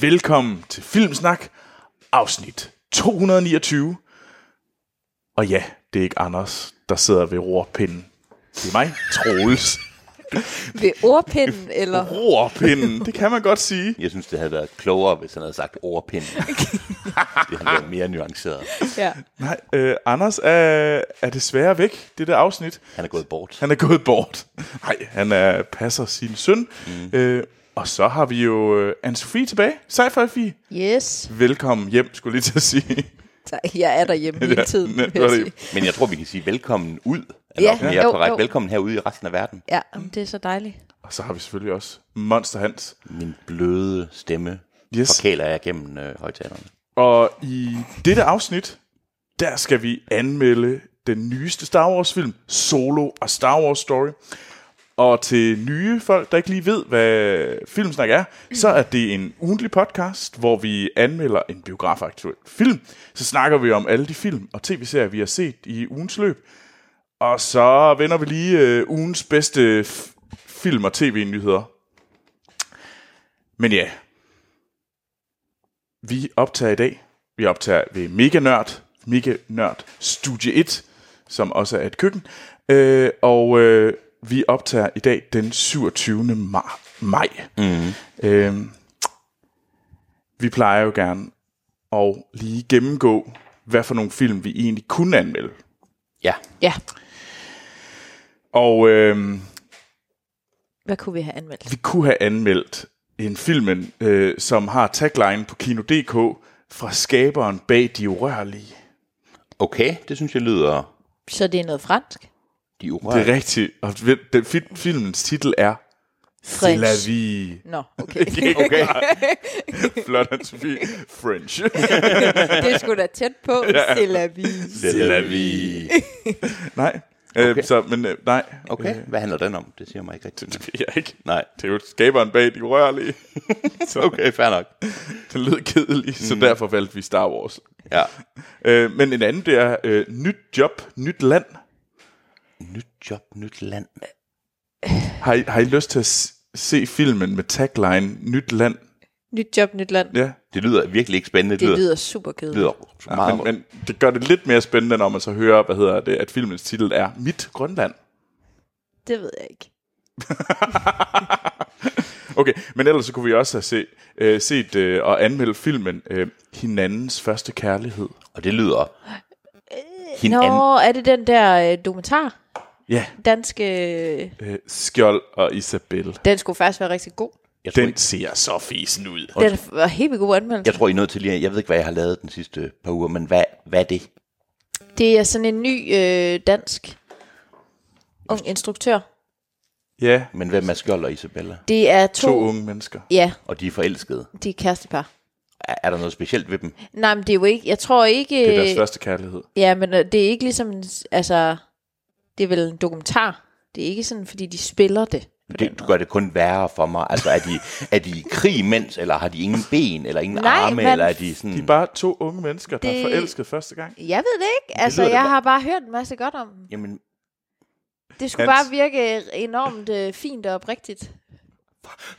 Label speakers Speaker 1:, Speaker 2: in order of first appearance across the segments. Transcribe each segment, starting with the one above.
Speaker 1: Velkommen til Filmsnak, afsnit 229. Og ja, det er ikke Anders, der sidder ved rorpinden. Det er mig, Troels.
Speaker 2: Ved ordpinden, eller?
Speaker 1: Rorpinden, det kan man godt sige.
Speaker 3: Jeg synes, det havde været klogere, hvis han havde sagt overpind. det havde været mere nuanceret.
Speaker 2: Ja.
Speaker 1: Nej, øh, Anders er, er desværre væk, det der afsnit.
Speaker 3: Han er gået bort.
Speaker 1: Han er gået bort. Nej, han er, passer sin søn. Mm. Øh, og så har vi jo øh, Anne-Sophie tilbage. Sej for Fie.
Speaker 2: Yes.
Speaker 1: Velkommen hjem, skulle jeg lige til at sige.
Speaker 2: Så jeg er derhjemme hele tiden.
Speaker 1: Ja,
Speaker 2: vil jeg
Speaker 1: var det-
Speaker 2: sige.
Speaker 3: Men jeg tror, vi kan sige velkommen ud. Eller
Speaker 2: Ja,
Speaker 3: ja, mere
Speaker 2: jo,
Speaker 3: korrekt.
Speaker 2: jo.
Speaker 3: Velkommen herude i resten af verden.
Speaker 2: Ja, men det er så dejligt.
Speaker 1: Og så har vi selvfølgelig også Monster Hans.
Speaker 3: Min bløde stemme
Speaker 1: Yes.
Speaker 3: yes. forkæler jeg gennem øh, højtalerne.
Speaker 1: Og i dette afsnit, der skal vi anmelde den nyeste Star Wars film, Solo og Star Wars Story. Og til nye folk, der ikke lige ved, hvad Filmsnak er, så er det en ugentlig podcast, hvor vi anmelder en biografaktuel film. Så snakker vi om alle de film og tv-serier, vi har set i ugens løb. Og så vender vi lige øh, ugens bedste f- film- og tv-nyheder. Men ja, vi optager i dag. Vi optager ved Mega Nørd, Mega Nørd Studie 1, som også er et køkken. Øh, og øh, vi optager i dag den 27. Mar- maj. Mm-hmm. Øh, vi plejer jo gerne at lige gennemgå, hvad for nogle film vi egentlig kunne anmelde.
Speaker 3: Ja,
Speaker 2: Ja,
Speaker 1: Og øh,
Speaker 2: hvad kunne vi have anmeldt?
Speaker 1: vi kunne have anmeldt en film, øh, som har tagline på Kino.dk fra skaberen bag De Urørlige.
Speaker 3: okay. Det synes jeg lyder...
Speaker 2: Så det er noget fransk?
Speaker 3: De
Speaker 1: Det
Speaker 3: urørlige.
Speaker 1: er rigtigt. Og ved- den fi- filmens titel er
Speaker 2: French.
Speaker 1: La Vie.
Speaker 2: Nå, okay.
Speaker 1: Okay. Flot, anne Sofie. French.
Speaker 2: det er sgu da tæt på. C'est la vie.
Speaker 3: C'est la vie.
Speaker 1: nej. Okay. Øh, så, men øh, nej.
Speaker 3: Okay, hvad handler den om? Det siger mig ikke rigtigt.
Speaker 1: Det er jeg ikke.
Speaker 3: Nej.
Speaker 1: Det er jo skaberen bag de urørlige. så
Speaker 3: Okay, fair nok.
Speaker 1: den lød kedelig, så derfor valgte vi Star Wars.
Speaker 3: Ja.
Speaker 1: Øh, men en anden, det er øh, nyt job, nyt land.
Speaker 3: Nyt job, nyt land.
Speaker 1: Har I, har I lyst til at s- se filmen med tagline nyt land?
Speaker 2: Nyt job, nyt land.
Speaker 1: Ja.
Speaker 3: Det lyder virkelig ikke spændende. Det
Speaker 2: Det
Speaker 3: lyder,
Speaker 2: lyder super
Speaker 3: det
Speaker 2: kedeligt.
Speaker 3: lyder meget...
Speaker 1: Men, men det gør det lidt mere spændende, når man så hører, hvad hedder det, at filmens titel er Mit Grønland.
Speaker 2: Det ved jeg ikke.
Speaker 1: Okay, men ellers så kunne vi også have set, øh, set øh, og anmeldt filmen øh, Hinandens Første Kærlighed.
Speaker 3: Og det lyder... Hinanden.
Speaker 2: Øh, Nå, er det den der øh, dokumentar?
Speaker 1: Ja.
Speaker 2: Dansk, øh,
Speaker 1: Øh, Skjold og Isabel.
Speaker 2: den skulle faktisk være rigtig god.
Speaker 3: Jeg tror,
Speaker 1: Den ser så fisen ud.
Speaker 2: Den var helt vildt god anmeldelse.
Speaker 3: Jeg tror, I er nødt til lige... Jeg ved ikke, hvad jeg har lavet den sidste par uger, men hvad, hvad er det?
Speaker 2: Det er sådan en ny øh, dansk ung instruktør.
Speaker 1: Ja,
Speaker 3: Men hvem er Skjold og Isabella?
Speaker 2: Det er to,
Speaker 1: to unge mennesker.
Speaker 2: Ja,
Speaker 3: Og de er forelskede.
Speaker 2: de er kærestepar.
Speaker 3: Er, er der noget specielt ved dem?
Speaker 2: Nej, men det er jo ikke, jeg tror ikke...
Speaker 1: Det er deres første kærlighed.
Speaker 2: Ja, men øh, det er ikke ligesom, en s- altså, det er vel en dokumentar. Det er ikke sådan, fordi de spiller det. på den
Speaker 3: Det
Speaker 2: måde.
Speaker 3: gør det kun værre for mig. Altså, er de, er de i krig mens, eller har de ingen ben, eller ingen
Speaker 2: Nej,
Speaker 3: arme,
Speaker 2: men-
Speaker 3: eller er de sådan...
Speaker 1: De er bare to unge mennesker, der det... er
Speaker 2: Det-
Speaker 1: forelsket første gang.
Speaker 2: Jeg ved det ikke. Altså,
Speaker 3: lyder da
Speaker 2: jeg
Speaker 3: godt.
Speaker 2: har bare hørt en masse godt om dem.
Speaker 3: Jamen,
Speaker 2: Det skulle
Speaker 1: Hans.
Speaker 2: bare virke enormt øh, fint og oprigtigt.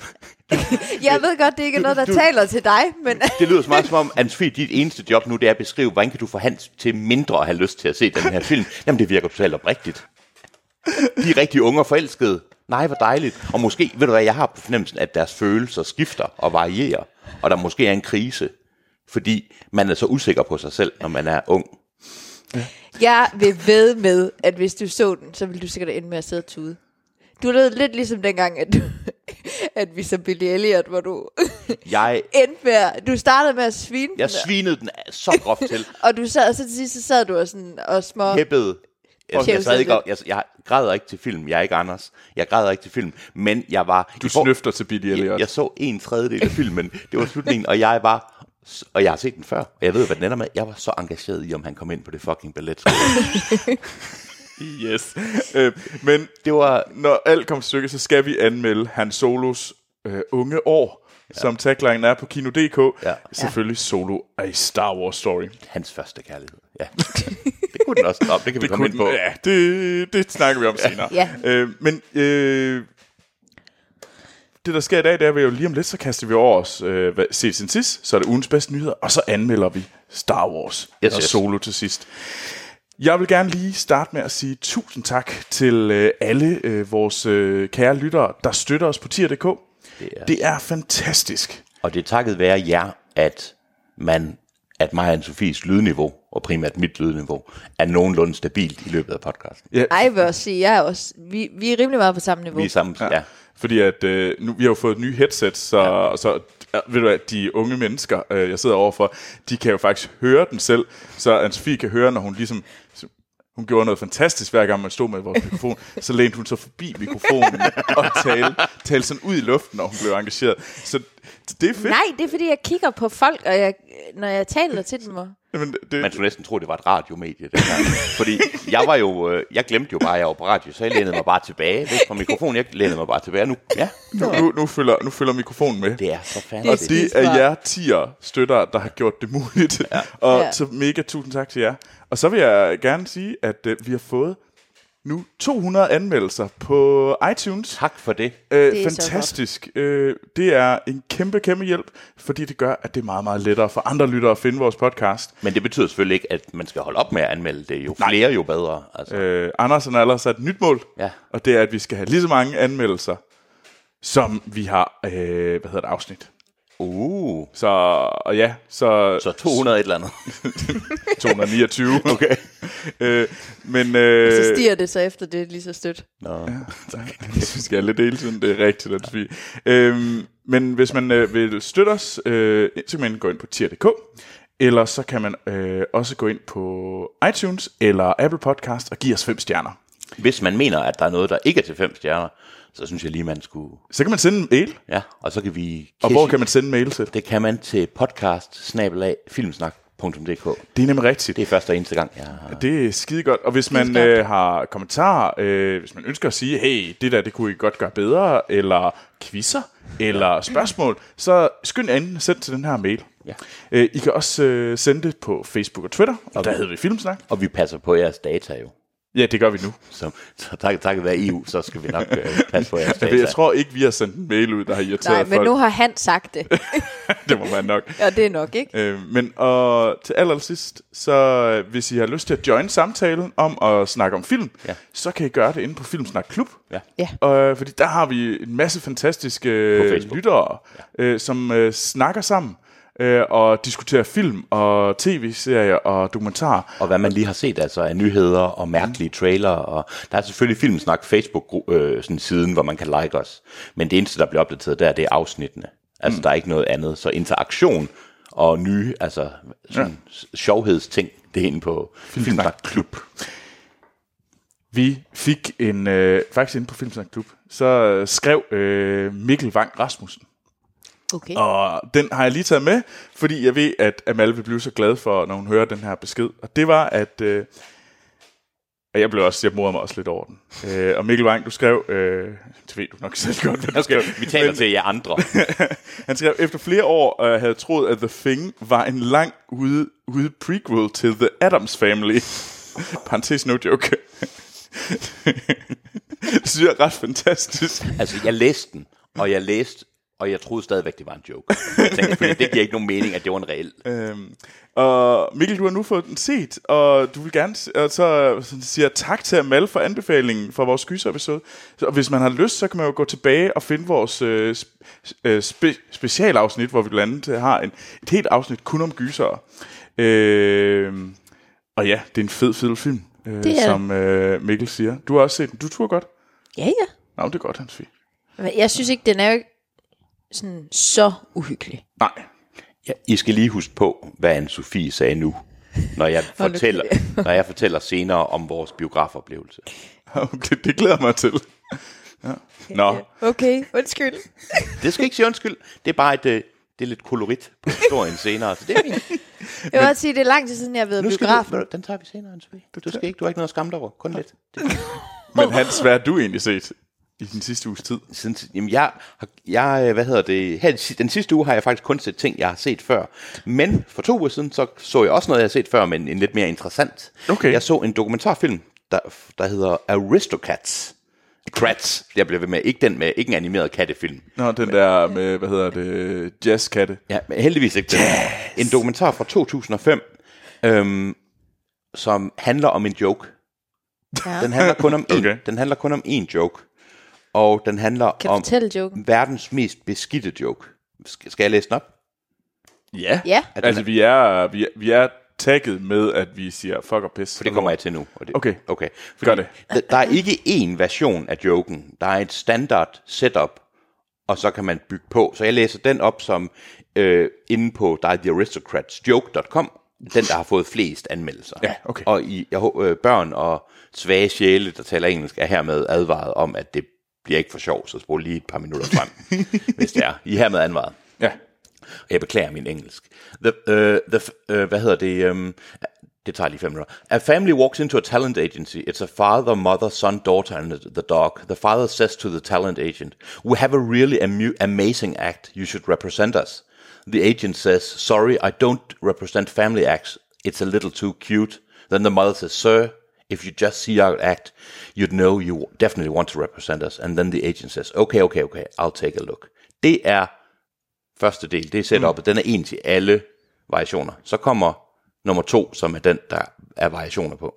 Speaker 2: jeg ved godt, det ikke er noget, der
Speaker 3: Du- du-
Speaker 2: taler til dig, men
Speaker 3: det lyder så meget som om, Ansofie, dit eneste job nu, det er at beskrive, hvordan kan du få Hans til mindre at have lyst til at se den her film? Jamen, det virker totalt oprigtigt. De er rigtig unge og forelskede. Nej, hvor dejligt. Og måske, ved du hvad, jeg har på fornemmelsen, at deres følelser skifter og varierer, og der måske er en krise, fordi man er så usikker på sig selv, når man er ung.
Speaker 2: jeg vil ved med, at hvis du så den, så ville du sikkert ende med at sidde og tude. Du lød lidt ligesom dengang, at, du, at vi så Billy Elliot, hvor du
Speaker 3: Jeg,
Speaker 2: endte med, at- du startede med at svine
Speaker 3: jeg
Speaker 2: den,
Speaker 3: svinede den så groft til.
Speaker 2: Og du sad, og så til sidst, så sad du og, sådan, og små...
Speaker 3: hæppede. Jeg,
Speaker 2: Okay.
Speaker 3: jeg, sad ikke, og- jeg, jeg græder ikke til film. Jeg er ikke Anders. Jeg græder ikke til film. Men jeg var...
Speaker 1: Du
Speaker 3: i for-
Speaker 1: snøfter til Billy
Speaker 3: jeg,
Speaker 1: Elliot.
Speaker 3: jeg så en tredjedel af filmen. Det var slutningen, og jeg var... Og jeg har set den før, og jeg ved, hvad den ender med. Jeg var så engageret i, om han kom ind på det fucking ballet.
Speaker 1: Yes. øh, men
Speaker 3: Det var...
Speaker 1: når alt kommer til stykket, så skal vi anmelde Han Solos øh, unge år, ja. som taglinen er på Kino.dk.
Speaker 3: Ja.
Speaker 1: Selvfølgelig Solo af Star Wars Story.
Speaker 3: Hans første kærlighed. Ja. Det kunne den også. Nå, det kan vi det komme
Speaker 1: Kun,
Speaker 3: ind på.
Speaker 1: ja, Øh, det, det snakker vi om senere.
Speaker 2: Ja.
Speaker 1: Øh, men øh, det, der sker i dag, det er, at vi jo lige om lidt, så kaster vi over os øh, hvad- set sin sidst, så er det ugens bedste nyheder, og så anmelder vi Star Wars
Speaker 3: Yes,
Speaker 1: og
Speaker 3: yes.
Speaker 1: Solo til sidst. Jeg vil gerne lige starte med at sige tusind tak til øh, alle øh, vores øh, kære lyttere, der støtter os på tier.dk. Det er, det er fantastisk.
Speaker 3: Og det er takket være jer, at man at mig og Sofies lydniveau, og primært mit lydniveau, er nogenlunde stabilt i løbet af podcasten.
Speaker 1: Ja,
Speaker 2: Ej, jeg vil også sige, jeg er også, vi, vi er rimelig meget på samme niveau.
Speaker 3: Vi er sammen, ja. ja.
Speaker 1: Fordi at, øh, nu, vi har jo fået nye headsets, så, ja. så ja, ved du hvad, de unge mennesker, øh, jeg sidder overfor, de kan jo faktisk høre den selv, så Anne-Sophie kan høre, når hun ligesom... Hun gjorde noget fantastisk, hver gang man stod med vores mikrofon. Så lænede hun sig forbi mikrofonen og talte tale sådan ud i luften, når hun blev engageret. Så det er fedt.
Speaker 2: Nej, det er fordi, jeg kigger på folk, og jeg, når jeg taler til dem. Og...
Speaker 1: Men det,
Speaker 3: Man skulle næsten tro, det var et radiomedie dengang. Fordi jeg var jo, øh, jeg glemte jo bare, at jeg var på radio, så jeg lænede mig bare tilbage. Væk fra mikrofonen, jeg lænede mig bare tilbage. Og Nu, ja,
Speaker 1: nu, nu, nu, følger, nu følger mikrofonen med.
Speaker 3: det er så fanden.
Speaker 1: Og
Speaker 2: Det er
Speaker 1: det
Speaker 2: skidesmart.
Speaker 1: er jer tier støtter, der har gjort det muligt. Ja. Og
Speaker 2: Ja.
Speaker 1: så mega tusind tak til jer. Og så vil jeg gerne sige, at øh, vi har fået nu 200 anmeldelser på iTunes.
Speaker 3: Tak for det.
Speaker 1: Øh,
Speaker 2: Det er så
Speaker 1: fantastisk. Øh, det er en kæmpe, kæmpe hjælp, fordi det gør, at det er meget, meget lettere for andre lyttere at finde vores podcast.
Speaker 3: Men det betyder selvfølgelig ikke, at man skal holde op med at anmelde det. Jo flere, jo bedre. Altså.
Speaker 1: Øh, Andersen har allerede sat et nyt mål,
Speaker 3: Ja.
Speaker 1: og det er, at vi skal have lige så mange anmeldelser, som vi har, øh, hvad hedder det, afsnit.
Speaker 3: Uh,
Speaker 1: Så, og ja, så,
Speaker 3: så 200 et eller andet.
Speaker 1: 229.
Speaker 3: Okay.
Speaker 1: Øh, men... Øh,
Speaker 2: Så stiger det så efter det lige så stødt.
Speaker 3: Nå.
Speaker 1: Jeg synes, jeg er lidt hele tiden, det er rigtigt at sige. Øhm, men hvis man øh, vil støtte os, øh, så kan man gå ind på tier.dk, eller så kan man øh, også gå ind på iTunes eller Apple Podcast og give os fem stjerner.
Speaker 3: Hvis man mener, at der er noget, der ikke er til fem stjerner, så synes jeg lige, man skulle...
Speaker 1: Så kan man sende en mail,
Speaker 3: Ja, og så kan vi...
Speaker 1: og hvor kan man sende en mail til?
Speaker 3: Det kan man til podcast filmsnak.dk.
Speaker 1: Det er nemlig rigtigt.
Speaker 3: Det er første og eneste gang, jeg har...
Speaker 1: Det er skide godt. Og hvis man
Speaker 2: Skidegodt.
Speaker 1: øh, har kommentarer, øh, hvis man ønsker at sige, hey, det der, det kunne I godt gøre bedre, eller quizzer, eller spørgsmål, så skynd anden send til den her mail.
Speaker 3: Ja.
Speaker 1: Øh, I kan også øh, sende det på Facebook og Twitter, og der hedder vi Filmsnak.
Speaker 3: Og vi passer på jeres data jo.
Speaker 1: Ja, det gør vi nu.
Speaker 3: Så, så tak, takket være EU, så skal vi nok øh, passe på jeres data.
Speaker 1: Jeg tror ikke, vi har sendt en mail ud, der har irriteret
Speaker 2: Nej, men
Speaker 1: folk.
Speaker 2: nu har han sagt det,
Speaker 1: Det må være nok.
Speaker 2: og det er nok, ikke?
Speaker 1: Øh, men og til allersidst, så øh, hvis I har lyst til at join samtalen om at snakke om film,
Speaker 3: Ja.
Speaker 1: så kan I gøre det inde på Filmsnak Klub.
Speaker 3: Ja.
Speaker 2: Ja.
Speaker 1: Øh, fordi der har vi en masse fantastiske
Speaker 3: På
Speaker 1: øh,
Speaker 3: Facebook.
Speaker 1: lyttere, ja. øh, som øh, snakker sammen øh, og diskuterer film og tv-serier og dokumentarer.
Speaker 3: Og hvad man lige har set altså af nyheder og mærkelige trailer. Og der er selvfølgelig Filmsnak Facebook-siden, hvor man kan like os. Men det eneste, der bliver opdateret der, det er afsnittene. Altså, mm. der er ikke noget andet. Så interaktion og nye, altså sådan ja. sjovhedsting, det er inde på Filmsnak Klub.
Speaker 1: Vi fik en, øh, faktisk inde på Filmsnak Klub, så øh, skrev øh, Mikkel Vang Rasmussen.
Speaker 2: Okay.
Speaker 1: Og den har jeg lige taget med, fordi jeg ved, at Amal vil blive så glad for, når hun hører den her besked. Og det var, at... Øh, og jeg blev også, jeg morede mig også lidt over den. Øh, og Mikkel Wang, du skrev, øh, det ved du nok selv godt, hvad du skrev.
Speaker 3: Vi taler
Speaker 1: Men-
Speaker 3: til jer andre.
Speaker 1: Han skrev, efter flere år øh, havde troet, at The Thing var en lang ude, ude prequel til The Addams Family. Parenthes no joke. det synes jeg er ret fantastisk.
Speaker 3: Altså, jeg læste den, og jeg læste, og jeg troede stadigvæk, det var en joke. Jeg tænkte, fordi det giver ikke nogen mening, at det var en reel.
Speaker 1: Øhm, og Mikkel, du har nu fået den set, og du vil gerne, s- og så så siger jeg tak til Amal for anbefalingen fra vores gyserepisode. Så- Og hvis man har lyst, så kan man jo gå tilbage og finde vores øh, sp- øh, spe- specialafsnit, hvor vi blandt andet øh, har en, et helt afsnit kun om gyser. Øh, og ja, det er en fed, fed film, øh,
Speaker 2: Det er
Speaker 1: som øh, Mikkel siger. Du har også set den. Du tror godt.
Speaker 2: Ja, ja.
Speaker 1: Nå, men det er godt, Hans Fie.
Speaker 2: Men jeg synes ikke, den er jo ikke sådan så uhyggelig.
Speaker 1: Nej,
Speaker 3: Ja, I skal lige huske på, hvad Anne-Sophie sagde nu, når jeg,
Speaker 2: Hold nu
Speaker 3: fortæller,
Speaker 2: kæft.
Speaker 3: når jeg fortæller senere om vores biografoplevelse.
Speaker 1: okay, det glæder jeg mig til. Ja. Nå,
Speaker 2: Okay, undskyld.
Speaker 3: Det skal ikke sige undskyld, det er bare et, øh, det er lidt kolorit på historien senere, så det er fint.
Speaker 2: Jeg vil også sige, det er lang tid siden, jeg har været
Speaker 3: Nu skal
Speaker 2: biograf.
Speaker 3: du, den tager vi senere, Anne-Sophie. Du, skal ikke, du har ikke noget at skamme dig over, kun lidt. Det,
Speaker 1: men Hans, hvad har du egentlig set i den sidste uges tid?
Speaker 3: siden, jamen jeg, har- jeg, øh, hvad hedder det, her, i si- den sidste uge har jeg faktisk kun set ting, jeg har set før. Men for to uger siden, så så jeg også noget, jeg har set før, men en lidt mere interessant.
Speaker 1: Okay.
Speaker 3: Jeg så en dokumentarfilm, der, der hedder Aristocats. Kratz. Jeg bliver ved med. Ikke den med, ikke en animeret kattefilm.
Speaker 1: Nå, den der med, hvad hedder det, jazzkatte.
Speaker 3: Ja, men heldigvis ikke den. Yes. En dokumentar fra 2005, øhm, som handler om en joke.
Speaker 2: Ja.
Speaker 3: Den handler kun om én.
Speaker 1: Okay.
Speaker 3: Okay. Den handler kun om én joke. Og den handler
Speaker 2: Kan du
Speaker 3: om
Speaker 2: fortælle joken?
Speaker 3: verdens mest beskidte joke. Sk- Skal jeg læse den op?
Speaker 1: Ja.
Speaker 2: Ja.
Speaker 3: Er den-
Speaker 1: Altså, vi er, vi, er, vi er tagget med, at vi siger fuck og pis.
Speaker 3: For det kommer jeg til nu. Og det,
Speaker 1: Okay.
Speaker 3: okay.
Speaker 1: Gør det.
Speaker 3: d- Der er ikke én version af joken. Der er et standard setup, og så kan man bygge på. Så jeg læser den op som øh, inde på der er thearistocratsjoke.com. Den, der har fået flest anmeldelser.
Speaker 1: Ja, okay.
Speaker 3: Og i, jeg, hå- øh, børn og svage sjæle, der taler engelsk, er hermed advaret om, at det bliver ikke for sjov, så spol lige et par minutter frem, hvis det er. I er hermed advaret.
Speaker 1: Ja.
Speaker 3: Jeg beklager min engelsk. The, uh, the, uh, hvad hedder det? Um, det tager lige fem minutter. A family walks into a talent agency. It's a father, mother, son, daughter and the dog. The father says to the talent agent, We have a really amu- amazing act. You should represent us. The agent says, Sorry, I don't represent family acts. It's a little too cute. Then the mother says, Sir, if you just see our act, you'd know you definitely want to represent us. And then the agent says, Okay, okay, okay, I'll take a look. Det er første del, det er setupet, mm. den er en til alle variationer. Så kommer nummer to, som er den, der er variationer på.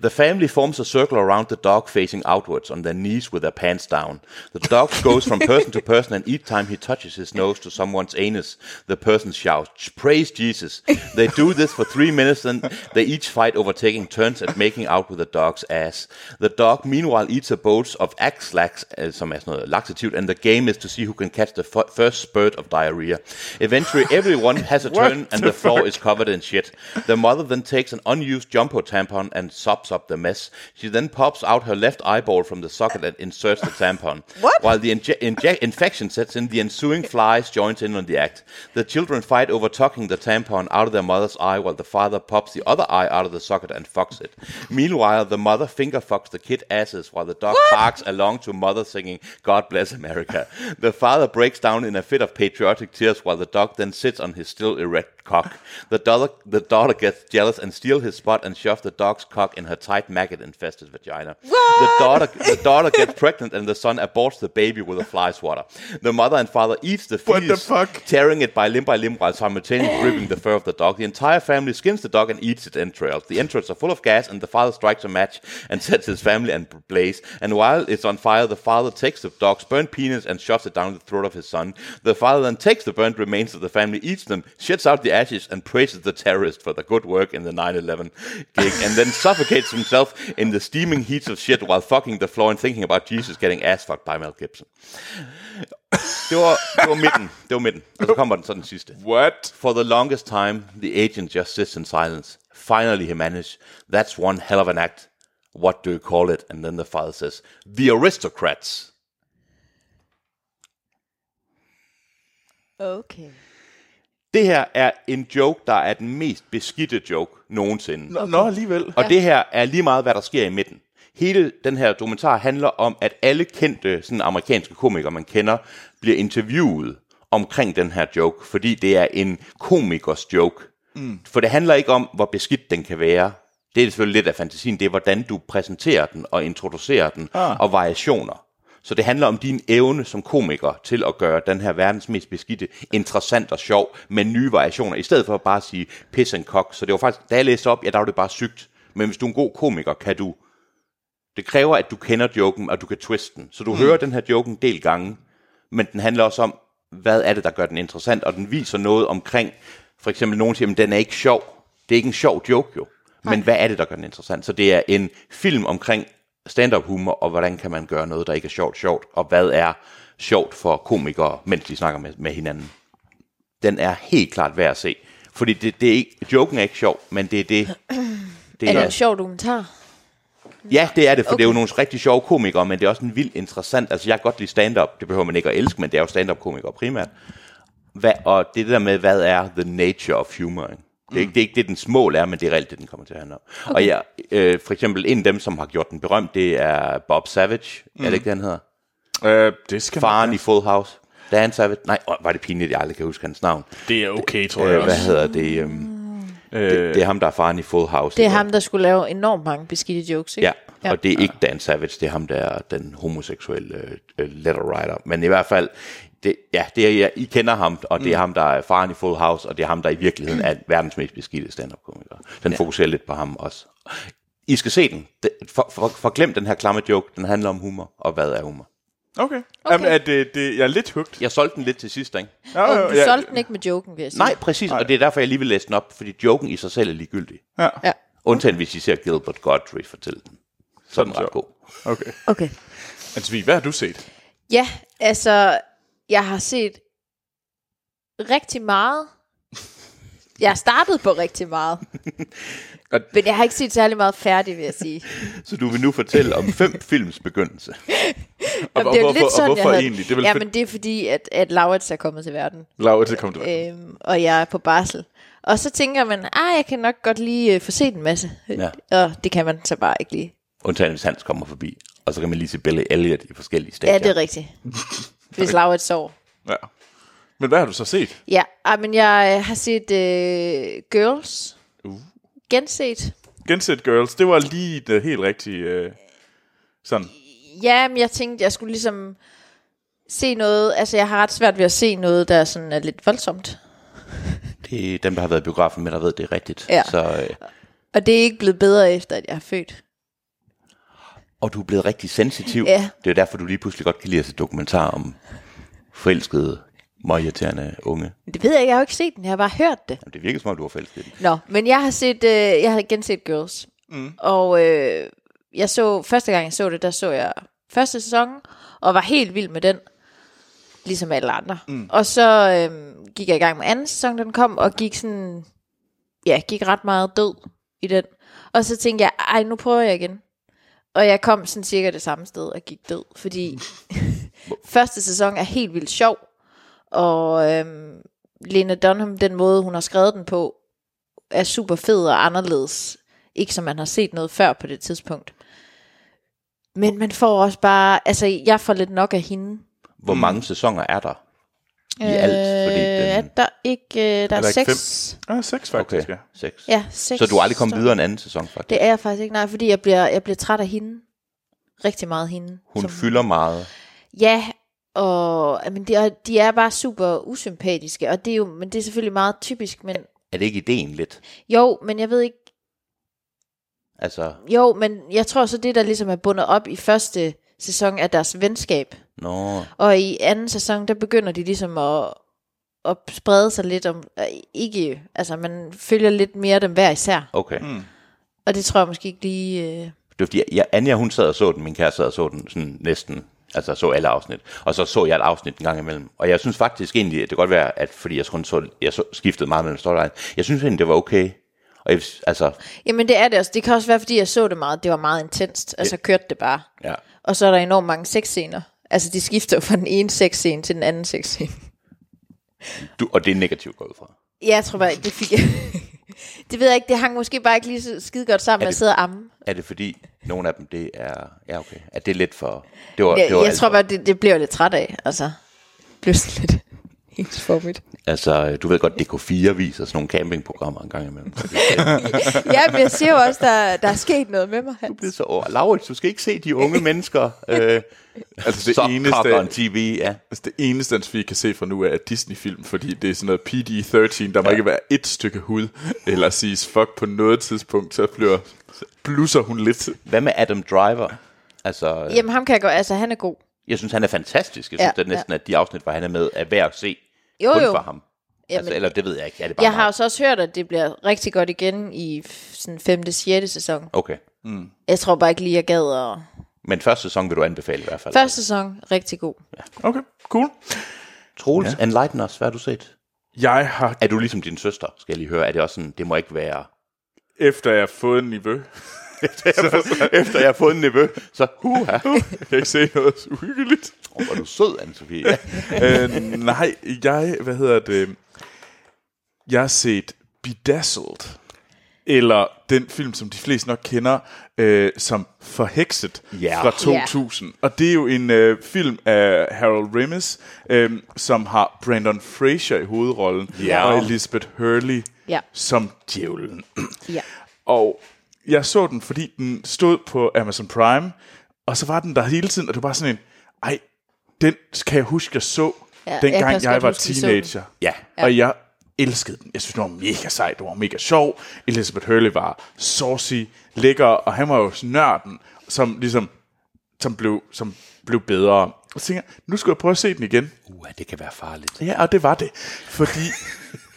Speaker 3: The family forms a circle around the dog facing outwards on their knees with their pants down. The dog goes from person to person and each time he touches his nose to someone's anus, the person shouts, Praise Jesus. They do this for three minutes and they each fight over taking turns at making out with the dog's ass. The dog meanwhile eats a bowl of axe lax, uh, som er sådan noget laxativt, and the game is to see who can catch the f- first spurt of diarrhea. Eventually everyone has a turn and the floor is covered in shit. The mother then takes an unused jumbo tampon and sops up the mess. She then pops out her left eyeball from the socket and inserts the tampon.
Speaker 2: What?
Speaker 3: While the inje- inje- infection sets in, the ensuing flies joins in on the act. The children fight over tucking the tampon out of their mother's eye while the father pops the other eye out of the socket and fucks it. Meanwhile, the mother finger fucks the kid asses while the dog barks along to mother singing God Bless America. The father breaks down in a fit of patriotic tears while the dog then sits on his still erect cock. The daughter, the daughter gets jealous and steals his spot and shoves the dog's cock in her tight maggot infested vagina. The daughter the daughter gets pregnant and the son aborts the baby with a fly swatter. The mother and father eats the
Speaker 1: What the
Speaker 3: fetus,
Speaker 1: fuck?
Speaker 3: tearing it by limb by limb while simultaneously ripping the fur of the dog. The entire family skins the dog and eats its entrails. The entrails are full of gas and the father strikes a match and sets his family on blaze. And while it's on fire, the father takes the dog's burnt penis and shoves it down the throat of his son. The father then takes the burnt remains of the family, eats them, shits out the ashes, and praises the terrorist for the good work in the 9-11 gig, and then suffocates himself in the steaming heats of shit while fucking the floor and thinking about Jesus getting ass fucked by Mel Gibson. Det var, det var midten. Det var midten. Og så kommer den så den sidste.
Speaker 1: What?
Speaker 3: For the longest time, the agent just sits in silence. Finally, he managed. That's one hell of an act. What do you call it? And then the father says, The aristocrats.
Speaker 2: Okay.
Speaker 3: Det her er en joke, der er den mest beskidte joke nogensinde.
Speaker 1: Nå, Nå alligevel.
Speaker 3: Og det her er lige meget, hvad der sker i midten. Hele den her dokumentar handler om, at alle kendte sådan amerikanske komikere, man kender, bliver interviewet omkring den her joke, fordi det er en komikers joke. Mm. For det handler ikke om, hvor beskidt den kan være. Det er selvfølgelig lidt af fantasien. Det er, hvordan du præsenterer den og introducerer den, ah. og variationer. Så det handler om din evne som komiker til at gøre den her verdens mest beskidte interessant og sjov med nye variationer, i stedet for bare at sige piss and cock. Så det var faktisk, da jeg læste op, ja, der var det bare sygt. Men hvis du er en god komiker, kan du... Det kræver, at du kender joken, og du kan twiste den. Så du mm. hører den her joke en del gange, men den handler også om, hvad er det, der gør den interessant, og den viser noget omkring, for eksempel nogen siger, at den er ikke sjov. Det er ikke en sjov joke jo, men hvad er det, der gør den interessant? Så det er en film omkring stand-up humor, og hvordan kan man gøre noget, der ikke er sjovt sjovt, og hvad er sjovt for komikere, mens de snakker med, med hinanden. Den er helt klart værd at se, fordi det, det er ikke, joken er ikke sjov, men det er det, det
Speaker 2: Er det en sjov dokumentar?
Speaker 3: Ja, det er det, for okay. det er jo
Speaker 2: Okay.
Speaker 3: nogle rigtig sjove komikere, men det er også en vildt interessant... Altså, jeg kan godt lide stand-up. Det behøver man ikke at elske, men det er jo stand-up-komikere primært. Hvad, og det der med, hvad er the nature of humor? Ikke? Det er, ikke, det er ikke det, dens mål er, men det er reelt det, den kommer til at handle om. Mm. Okay. Og jeg, øh, for eksempel en af dem, som har gjort den berømt, det er Bob Savage. Mm. Er det ikke, det, han hedder?
Speaker 1: Øh, det skal
Speaker 3: Faren
Speaker 1: man...
Speaker 3: i Full House. Dan Savage. Nej, åh, var det pinligt, jeg aldrig kan huske hans navn.
Speaker 1: Det er okay, tror jeg
Speaker 3: Øh, hvad
Speaker 1: også.
Speaker 3: hedder det? Øhm, det? Det er ham, der er faren i Full House.
Speaker 2: Det er
Speaker 3: ikke?
Speaker 2: ham, der skulle lave enormt mange beskidte jokes, ikke?
Speaker 3: Ja,
Speaker 2: Ja.
Speaker 3: Ja. Og det er ikke Dan Savage, det er ham, der er den homoseksuelle øh, øh, letter writer. Men i hvert fald, det, ja, det er, ja, I kender ham, og det er ham, der er faren i Full House, og det er ham, der i virkeligheden er verdens mest beskidte stand-up-komiker. Den Mm. ja. fokuserer lidt på ham også. I skal se den. Det- For, for, for glem den her klamme joke. Den handler om humor, og hvad er humor?
Speaker 1: Okay. okay. Jamen, er det, det, jeg er lidt hugt.
Speaker 3: Jeg solgte den lidt til sidst, ikke?
Speaker 1: Ja,
Speaker 2: Og
Speaker 1: ja,
Speaker 2: du
Speaker 1: ja.
Speaker 2: solgte den ikke med joken, vil jeg sige.
Speaker 3: Nej, præcis, og det er derfor, jeg lige vil læse den op, fordi joken i sig selv er ligegyldig.
Speaker 2: Ja.
Speaker 3: Undtagen hvis I ser Gilbert Godfrey fortælle den. Så er den
Speaker 1: Sådan så.
Speaker 3: ret god.
Speaker 1: Okay.
Speaker 2: Okay.
Speaker 1: Anne-Sophie, Altså, hvad har du set?
Speaker 2: Ja, altså, jeg har set rigtig meget. Jeg har startet på rigtig meget.
Speaker 1: Og-
Speaker 2: Men jeg har ikke set særlig meget færdig, vil jeg sige.
Speaker 3: Så du vil nu fortælle om fem films begyndelse.
Speaker 2: Jamen,
Speaker 1: og
Speaker 2: det er jo
Speaker 1: hvorfor- og
Speaker 2: lidt sådan,
Speaker 1: hvorfor
Speaker 2: jeg havde...
Speaker 1: egentlig? Det er vel
Speaker 2: Jamen,
Speaker 1: fordi-
Speaker 2: det er fordi, at, at Laurits er kommet til verden,
Speaker 1: Laura, til kom du.
Speaker 2: øhm, og jeg er på barsel. Og så tænker man, ah, jeg kan nok godt lige øh, få set en masse.
Speaker 3: Ja.
Speaker 2: Og det kan man så bare ikke lige.
Speaker 3: Undtagen hvis Hans kommer forbi. Og så kan man lige se Billy Elliot i forskellige stadier.
Speaker 2: Ja, det er rigtigt. Hvis Laurits sover.
Speaker 1: Ja. Men hvad har du så set?
Speaker 2: Ja, ej, men jeg øh, har set øh, Girls.
Speaker 1: Uh.
Speaker 2: Genset.
Speaker 1: Genset Girls, det var lige det helt rigtige... Øh, sådan.
Speaker 2: Ja, men jeg tænkte, jeg skulle ligesom se noget. Altså, jeg har ret svært ved at se noget, der sådan er lidt voldsomt.
Speaker 3: det er dem, der har været i biografen med, der ved, det er rigtigt.
Speaker 2: Ja.
Speaker 3: Så, øh,
Speaker 2: Og det er ikke blevet bedre, efter at jeg er født.
Speaker 3: og du er blevet rigtig sensitiv.
Speaker 2: Ja.
Speaker 3: Det er derfor, du lige pludselig godt kan lide at se dokumentar om forelskede, møgirriterende unge.
Speaker 2: Men det ved jeg ikke, jeg har jo ikke set den, jeg har bare hørt det.
Speaker 3: Jamen, det virker som om, du har forelsket i dem.
Speaker 2: Nå, men jeg har set, øh, jeg har genset Girls. Mm. Og øh, jeg så, første gang jeg så det, der så jeg første sæson, og var helt vild med den. Ligesom alle andre. Mm. Og så øh, gik jeg i gang med anden sæson, da den kom, og gik sådan, ja, gik ret meget død i den. Og så tænkte jeg, ej, nu prøver jeg igen. Og jeg kom sådan cirka det samme sted og gik død, fordi første sæson er helt vildt sjov. Og øhm, Lena Dunham, den måde, hun har skrevet den på, er super fed og anderledes. Ikke som man har set noget før på det tidspunkt. Men man får også bare... Altså, jeg får lidt nok af hende.
Speaker 3: Hvor mm. mange sæsoner er der i alt? Fordi den,
Speaker 2: er der ikke... Øh, der er,
Speaker 1: der ikke
Speaker 2: seks...
Speaker 1: Ah, seks faktisk, okay. ja.
Speaker 3: seks.
Speaker 2: Ja, seks.
Speaker 3: Så du er aldrig kommet
Speaker 2: står-
Speaker 3: videre en anden sæson, faktisk?
Speaker 2: Det er jeg faktisk ikke. Nej, fordi jeg bliver, jeg bliver træt af hende. Rigtig meget hende.
Speaker 3: Hun
Speaker 2: som-
Speaker 3: fylder meget.
Speaker 2: Ja, og men de, er, de er bare super usympatiske, og det er jo, men det er selvfølgelig meget typisk, men
Speaker 3: Er det ikke ideen lidt?
Speaker 2: jo, men jeg ved ikke,
Speaker 3: Altså,
Speaker 2: jo, men jeg tror så det, der ligesom er bundet op i første sæson, er deres venskab.
Speaker 3: nå,
Speaker 2: Og i anden sæson, der begynder de ligesom at, at sprede sig lidt om, øh, ikke, altså man følger lidt mere dem hver især.
Speaker 3: okay. Mm.
Speaker 2: Og det tror jeg måske ikke lige, øh,
Speaker 3: Det var fordi, jeg, Anja hun sad og så den, min kæreste sad og så den sådan næsten, altså så alle afsnit. Og så så jeg et afsnit en gang imellem. Og jeg synes faktisk egentlig, at det kan godt være, at fordi jeg kun så, jeg så, skiftede meget mellem storylines, jeg synes egentlig, det var okay. Og jeg, altså,
Speaker 2: jamen det er det også. Det kan også være, fordi jeg så det meget, det var meget intenst, altså kørte det bare.
Speaker 3: ja.
Speaker 2: Og så er der enormt mange sexscener. Altså, de skifter jo fra den ene sexscene til den anden sexscene.
Speaker 3: Du, og det er negativt gået fra.
Speaker 2: Ja, jeg tror bare ikke, det fik jeg. det ved jeg ikke, det hang måske bare ikke lige så skide godt sammen, at
Speaker 3: det-
Speaker 2: sidde og amme.
Speaker 3: Er det fordi, nogle af dem, det er, ja okay, at det er lidt for, det var,
Speaker 2: Jeg,
Speaker 3: det var
Speaker 2: jeg
Speaker 3: alt
Speaker 2: tror
Speaker 3: for-
Speaker 2: bare, det, det blev jeg lidt træt af, altså. Det blev sådan lidt ensformigt.
Speaker 3: Altså, du ved godt, DK4 viser sådan nogle campingprogrammer en gang imellem. Så det-
Speaker 2: ja, men jeg ser jo også, der, der er sket noget med mig, Hans.
Speaker 3: Det er så over. Laurits, du skal ikke se de unge mennesker. Øh, altså
Speaker 1: det
Speaker 3: det eneste...
Speaker 1: eneste-
Speaker 3: on TV, ja.
Speaker 1: Altså, det eneste, vi kan se fra nu af, er Disney-film, fordi det er sådan noget PG-13, der må ja. ikke være et stykke hud, eller siges fuck på noget tidspunkt, så bliver blusser hun lidt.
Speaker 3: Hvad med Adam Driver? Altså,
Speaker 2: Jamen, ham kan jeg godt, altså han er god.
Speaker 3: jeg synes, han er fantastisk. Jeg
Speaker 2: Ja,
Speaker 3: synes ja, næsten, at de afsnit, hvor han er med, er værd at se.
Speaker 2: Jo,
Speaker 3: kun
Speaker 2: jo.
Speaker 3: for ham.
Speaker 2: Jamen,
Speaker 3: Altså, eller det ved jeg ikke. Er det bare
Speaker 2: Jeg
Speaker 3: mig?
Speaker 2: har jo så også hørt, at det bliver rigtig godt igen i f- sådan 5. 6. sæson.
Speaker 3: Okay.
Speaker 2: Jeg tror bare ikke lige, jeg gad at...
Speaker 3: Men første sæson vil du anbefale i hvert fald.
Speaker 2: Første sæson, rigtig god.
Speaker 1: Okay, cool.
Speaker 3: Troels, ja. enlighten os. Hvad har du set?
Speaker 1: Jeg har,
Speaker 3: Er du ligesom din søster, skal jeg lige høre? Er det også sådan, det må ikke være...
Speaker 1: efter jeg har fået en niveau,
Speaker 3: Efter jeg har fået en nevø, så huha.
Speaker 1: kan jeg ikke se noget så uhyggeligt.
Speaker 3: Åh, hvor er du sød, Anne-Sophie. Ja.
Speaker 1: øh, nej, jeg, hvad hedder det, jeg har set Bedazzled, eller den film, som de fleste nok kender, øh, som Forhekset
Speaker 3: Ja.
Speaker 1: fra 2000. Og det er jo en øh, film af Harold Ramis, øh, som har Brandon Fraser i hovedrollen,
Speaker 3: Ja.
Speaker 1: og Elizabeth Hurley
Speaker 2: Ja.
Speaker 1: som djævlen.
Speaker 2: Ja.
Speaker 1: Og jeg så den, fordi den stod på Amazon Prime, og så var den der hele tiden, og det var bare sådan en, ej, den kan jeg huske, jeg så, ja,
Speaker 2: jeg
Speaker 1: dengang
Speaker 2: kan
Speaker 1: jeg,
Speaker 2: også
Speaker 1: jeg
Speaker 2: godt
Speaker 1: var
Speaker 2: huske, vi så
Speaker 1: teenager.
Speaker 3: Ja.
Speaker 1: Ja. Og jeg elskede den. Jeg synes, det var mega sejt. Det var mega sjov. Elizabeth Hurley var saucy, lækker, og han var jo sådan nørden, som ligesom som blev, som blev bedre. Og så tænker jeg, nu skal jeg prøve at se den igen.
Speaker 3: Uh, det kan være farligt.
Speaker 1: Ja, og det var det. Fordi,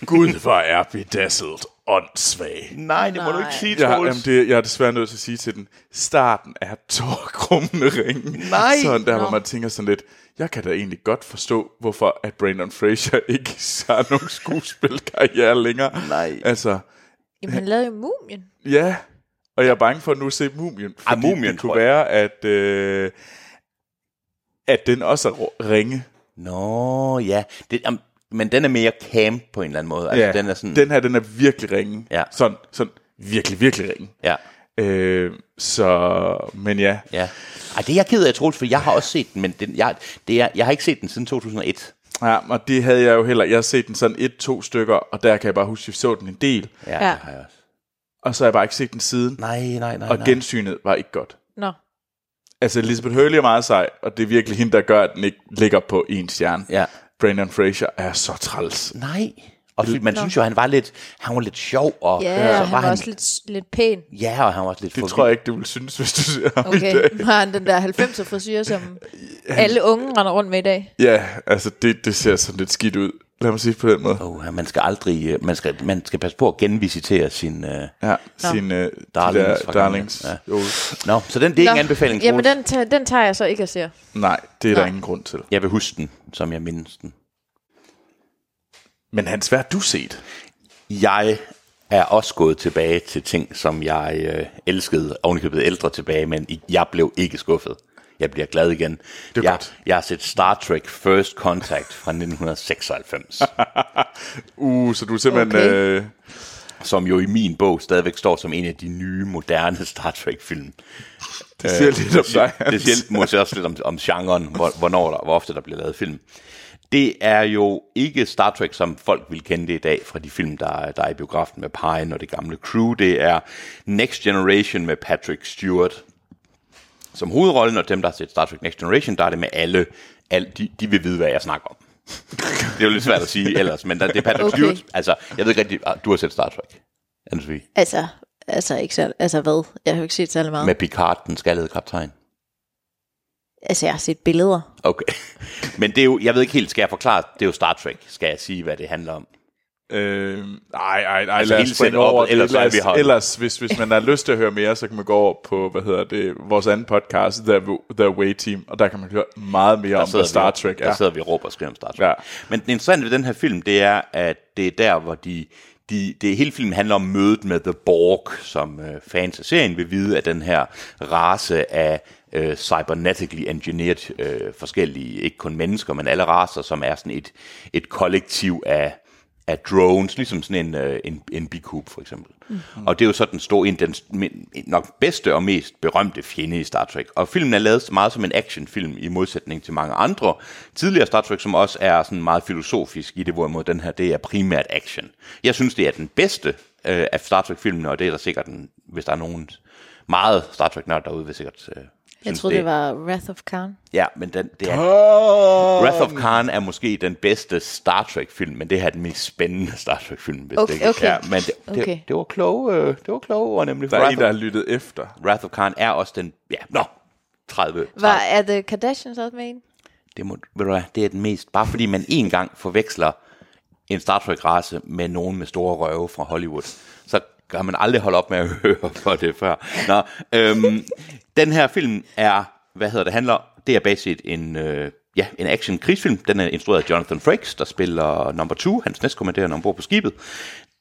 Speaker 1: gud, hvor er bedazzled åndssvag.
Speaker 3: Nej, det må du ikke
Speaker 2: Nej.
Speaker 3: sige,
Speaker 1: Jeg,
Speaker 3: Troels.
Speaker 1: jamen det, jeg er desvære nødt til at sige til den, starten er tårkrummende ringe.
Speaker 3: Nej.
Speaker 1: Sådan der, no. hvor
Speaker 2: Nå.
Speaker 1: man tænker sådan lidt, jeg kan da egentlig godt forstå, hvorfor at Brandon Fraser ikke har nogen skuespilkarriere længere.
Speaker 3: Nej.
Speaker 1: Altså,
Speaker 2: Jamen, han lavede jo mumien.
Speaker 1: ja. Og jeg er bange for at nu at se Mumien. Fordi
Speaker 3: Mumien,
Speaker 1: det kunne
Speaker 3: tror jeg.
Speaker 1: være, at, øh, at den også er rå- ringe.
Speaker 3: Nå, ja. Det, jamen, men den er mere camp på en eller anden måde. Altså, ja. den er sådan...
Speaker 1: den her, den er virkelig ringe.
Speaker 3: Ja.
Speaker 1: Sådan, sådan virkelig, virkelig ringe.
Speaker 3: Ja.
Speaker 1: Øh, så, men ja.
Speaker 3: Ja. Ej, det er jeg ked af, Troels, for jeg har også set den, men den, jeg, det er, jeg har ikke set den siden 2001.
Speaker 1: ja. Og det havde jeg jo heller. Jeg har set den sådan et, to stykker, og der kan jeg bare huske, at jeg så den en del.
Speaker 3: Ja,
Speaker 2: Ja.
Speaker 3: det har jeg også.
Speaker 1: Og så har jeg bare ikke set den siden.
Speaker 3: Nej, nej, nej,
Speaker 1: og
Speaker 3: nej.
Speaker 1: gensynet var ikke godt.
Speaker 2: Nå.
Speaker 1: Altså, Elizabeth Hurley er meget sej, og det er virkelig hende, der gør, at den ikke ligger på en stjerne.
Speaker 3: Ja.
Speaker 1: Brandon Fraser er så træls.
Speaker 3: Nej. Og fordi man synes jo, han var lidt, han var lidt sjov, og
Speaker 2: Ja, ja
Speaker 3: så
Speaker 2: han var han... også lidt, lidt pæn.
Speaker 3: Ja, og han var også lidt
Speaker 1: Det
Speaker 3: for
Speaker 1: tror
Speaker 3: vild.
Speaker 1: jeg ikke, du vil synes, hvis du ser ham i dag.
Speaker 2: Okay, har han den der 90'er frisyr, som alle unge render rundt med i dag.
Speaker 1: Ja, altså, det, det ser sådan lidt skidt ud. Lad mig sige det på den måde.
Speaker 3: Åh, man skal aldrig, øh, man skal, man skal passe på at genvisitere sin... Øh...
Speaker 1: Ja, sin øh,
Speaker 3: Darlings
Speaker 1: darlings.
Speaker 3: fra
Speaker 1: Der,
Speaker 3: gamle.
Speaker 1: darlings.
Speaker 3: Ja.
Speaker 1: Ja.
Speaker 3: Nå, så den, det er ikke en anbefaling, Troels.
Speaker 2: Jamen, den, tager- den tager jeg så ikke og ser.
Speaker 1: Nej, det er der
Speaker 2: Nej.
Speaker 1: ingen grund til.
Speaker 3: Jeg vil huske den, som jeg mindes den.
Speaker 1: Men Hans, hvad har du set?
Speaker 3: Jeg er også gået tilbage til ting, som jeg øh, elskede, ovenikøbet ældre tilbage, men i- jeg blev ikke skuffet. Jeg bliver glad igen.
Speaker 1: Det er
Speaker 3: jeg,
Speaker 1: godt.
Speaker 3: jeg har set Star Trek First Contact fra 1996,
Speaker 1: Uh, så du er simpelthen...
Speaker 2: Okay.
Speaker 1: Okay. Øh,
Speaker 3: som jo i min bog stadigvæk står som en af de nye, moderne Star Trek-film.
Speaker 1: det siger øh, lidt om dig,
Speaker 3: Det, det
Speaker 1: Hans.
Speaker 3: siger måske også lidt om, om genren, hvor, hvornår der, hvor ofte der bliver lavet film. Det er jo ikke Star Trek, som folk vil kende det i dag fra de film, der, er- der er i biografen med Pine og det gamle crew. Det er Next Generation med Patrick Stewart som hovedrollen, og dem, der har set Star Trek Next Generation, der er det med alle, alle de, de vil vide, hvad jeg snakker om. det er jo lidt svært at sige ellers, men der, det er Patrick okay.
Speaker 2: Okay.
Speaker 3: Stewart. Altså, jeg ved ikke rigtigt, ah, du har set Star Trek, anne
Speaker 2: Altså, altså, ikke så, altså hvad? Jeg har jo ikke set særlig meget.
Speaker 3: med
Speaker 2: Men...
Speaker 3: Picard, den skaldede kaptajn.
Speaker 2: Altså, jeg har set billeder.
Speaker 3: Okay. Men det er jo, jeg ved ikke helt, skal jeg forklare, det er jo Star Trek, skal jeg sige, hvad det handler om.
Speaker 1: Øh, ej, ej, ej,
Speaker 3: Altså,
Speaker 1: lad
Speaker 3: hele
Speaker 1: os springe
Speaker 3: setup'et,
Speaker 1: over det. Ellers,
Speaker 3: ellers så er vi
Speaker 1: ellers,
Speaker 3: her.
Speaker 1: ellers hvis, hvis man har lyst til at høre mere, så kan man gå over på, hvad hedder det, vores anden podcast, The, The Way Team, og der kan man høre meget mere om, hvad Star
Speaker 3: vi,
Speaker 1: Trek
Speaker 3: Der
Speaker 1: er.
Speaker 3: sidder vi og råber og skriver om Star Trek.
Speaker 1: Ja.
Speaker 3: Men det interessante ved den her film, det er, at det er der, hvor de, de, det hele filmen handler om mødet med The Borg, som øh, fans af serien vil vide, at den her race af øh, cybernetically engineered øh, forskellige, ikke kun mennesker, men alle raser, som er sådan et, et kollektiv af, af drones, ligesom sådan en, øh, en, en bikub for eksempel. Mm. Og det er jo så den store, en, den men- nok bedste og mest berømte fjende i Star Trek. Og filmen er lavet meget som en actionfilm i modsætning til mange andre tidligere Star Trek, som også er sådan meget filosofisk i det, hvorimod den her, det er primært action. Jeg synes, det er den bedste øh, af Star Trek-filmene, og det er der sikkert, en, hvis der er nogen meget Star Trek-nørd derude, vil sikkert øh,
Speaker 2: Jeg
Speaker 3: synes,
Speaker 2: troede, det, det var Wrath of Khan.
Speaker 3: Ja, men den, det er
Speaker 1: Oh,
Speaker 3: Wrath
Speaker 2: Øhm.
Speaker 3: of Khan er måske den bedste Star Trek-film, men det her er den mest spændende Star Trek-film, hvis
Speaker 2: Okay,
Speaker 3: det ikke
Speaker 2: okay.
Speaker 3: Ja, men det, det,
Speaker 2: Okay.
Speaker 3: det, var kloge, øh, det var kloge ord, nemlig.
Speaker 1: der er en,
Speaker 3: Wrath,
Speaker 1: der har
Speaker 3: of,
Speaker 1: lyttet efter.
Speaker 3: Wrath of Khan er også den... Ja, nå, 30. 30.
Speaker 2: Var, er The Kardashians også med en?
Speaker 3: Det, må, ved du hvad, det er den mest... Bare fordi man en gang forveksler en Star Trek-race med nogen med store røve fra Hollywood, så kan man aldrig holde op med at høre for det før. Nå, øhm, den her film er... Hvad hedder det? handler Det er basisk en... Øh, ja, en action-krigsfilm. Den er instrueret af Jonathan Frakes, der spiller number 2, hans næstkommanderende ombord på skibet.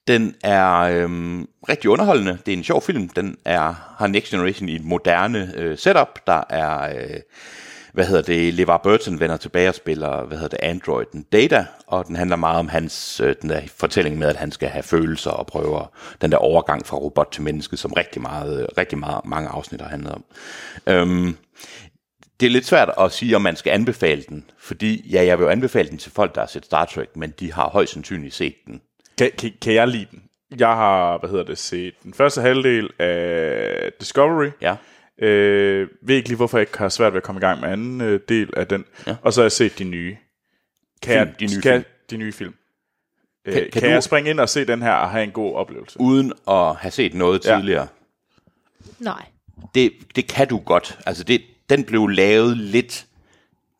Speaker 3: Den er øhm, rigtig underholdende. Det er en sjov film. Den er, har Next Generation i et moderne øh, setup. Der er øh, hvad hedder det, LeVar Burton vender tilbage og spiller, hvad hedder det, androiden Data, og den handler meget om hans, øh, den der fortælling med, at han skal have følelser og prøver den der overgang fra robot til menneske, som rigtig meget, øh, rigtig meget, mange afsnit har handlet om. Øhm, det er lidt svært at sige, om man skal anbefale den, fordi, ja, jeg vil jo anbefale den til folk, der har set Star Trek, men de har højst sandsynligt set den.
Speaker 1: Kan, kan, kan jeg lide den? Jeg har, hvad hedder det, set den første halvdel af Discovery.
Speaker 3: Ja.
Speaker 1: Øh, ved ikke lige, hvorfor jeg ikke har svært ved at komme i gang med anden øh, del af den. Ja. Og så har jeg set de nye. Kan
Speaker 3: Film,
Speaker 1: jeg,
Speaker 3: de nye
Speaker 1: kan,
Speaker 3: film.
Speaker 1: De nye film. Øh,
Speaker 3: Kan-
Speaker 1: kan,
Speaker 3: kan
Speaker 1: kan
Speaker 3: du-
Speaker 1: jeg springe ind og se den her og have en god oplevelse?
Speaker 3: Uden at have set noget
Speaker 1: Ja.
Speaker 3: tidligere.
Speaker 2: Nej.
Speaker 3: det, det kan du godt. Altså det, den blev lavet lidt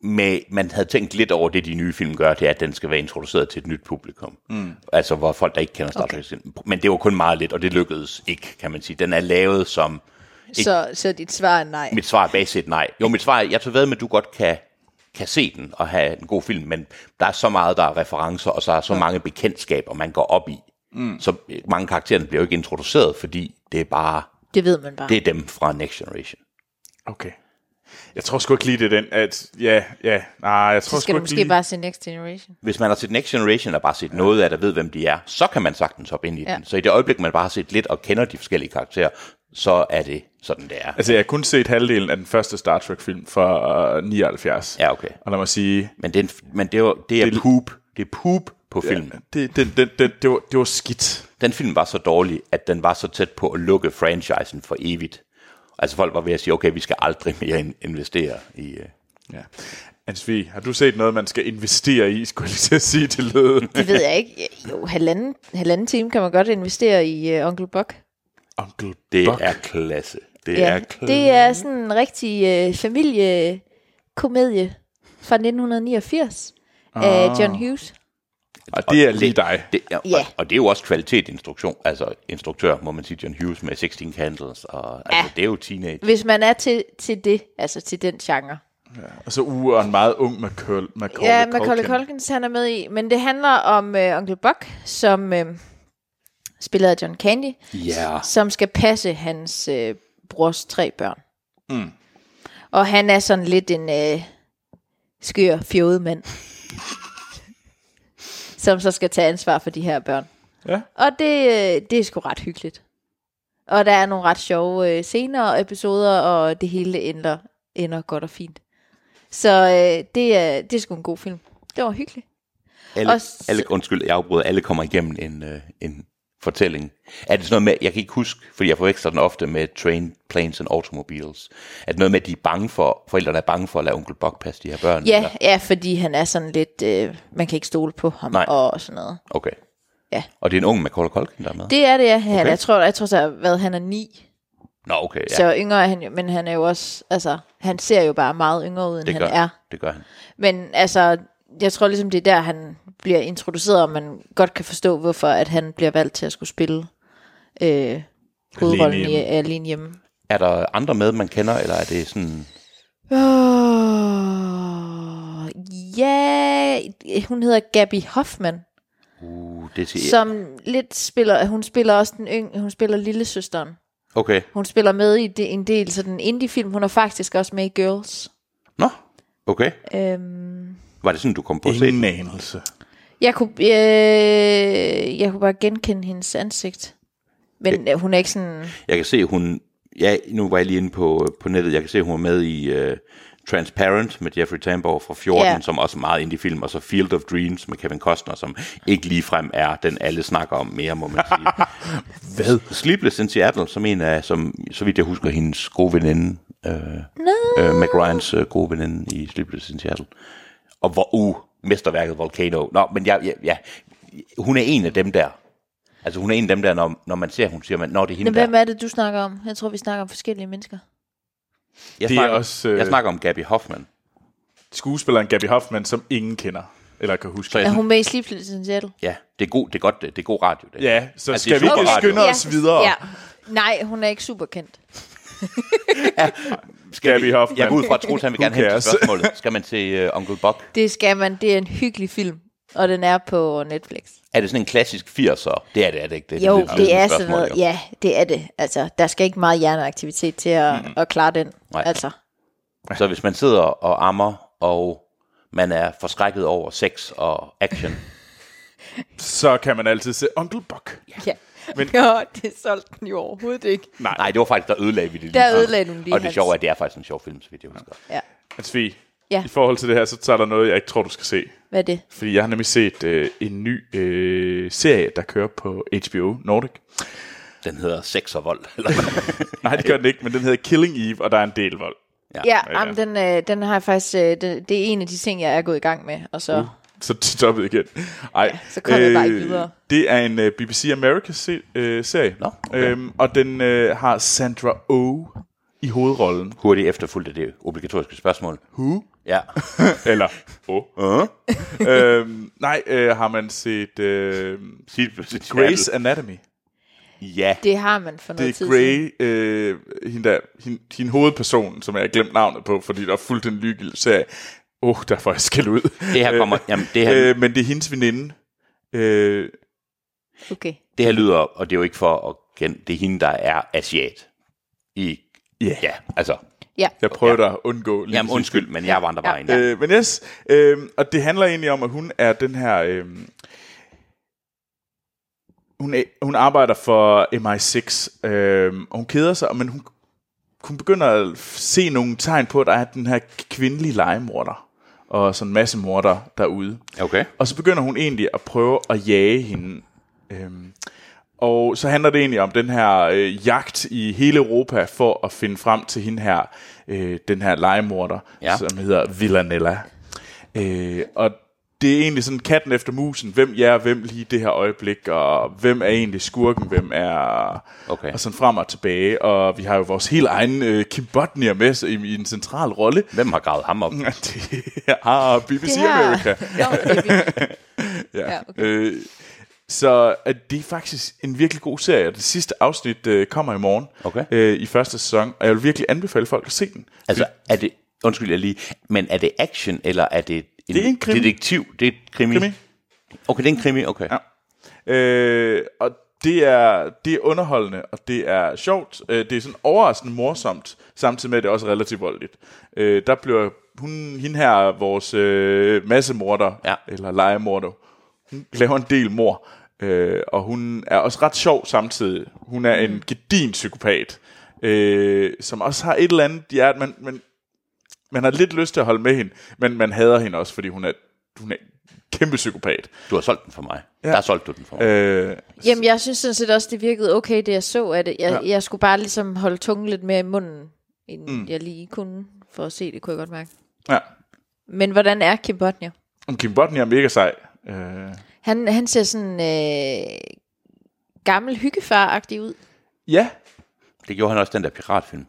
Speaker 3: med, man havde tænkt lidt over det, de nye film gør, det er, at den skal være introduceret til et nyt publikum. Mm. Altså hvor folk, der ikke kender Star Trek. Men det var kun meget lidt, og det lykkedes ikke, kan man sige. Den er lavet som,
Speaker 2: Så, så dit svar er nej.
Speaker 3: mit svar er basic nej. Jo, mit svar er, jeg tager ved med, at du godt kan, kan se den og have en god film, men der er så meget, der er referencer, og så er så mange bekendtskaber, man går op i. Mm. Så øh, mange karakterer bliver jo ikke introduceret, fordi det er bare,
Speaker 2: Det ved man bare.
Speaker 3: det er dem fra Next Generation.
Speaker 1: Okay. Jeg tror sgu ikke lige, det er den, at... Ja, ja, nej, jeg tror
Speaker 2: så
Speaker 1: sgu
Speaker 2: skal du
Speaker 1: ikke
Speaker 2: måske
Speaker 1: lige...
Speaker 2: bare se Next Generation.
Speaker 3: hvis man har set Next Generation og bare set noget af det, ved hvem de er, så kan man sagtens hoppe ind i ja.
Speaker 2: Ja.
Speaker 3: den. Så i det øjeblik, man bare har set lidt og kender de forskellige karakterer, så er det sådan, det er.
Speaker 1: Altså, jeg har kun set halvdelen af den første Star Trek-film fra øh, 79.
Speaker 3: Ja, okay.
Speaker 1: Og lad mig sige,
Speaker 3: Men det er, en, f- men det er, jo- det er
Speaker 1: Det-
Speaker 3: poop. Det er poop på filmen.
Speaker 1: det, det, det, det, det, var, det var skidt.
Speaker 3: Den film var så dårlig, at den var så tæt på at lukke franchisen for evigt. Altså folk var ved at sige, okay, vi skal aldrig mere in- investere i... øh.
Speaker 1: Ja. Ansvi, har du set noget, man skal investere i, skulle jeg lige til at sige til lød?
Speaker 2: Det ved jeg ikke. Jo, halvanden, halvanden time kan man godt investere i uh, Onkel Buck.
Speaker 1: Onkel
Speaker 3: Det
Speaker 1: Buck.
Speaker 3: er klasse. Det
Speaker 2: Ja,
Speaker 3: er klasse.
Speaker 2: det er sådan en rigtig uh, familiekomedie fra 1989 af John Hughes.
Speaker 1: Og det er lige dig.
Speaker 3: Det, ja,
Speaker 2: Ja.
Speaker 3: og, og det er jo også kvalitetsinstruktion, altså instruktør, må man sige, John Hughes med 16 Candles, og ja. altså, det er jo teenage.
Speaker 2: Hvis man er til, til det, altså til den genre.
Speaker 1: Og så uh, og en meget ung Macaul- Macaulay
Speaker 2: Ja, Macaulay
Speaker 1: Culkin.
Speaker 2: Culkins han er med i, men det handler om øh, onkel Buck, som øh, spiller af John Candy,
Speaker 3: Ja.
Speaker 2: som skal passe hans øh, brors tre børn. Mm. Og han er sådan lidt en øh, skør, fjodet mand, som så skal tage ansvar for de her børn.
Speaker 1: Ja.
Speaker 2: Og det, øh, det er sgu ret hyggeligt. Og der er nogle ret sjove øh, scener og episoder, og det hele ender, ender godt og fint. Så øh, det, er, det er sgu en god film. Det var hyggeligt.
Speaker 3: Alle,
Speaker 2: Og s-
Speaker 3: alle, undskyld, jeg afbryder, alle kommer igennem en, øh, en fortælling. Er det sådan noget med, jeg kan ikke huske, fordi jeg forveksler den ofte med Train, Planes and Automobiles, er det noget med, at de er bange for, forældrene er bange for at lade onkel Buck passe de her børn?
Speaker 2: Ja,
Speaker 3: eller?
Speaker 2: ja fordi han er sådan lidt, øh, man kan ikke stole på ham
Speaker 3: Nej.
Speaker 2: og sådan noget.
Speaker 3: Okay.
Speaker 2: Ja.
Speaker 3: Og det er en ung Macaulay Culkin, der er med?
Speaker 2: Det er det, ja. Han,
Speaker 3: Okay.
Speaker 2: okay. Jeg tror, jeg tror så, hvad han er ni.
Speaker 3: Nå, okay, ja.
Speaker 2: Ja. Så yngre er han jo, men han er jo også, altså, han ser jo bare meget yngre ud, end
Speaker 3: det
Speaker 2: han
Speaker 3: gør,
Speaker 2: er.
Speaker 3: Det gør han.
Speaker 2: Men altså, jeg tror ligesom, det er der, han bliver introduceret, og man godt kan forstå, hvorfor at han bliver valgt til at skulle spille øh, hovedrollen i øh,
Speaker 1: hjemme.
Speaker 2: Alene Hjemme.
Speaker 3: Er der andre med, man kender, eller er det sådan...
Speaker 2: Oh, ja, hun hedder Gabby Hoffman,
Speaker 3: Uh, det
Speaker 2: yeah.
Speaker 3: siger...
Speaker 2: som lidt spiller, hun spiller også den yng, hun spiller lillesøsteren.
Speaker 3: Okay.
Speaker 2: Hun spiller med i de, en del sådan indie-film, hun er faktisk også med i Girls.
Speaker 3: Nå, okay.
Speaker 2: Øhm,
Speaker 3: Var det sådan, du kom på at se den?
Speaker 1: Ingen anelse.
Speaker 2: Jeg kunne, øh, jeg kunne bare genkende hendes ansigt. Men øh, hun er ikke sådan...
Speaker 3: Jeg kan se, hun... Ja, nu var jeg lige inde på, på nettet. Jeg kan se, hun er med i uh, Transparent med Jeffrey Tambor fra 14,
Speaker 2: Ja.
Speaker 3: som også er meget indie-film, og så Field of Dreams med Kevin Costner, som ikke ligefrem er den, alle snakker om mere, må man sige. Hvad? Sleepless in Seattle, som en af, som, så vidt jeg husker, hendes gode veninde, øh, øh, Mac Ryans øh, gode veninde i Sleepless in Seattle. Og hvor, uh, mesterværket Volcano. Nå, men jeg, jeg, jeg, hun er en af dem der. Altså hun er en af dem der, når, når man ser, hun siger, man, når det er hende
Speaker 2: Men hvem
Speaker 3: der.
Speaker 2: er det, du snakker om? Jeg tror, vi snakker om forskellige mennesker.
Speaker 3: Jeg
Speaker 1: Det er
Speaker 3: snakker,
Speaker 1: også, øh,
Speaker 3: jeg snakker om Gabby Hoffman.
Speaker 1: Skuespilleren Gabby Hoffman, som ingen kender. Eller kan huske.
Speaker 3: Så jeg-
Speaker 2: Er hun med i Sleepless in Seattle?
Speaker 3: Ja, det er, god, det er godt, det er god radio. Det.
Speaker 1: Ja, så
Speaker 3: Altså,
Speaker 1: altså,
Speaker 3: det er
Speaker 1: skal vi ikke
Speaker 3: superradio.
Speaker 1: skynde os videre,
Speaker 2: Ja.
Speaker 1: ja.
Speaker 2: Nej, hun er ikke super kendt.
Speaker 1: Gabby Hoffman.
Speaker 3: Jeg går ud fra, at Troels han vil
Speaker 1: Who
Speaker 3: gerne hen til
Speaker 1: cares?
Speaker 3: spørgsmålet. Skal man til uh, Uncle Buck?
Speaker 2: Det skal man. Det er en hyggelig film. Og den er på Netflix.
Speaker 3: Er det sådan en klassisk 80'er? Det er det, er det ikke? Det
Speaker 2: Jo,
Speaker 3: lidt- lidt
Speaker 2: det er
Speaker 3: et spørgsmål,
Speaker 2: sådan noget.
Speaker 3: jo.
Speaker 2: Ja, det er det. Altså, der skal ikke meget hjerneaktivitet til at, mm. at klare den.
Speaker 3: Nej.
Speaker 2: Altså,
Speaker 3: Så hvis man sidder og ammer, og man er forskrækket over sex og action,
Speaker 1: Så kan man altid se Onkel Buck.
Speaker 2: ja. Men...
Speaker 1: Men-
Speaker 2: Jo, det solgte den jo overhovedet ikke.
Speaker 3: Nej. Nej, det var faktisk, der ødelagde vi det lige.
Speaker 2: Der
Speaker 3: før.
Speaker 2: ødelagde du den lige,
Speaker 3: Og det
Speaker 2: Hans.
Speaker 3: sjove er, at det er faktisk en sjov film, så vidt jeg husker.
Speaker 2: Ja.
Speaker 1: Ansvi,
Speaker 2: Ja.
Speaker 1: Altså, I forhold til det her, så tager der noget, jeg ikke tror, du skal se.
Speaker 2: Hvad er det?
Speaker 1: Fordi jeg har nemlig set øh, en ny øh, serie, der kører på HBO Nordic.
Speaker 3: Den hedder Sex og Vold. Eller hvad?
Speaker 1: Nej, det gør den ikke, men den hedder Killing Eve, og der er en del vold.
Speaker 3: Ja.
Speaker 2: Ja,
Speaker 1: ja.
Speaker 2: ja. Jamen, den, øh, den har jeg faktisk... Øh, det, det er en af de ting, jeg er gået i gang med. Og så, uh.
Speaker 1: Så stoppede igen. Ej, ja,
Speaker 2: så kom jeg bare ikke videre.
Speaker 1: Det er en øh, BBC America-serie, øh, serie.
Speaker 3: Nå, okay.
Speaker 1: øhm, og den øh, har Sandra Oh i hovedrollen.
Speaker 3: Hurtigt efterfulgt af det obligatoriske spørgsmål. Who? Ja.
Speaker 1: Eller, oh.
Speaker 3: Uh-huh.
Speaker 1: øhm, nej, øh, har man set øh, Grey's Anatomy?
Speaker 3: Ja.
Speaker 2: Det har man for
Speaker 1: Det
Speaker 2: noget
Speaker 1: er
Speaker 2: tid siden.
Speaker 1: Grey, øh, hende, der, hende, hende hovedpersonen, som jeg har glemt navnet på, fordi der er fuldt en lykkelig serie. Åh, oh, der får jeg skæld ud.
Speaker 3: Det her kommer... Jamen, det her,
Speaker 1: øh, men det er hendes veninde. Øh,
Speaker 2: Okay.
Speaker 3: det her lyder, og det er jo ikke for at kende, det er hende, der er asiat. I,
Speaker 1: Ja.
Speaker 3: ja, altså,
Speaker 2: Ja.
Speaker 1: jeg prøver ja. at undgå lige
Speaker 3: jamen
Speaker 1: præcis
Speaker 3: undskyld, men jeg vandrer bare ind. Ja.
Speaker 1: Øh, men yes, øh, og det handler egentlig om, at hun er den her... Øh, hun, er, hun arbejder for MI6, øh, og hun keder sig, men hun, hun begynder at se nogle tegn på, at der er den her kvindelige legemorder, og sådan en masse morder derude.
Speaker 3: Okay.
Speaker 1: Og så begynder hun egentlig at prøve at jage hende. Øhm, og så handler det egentlig om den her øh, jagt i hele Europa for at finde frem til hende her, øh, den her legemorder,
Speaker 3: Ja.
Speaker 1: ja. som hedder Villanella. Øh, og det er egentlig sådan katten efter musen. Hvem er hvem lige i det her øjeblik, og hvem er egentlig skurken, hvem er...
Speaker 3: Okay.
Speaker 1: Og sådan frem og tilbage, og vi har jo vores helt egen øh, Kim Bodnia med så- i, i en central rolle.
Speaker 3: Hvem har gravet ham op?
Speaker 1: Mhm. Det er BBC
Speaker 2: Det her...
Speaker 1: America.
Speaker 2: Nå, det er vildt.
Speaker 1: Ja.
Speaker 2: Ja,
Speaker 1: ja
Speaker 2: okay.
Speaker 1: okay. øh, så at det er faktisk en virkelig god serie, og det sidste afsnit øh, kommer i morgen
Speaker 3: Okay.
Speaker 1: øh, i første sæson, og jeg vil virkelig anbefale folk at se den.
Speaker 3: Altså, er det... Undskyld, jeg lige... Men er det action, eller er det... En
Speaker 1: Det er en krimi.
Speaker 3: Detektiv, det er et krimi.
Speaker 1: Krimi.
Speaker 3: Okay, det er en krimi, okay. Ja.
Speaker 1: Øh, og det er, det er underholdende, og det er sjovt. Øh, det er sådan overraskende morsomt, samtidig med, at det er også relativt voldeligt. Øh, der bliver hun, hende her, vores øh, massemorder,
Speaker 3: Ja.
Speaker 1: eller legemorder, hun laver en del mor. Øh, og hun er også ret sjov samtidig. Hun er en gedin psykopat, øh, som også har et eller andet hjerte, men, men man har lidt lyst til at holde med hende, men man hader hende også, fordi hun er, hun er en kæmpe psykopat.
Speaker 3: Du har solgt den for mig. Ja. Der har solgt du den for mig.
Speaker 1: Øh,
Speaker 2: Jamen, jeg synes sådan set også, det virkede okay, det jeg så af det. Jeg, ja. jeg skulle bare ligesom holde tungen lidt mere i munden, end mm. jeg lige kunne, for at se det, kunne jeg godt mærke.
Speaker 1: ja.
Speaker 2: Men hvordan er Kim Bodnia?
Speaker 1: Om Kim Bodnia er mega sej. Øh,
Speaker 2: Han, han ser sådan øh, gammel hyggefar-agtig ud.
Speaker 1: ja,
Speaker 3: Det gjorde han også i den der piratfilm.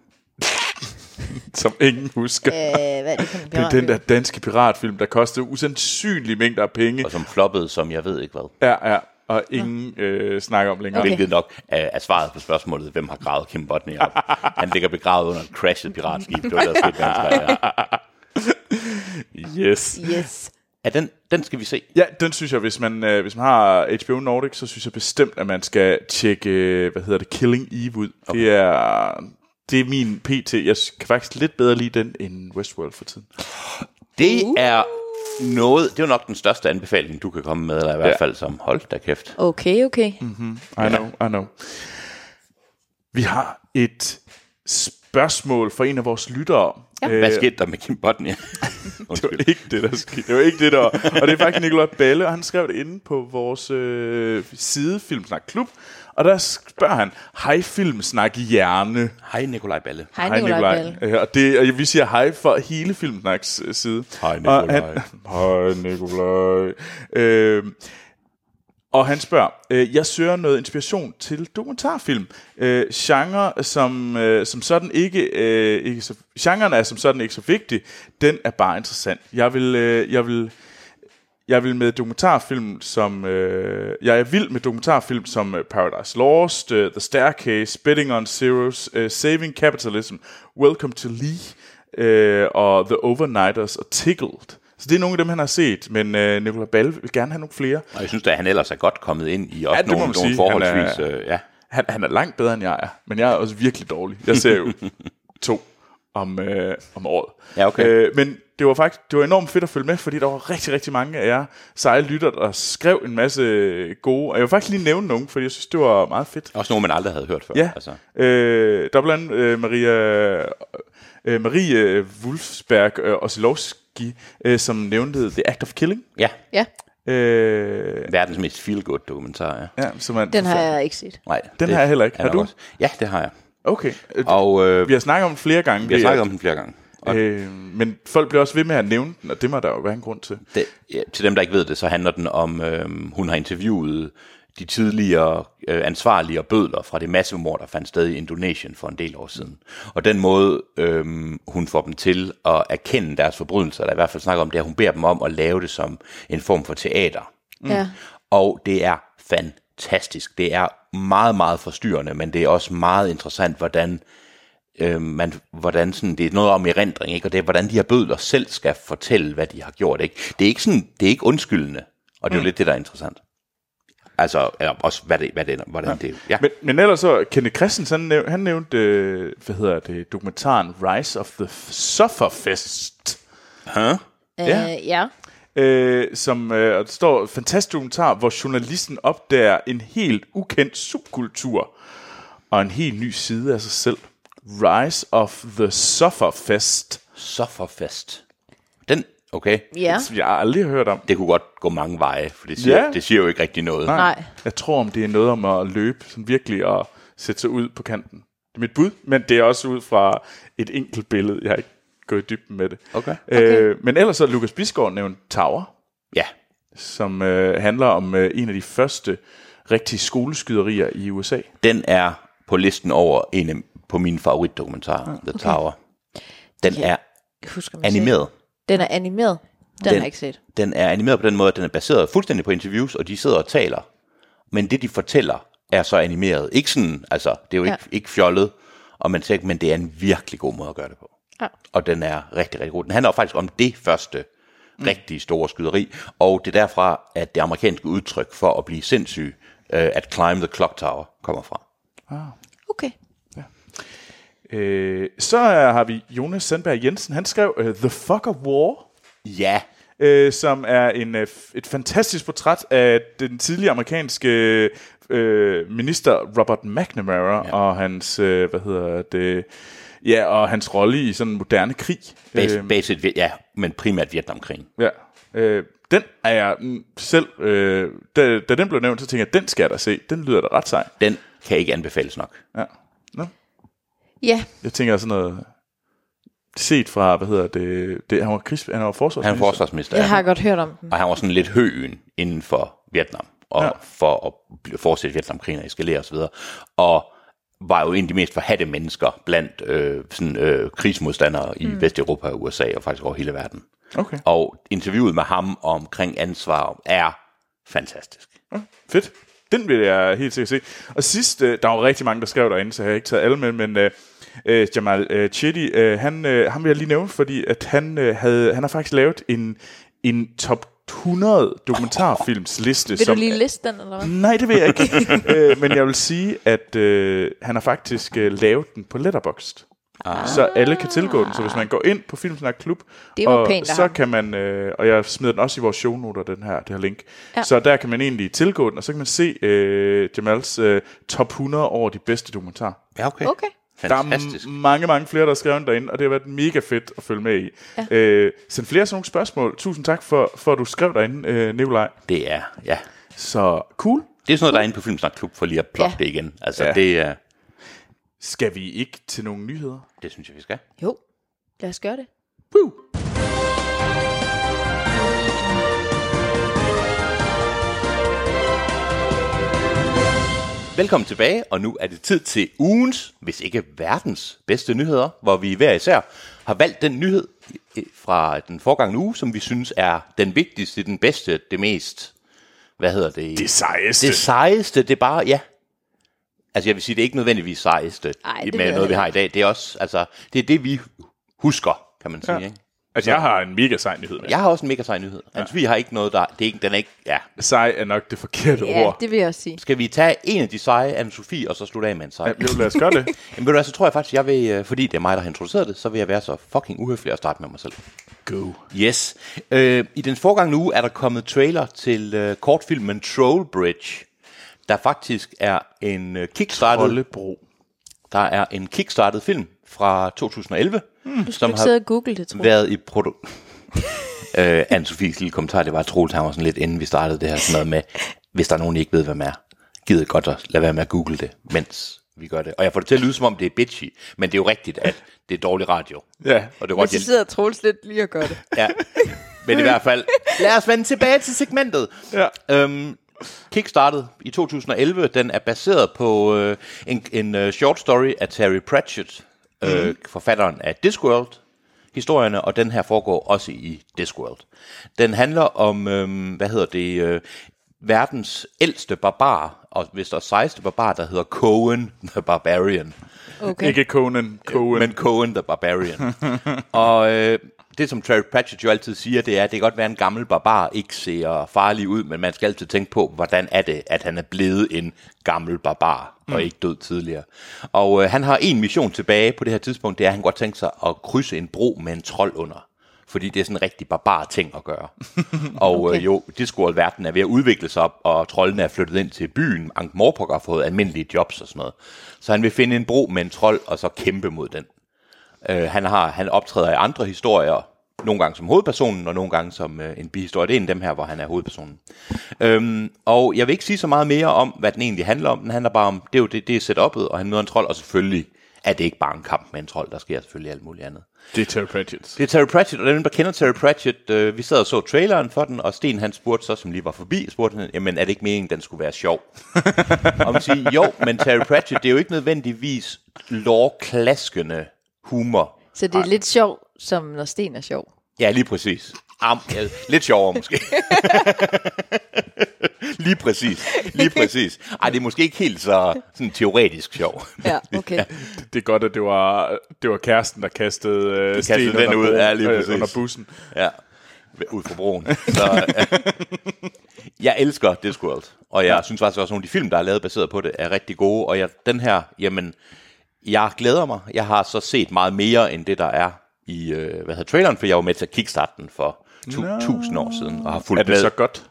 Speaker 1: som ingen husker.
Speaker 2: Øh, hvad er det for en
Speaker 1: Det er den der danske piratfilm, der kostede usandsynlige mængder af penge.
Speaker 3: Og som floppede, som jeg ved ikke hvad.
Speaker 1: Ja, ja, og ingen øh, snakker om længere.
Speaker 2: Okay.
Speaker 3: Hvilket nok er, er svaret på spørgsmålet, hvem har gravet Kim Botnia op. Han ligger begravet under et crashet piratskib. Det var der sket ganske ja.
Speaker 1: Yes.
Speaker 2: Yes.
Speaker 3: ja, den, den skal vi se.
Speaker 1: Ja, den synes jeg, hvis man, øh, hvis man har HBO Nordic, så synes jeg bestemt, at man skal tjekke, øh, hvad hedder det, Killing Eve ud. Okay. Det er... Det er min PT. Jeg kan faktisk lidt bedre lide den end Westworld for tiden.
Speaker 3: Det er noget, det er jo nok den største anbefaling, du kan komme med, eller i hvert
Speaker 1: Ja.
Speaker 3: fald som hold da kæft.
Speaker 2: Okay, okay.
Speaker 1: Mm. I know, I know. Vi har et spørgsmål fra en af vores lyttere. Ja.
Speaker 3: Hvad skete der med Kim Botnia? Undskyld.
Speaker 1: Øh. Det var ikke det, der skete. Det var ikke det, der var. Og det er faktisk Nicolai Balle, og han skrev det inde på vores øh, side, Filmsnak Klub. Og der spørger han, hej Filmsnak Hjerne.
Speaker 3: Hej Nikolaj Balle.
Speaker 2: Hej, Nicolaj Balle.
Speaker 1: Øh, Og, det, og vi siger hej for hele Filmsnaks øh, side.
Speaker 3: Hej,
Speaker 1: Og
Speaker 3: Nicolaj.
Speaker 1: han- Hej Nikolaj. Øh, og han spørger, øh, jeg søger noget inspiration til dokumentarfilm. Øh, genre som, øh, som sådan ikke, øh, ikke så, genren er som sådan ikke så vigtig. Den er bare interessant. Jeg vil, øh, jeg vil, jeg vil med dokumentarfilm som øh, jeg er vild med dokumentarfilm som øh, Paradise Lost, øh, The Staircase, Betting on Zeros, øh, Saving Capitalism, Welcome to Lee øh, og The Overnighters og Tickled. Så det er nogle af dem han har set, men øh, Nicolai Balle vil gerne have nogle flere.
Speaker 3: Og jeg synes da, at han ellers er godt kommet ind i også
Speaker 1: Ja,
Speaker 3: ja,
Speaker 1: det må
Speaker 3: nogle,
Speaker 1: man
Speaker 3: nogle
Speaker 1: sige.
Speaker 3: forholdsvis...
Speaker 1: Han
Speaker 3: Er... Øh, ja.
Speaker 1: Han, han er langt bedre end jeg er, men jeg er også virkelig dårlig. Jeg ser jo to om, øh, om året.
Speaker 3: Ja, okay.
Speaker 1: Øh, men det var faktisk det var enormt fedt at følge med, fordi der var rigtig, rigtig mange af jer seje lytter, der skrev en masse gode. Og jeg vil faktisk lige nævne nogen, fordi jeg synes, det var meget fedt.
Speaker 3: Også nogle, man aldrig havde hørt før.
Speaker 1: Ja,
Speaker 3: Altså.
Speaker 1: øh, der er blandt andet øh, Maria, øh, Marie Wulfsberg øh, og Tarkovsky, øh, som nævnte The Act of Killing.
Speaker 3: Ja,
Speaker 2: Ja,
Speaker 1: Øh,
Speaker 3: verdens mest feel-good dokumentar, ja.
Speaker 1: ja, som er,
Speaker 2: den har jeg ikke set.
Speaker 3: Nej,
Speaker 1: Den har jeg heller ikke.
Speaker 3: er
Speaker 1: Har
Speaker 3: nok
Speaker 1: du?
Speaker 3: også- Ja, det har jeg.
Speaker 1: Okay. Øh,
Speaker 3: Og øh,
Speaker 1: Vi har snakket om den flere gange.
Speaker 3: vi har
Speaker 1: det
Speaker 3: snakket
Speaker 1: er-
Speaker 3: om den flere gange. Og
Speaker 1: Øh, men folk bliver også ved med at nævne den, og det må der jo være en grund til.
Speaker 3: det, ja, til dem, der ikke ved det, så handler den om, øh, hun har interviewet de tidligere øh, ansvarlige og bødler fra det massemord, der fandt sted i Indonesien for en del år siden. Og den måde, øh, hun får dem til at erkende deres forbrydelser, der i hvert fald snakker om det, er, at hun beder dem om at lave det som en form for teater.
Speaker 2: Mm. Ja.
Speaker 3: Og det er fantastisk. Det er meget, meget forstyrrende, men det er også meget interessant, hvordan øh, man, hvordan sådan, det er noget om erindring, ikke? og det er, hvordan de her bødler selv skal fortælle, hvad de har gjort. Ikke? Det, er ikke sådan, det er ikke undskyldende, og det er jo lidt det, der er interessant. Altså, eller også, hvad det, hvad det, hvordan det er. Ja.
Speaker 1: Men, men ellers så, Kenneth Christensen, han nævnte, han nævnte øh, hvad hedder det, dokumentaren Rise of the F- Sufferfest,
Speaker 3: Huh?
Speaker 1: Ja.
Speaker 2: Øh, ja.
Speaker 1: øh, som øh, og der står en fantastisk dokumentar, hvor journalisten opdager en helt ukendt subkultur og en helt ny side af sig selv. Rise of the Sufferfest,
Speaker 3: Sufferfest. Den, okay.
Speaker 2: Ja.
Speaker 1: som jeg aldrig har hørt om.
Speaker 3: Det kunne godt gå mange veje, for det siger,
Speaker 1: Ja.
Speaker 3: yeah. det siger jo ikke rigtig noget.
Speaker 2: Nej.
Speaker 1: Jeg tror, om det er noget om at løbe, sådan virkelig og sætte sig ud på kanten. Det er mit bud, men det er også ud fra et enkelt billede. Jeg har ikke gået i dybden med det.
Speaker 3: Okay.
Speaker 1: Øh, men ellers så har Lukas Bisgaard nævnt Tower,
Speaker 3: Ja,
Speaker 1: som øh, handler om øh, en af de første rigtige skoleskyderier i USA.
Speaker 3: den er på listen over en af, på mine favoritdokumentarer, The Tower. Den
Speaker 2: Ja.
Speaker 3: er
Speaker 2: Jeg husker, om jeg
Speaker 3: animeret.
Speaker 2: set- Den er animeret. Den, den har
Speaker 3: Den-
Speaker 2: jeg ikke set.
Speaker 3: den er animeret på den måde, at den er baseret fuldstændig på interviews, og de sidder og taler. Men det, de fortæller, er så animeret. Ikke sådan, altså, det er jo
Speaker 2: Ja.
Speaker 3: ja. ikke, ikke fjollet, og man tænker, men det er en virkelig god måde at gøre det på.
Speaker 2: Ja.
Speaker 3: Og den er rigtig, rigtig god. Den handler jo faktisk om det første mm. rigtig store skyderi, og det er derfra, at det amerikanske udtryk for at blive sindssyg, øh, at climb the clock tower, kommer fra.
Speaker 2: Okay.
Speaker 1: Øh, så øh, har vi Jonas Sandberg Jensen. Han skrev øh, The Fucker War.
Speaker 3: Ja,
Speaker 1: øh, som er en, øh, f- et fantastisk portræt af den tidligere amerikanske øh, minister Robert McNamara ja. og hans øh, hvad hedder det ja og hans rolle i sådan en moderne krig. Øh,
Speaker 3: bas, øhm. basit, ja, men primært Vietnamkrigen.
Speaker 1: ja. Øh, den er jeg mm, selv øh, da, da den blev nævnt så tænkte jeg den skal jeg da se. Den lyder da ret sej.
Speaker 3: Den kan ikke anbefales nok.
Speaker 1: Ja. Nå.
Speaker 2: Ja,
Speaker 1: Jeg tænker sådan noget set fra hvad hedder det, det han var krigs, han var forsvarsminister.
Speaker 3: Han er forsvarsminister. ja.
Speaker 2: jeg har godt hørt om den.
Speaker 3: Og han var sådan lidt høen inden for Vietnam, og ja. for at bl- fortsætte Vietnamkrigen og eskalere osv. Og var jo en af de mest forhatte mennesker blandt øh, sådan, øh, krigsmodstandere i mm. Vesteuropa og USA, og faktisk over hele verden.
Speaker 1: Okay.
Speaker 3: Og interviewet med ham omkring ansvar er fantastisk.
Speaker 1: Fedt. Den vil jeg helt sikkert se. Og sidst, øh, der var rigtig mange, der skrev derinde, så jeg har ikke taget alle med, men øh, øh, Jamal øh, Chetty, øh, han, øh, ham vil jeg lige nævne, fordi at han, øh, havde, han har faktisk lavet en, en top 100 dokumentarfilmsliste.
Speaker 2: Vil du
Speaker 1: som,
Speaker 2: lige liste den, eller hvad?
Speaker 1: Nej, det vil jeg ikke. øh, men jeg vil sige, at øh, han har faktisk øh, lavet den på Letterboxd. Ah. Så alle kan tilgå den. Så hvis man går ind på Filmsnak Klub,
Speaker 2: Det var
Speaker 1: og
Speaker 2: pænt af
Speaker 1: så
Speaker 2: ham.
Speaker 1: kan man, øh, og jeg smider den også i vores shownoter, den her, det her link. Ja. Så der kan man egentlig tilgå den, og så kan man se øh, Jamals øh, top 100 over de bedste dokumentarer.
Speaker 3: Ja, okay.
Speaker 2: Okay.
Speaker 3: Fantastisk.
Speaker 1: Der er m- mange, mange flere, der har skrevet derinde, og det har været mega fedt at følge med i. Ja. Øh, send flere sådan nogle spørgsmål. Tusind tak for, for at du skrev derinde, øh, Nikolaj.
Speaker 3: Det er, ja.
Speaker 1: Så cool.
Speaker 3: Det er sådan noget, der er inde på Filmsnak Klub, for lige at plukke
Speaker 2: Ja.
Speaker 3: ja. det igen. Altså,
Speaker 1: Ja.
Speaker 3: ja. det, er-
Speaker 1: Skal vi ikke til nogle nyheder?
Speaker 3: det synes jeg, vi skal.
Speaker 2: Jo, lad os gøre det.
Speaker 1: Woo!
Speaker 3: Velkommen tilbage, og nu er det tid til ugens, hvis ikke verdens, bedste nyheder, hvor vi hver især har valgt den nyhed øh, fra den forgangne uge, som vi synes er den vigtigste, den bedste, det mest, hvad hedder det?
Speaker 1: Det sejeste.
Speaker 3: det sejeste, det er bare, ja. Altså jeg vil sige, det er ikke nødvendigvis sejeste
Speaker 2: Ej, det ved
Speaker 3: med
Speaker 2: jeg
Speaker 3: noget, vi
Speaker 2: heller
Speaker 3: har i dag. Det er også, altså, det er det, vi husker, kan man sige,
Speaker 1: Ja.
Speaker 3: ja. ikke?
Speaker 1: Altså, jeg har en mega sej nyhed. Med.
Speaker 3: Jeg har også en mega sej nyhed. Altså, vi har ikke noget, der... Det er ikke, den er ikke... Ja.
Speaker 1: Sej er nok det forkerte
Speaker 2: Ja,
Speaker 1: ord.
Speaker 2: det vil jeg også sige.
Speaker 3: Skal vi tage en af de seje, Anne-Sophie, og så slutte af med en sej?
Speaker 1: Ja, jo, lad os gøre det.
Speaker 3: Jamen ved du hvad, så tror jeg faktisk, jeg vil, øh, fordi det er mig, der har introduceret det, så vil jeg være så fucking uhøflig at starte med mig selv.
Speaker 1: Go.
Speaker 3: Yes. Øh, I den forgangne uge er der kommet trailer til øh, kortfilmen Troll Bridge, der faktisk er en øh, kickstartet,
Speaker 1: Ollebro.
Speaker 3: der er en kickstartet film fra 2011, mm,
Speaker 2: Du skal ikke sidde og google det, tror jeg.
Speaker 3: været i produ- øh, Anne-Sophies lille kommentar, det var, at Troels han var sådan lidt, inden vi startede det her, sådan noget med, hvis der er nogen, I ikke ved, hvad man er, gider I godt at lade være med at google det, mens vi gør det. Og jeg får det til at lyde, som om det er bitchy, men det er jo rigtigt, at det er dårlig radio.
Speaker 1: Ja.
Speaker 3: Og det er
Speaker 2: Men
Speaker 3: godt,
Speaker 2: så
Speaker 3: jeg
Speaker 2: sidder Troels lidt lige og gør det.
Speaker 3: Ja. Men i hvert fald, lad os vende tilbage til segmentet.
Speaker 1: Ja.
Speaker 3: Øhm, kickstartet i 2011, den er baseret på øh, en, en øh, short story af Terry Pratchett, øh, forfatteren af Discworld, historierne, og den her foregår også i Discworld. Den handler om, øh, hvad hedder det, øh, verdens ældste barbar, og hvis der er 16. barbar, der hedder Cohen the Barbarian
Speaker 2: Okay.
Speaker 1: Ikke Conan. Conan.
Speaker 3: men Cohen the Barbarian. og øh, det, som Terry Pratchett jo altid siger, det er, at det kan godt være, at en gammel barbar ikke ser farlig ud, men man skal altid tænke på, hvordan er det, at han er blevet en gammel barbar og ikke død tidligere. Og øh, han har en mission tilbage på det her tidspunkt, det er, at han godt tænker sig at krydse en bro med en trold under. Fordi det er sådan en rigtig barbar ting at gøre. og okay. øh, jo, Discworld-verdenen er ved at udvikle sig, op, og troldene er flyttet ind til byen. Ankh Morpork har fået almindelige jobs og sådan noget. Så han vil finde en bro med en trold, og så kæmpe mod den. Øh, han, har, han optræder i andre historier, nogle gange som hovedpersonen, og nogle gange som øh, en bihistorie. Det er en af dem her, hvor han er hovedpersonen. Øhm, og jeg vil ikke sige så meget mere om, hvad den egentlig handler om. Den handler bare om, det er jo det, det er setup'et, og han møder en trold, og selvfølgelig er det ikke bare en kamp med en trold. Der sker selvfølgelig alt muligt andet.
Speaker 1: Det er Terry Pratchett.
Speaker 3: Det er Terry Pratchett, og dem, der kender Terry Pratchett, øh, vi sad og så traileren for den, og Sten han spurgte så, som lige var forbi, spurgte han, jamen er det ikke meningen, den skulle være sjov? og man siger, jo, men Terry Pratchett, det er jo ikke nødvendigvis lårklaskende humor.
Speaker 2: Så det er lidt sjovt, som når Sten er sjov.
Speaker 3: Ja, lige præcis. Am, ja, lidt sjovere måske. lige præcis, lige præcis. Ej, det er måske ikke helt så sådan teoretisk sjov.
Speaker 2: Ja, okay.
Speaker 1: Det, det er godt, at det var, det var kæresten, der kastede, øh, de sten
Speaker 3: den
Speaker 1: under,
Speaker 3: ud,
Speaker 1: broen,
Speaker 3: ja, lige præcis.
Speaker 1: øh, under bussen.
Speaker 3: Ja, ud fra broen. Så, øh, jeg elsker Discworld, og jeg synes faktisk også, at nogle af de film, der er lavet baseret på det, er rigtig gode. Og jeg, den her, jamen, jeg glæder mig. Jeg har så set meget mere end det, der er i øh, hvad hedder, traileren, for jeg var med til at kickstarte den for tu- tusind år siden, og har fulgt
Speaker 1: Er det
Speaker 3: med.
Speaker 1: så godt?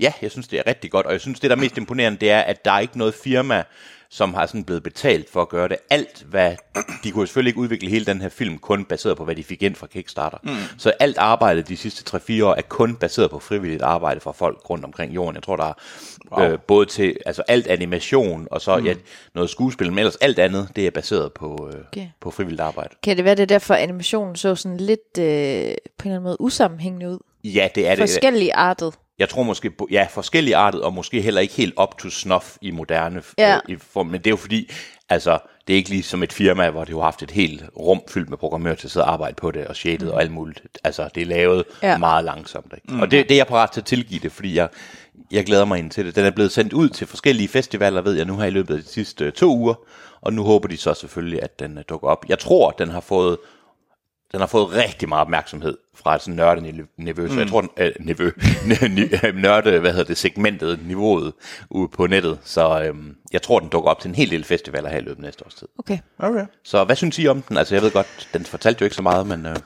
Speaker 3: Ja, jeg synes, det er rigtig godt, og jeg synes, det, der er mest imponerende, det er, at der er ikke noget firma, som har sådan blevet betalt for at gøre det. Alt, hvad... De kunne jo selvfølgelig ikke udvikle hele den her film kun baseret på, hvad de fik ind fra Kickstarter. Mm. Så alt arbejdet de sidste 3-4 år er kun baseret på frivilligt arbejde fra folk rundt omkring jorden. Jeg tror, der er wow. øh, både til... Altså alt animation, og så mm. ja, noget skuespil, men ellers alt andet, det er baseret på, øh, okay.
Speaker 2: Okay.
Speaker 3: på frivilligt arbejde.
Speaker 2: Kan det være, det er derfor, animationen så sådan lidt øh, på en eller anden måde usammenhængende ud?
Speaker 3: Ja, det er det.
Speaker 2: Forskellig artet.
Speaker 3: jeg tror måske, på- ja, forskellige artet, og måske heller ikke helt up to snuff i moderne ja.
Speaker 2: Ja.
Speaker 3: øh, i form, men det er jo fordi, altså, det er ikke ligesom et firma, hvor det jo har haft et helt rum fyldt med programmører til at sidde og arbejde på det, og shaded mm. og alt muligt. Altså, det er lavet ja.
Speaker 2: Ja.
Speaker 3: meget langsomt. Ikke? Mm. Og det, det er jeg parat til at tilgive det, fordi jeg, jeg glæder mig ind til det. Den er blevet sendt ud til forskellige festivaler, ved jeg nu her i løbet af de sidste øh, to uger, og nu håber de så selvfølgelig, at den øh, dukker op. Jeg tror, den har fået den har fået rigtig meget opmærksomhed fra et sådan nørdenivå, så jeg tror, den, øh, niveau, øh, nørde, hvad hedder det, segmentet, niveauet ude på nettet, så øhm, jeg tror, den dukker op til en hel del festivaler her i løbet af næste års tid.
Speaker 2: Okay.
Speaker 1: Okay.
Speaker 3: Så hvad synes I om den? Altså, jeg ved godt, den fortalte jo ikke så meget, men øh,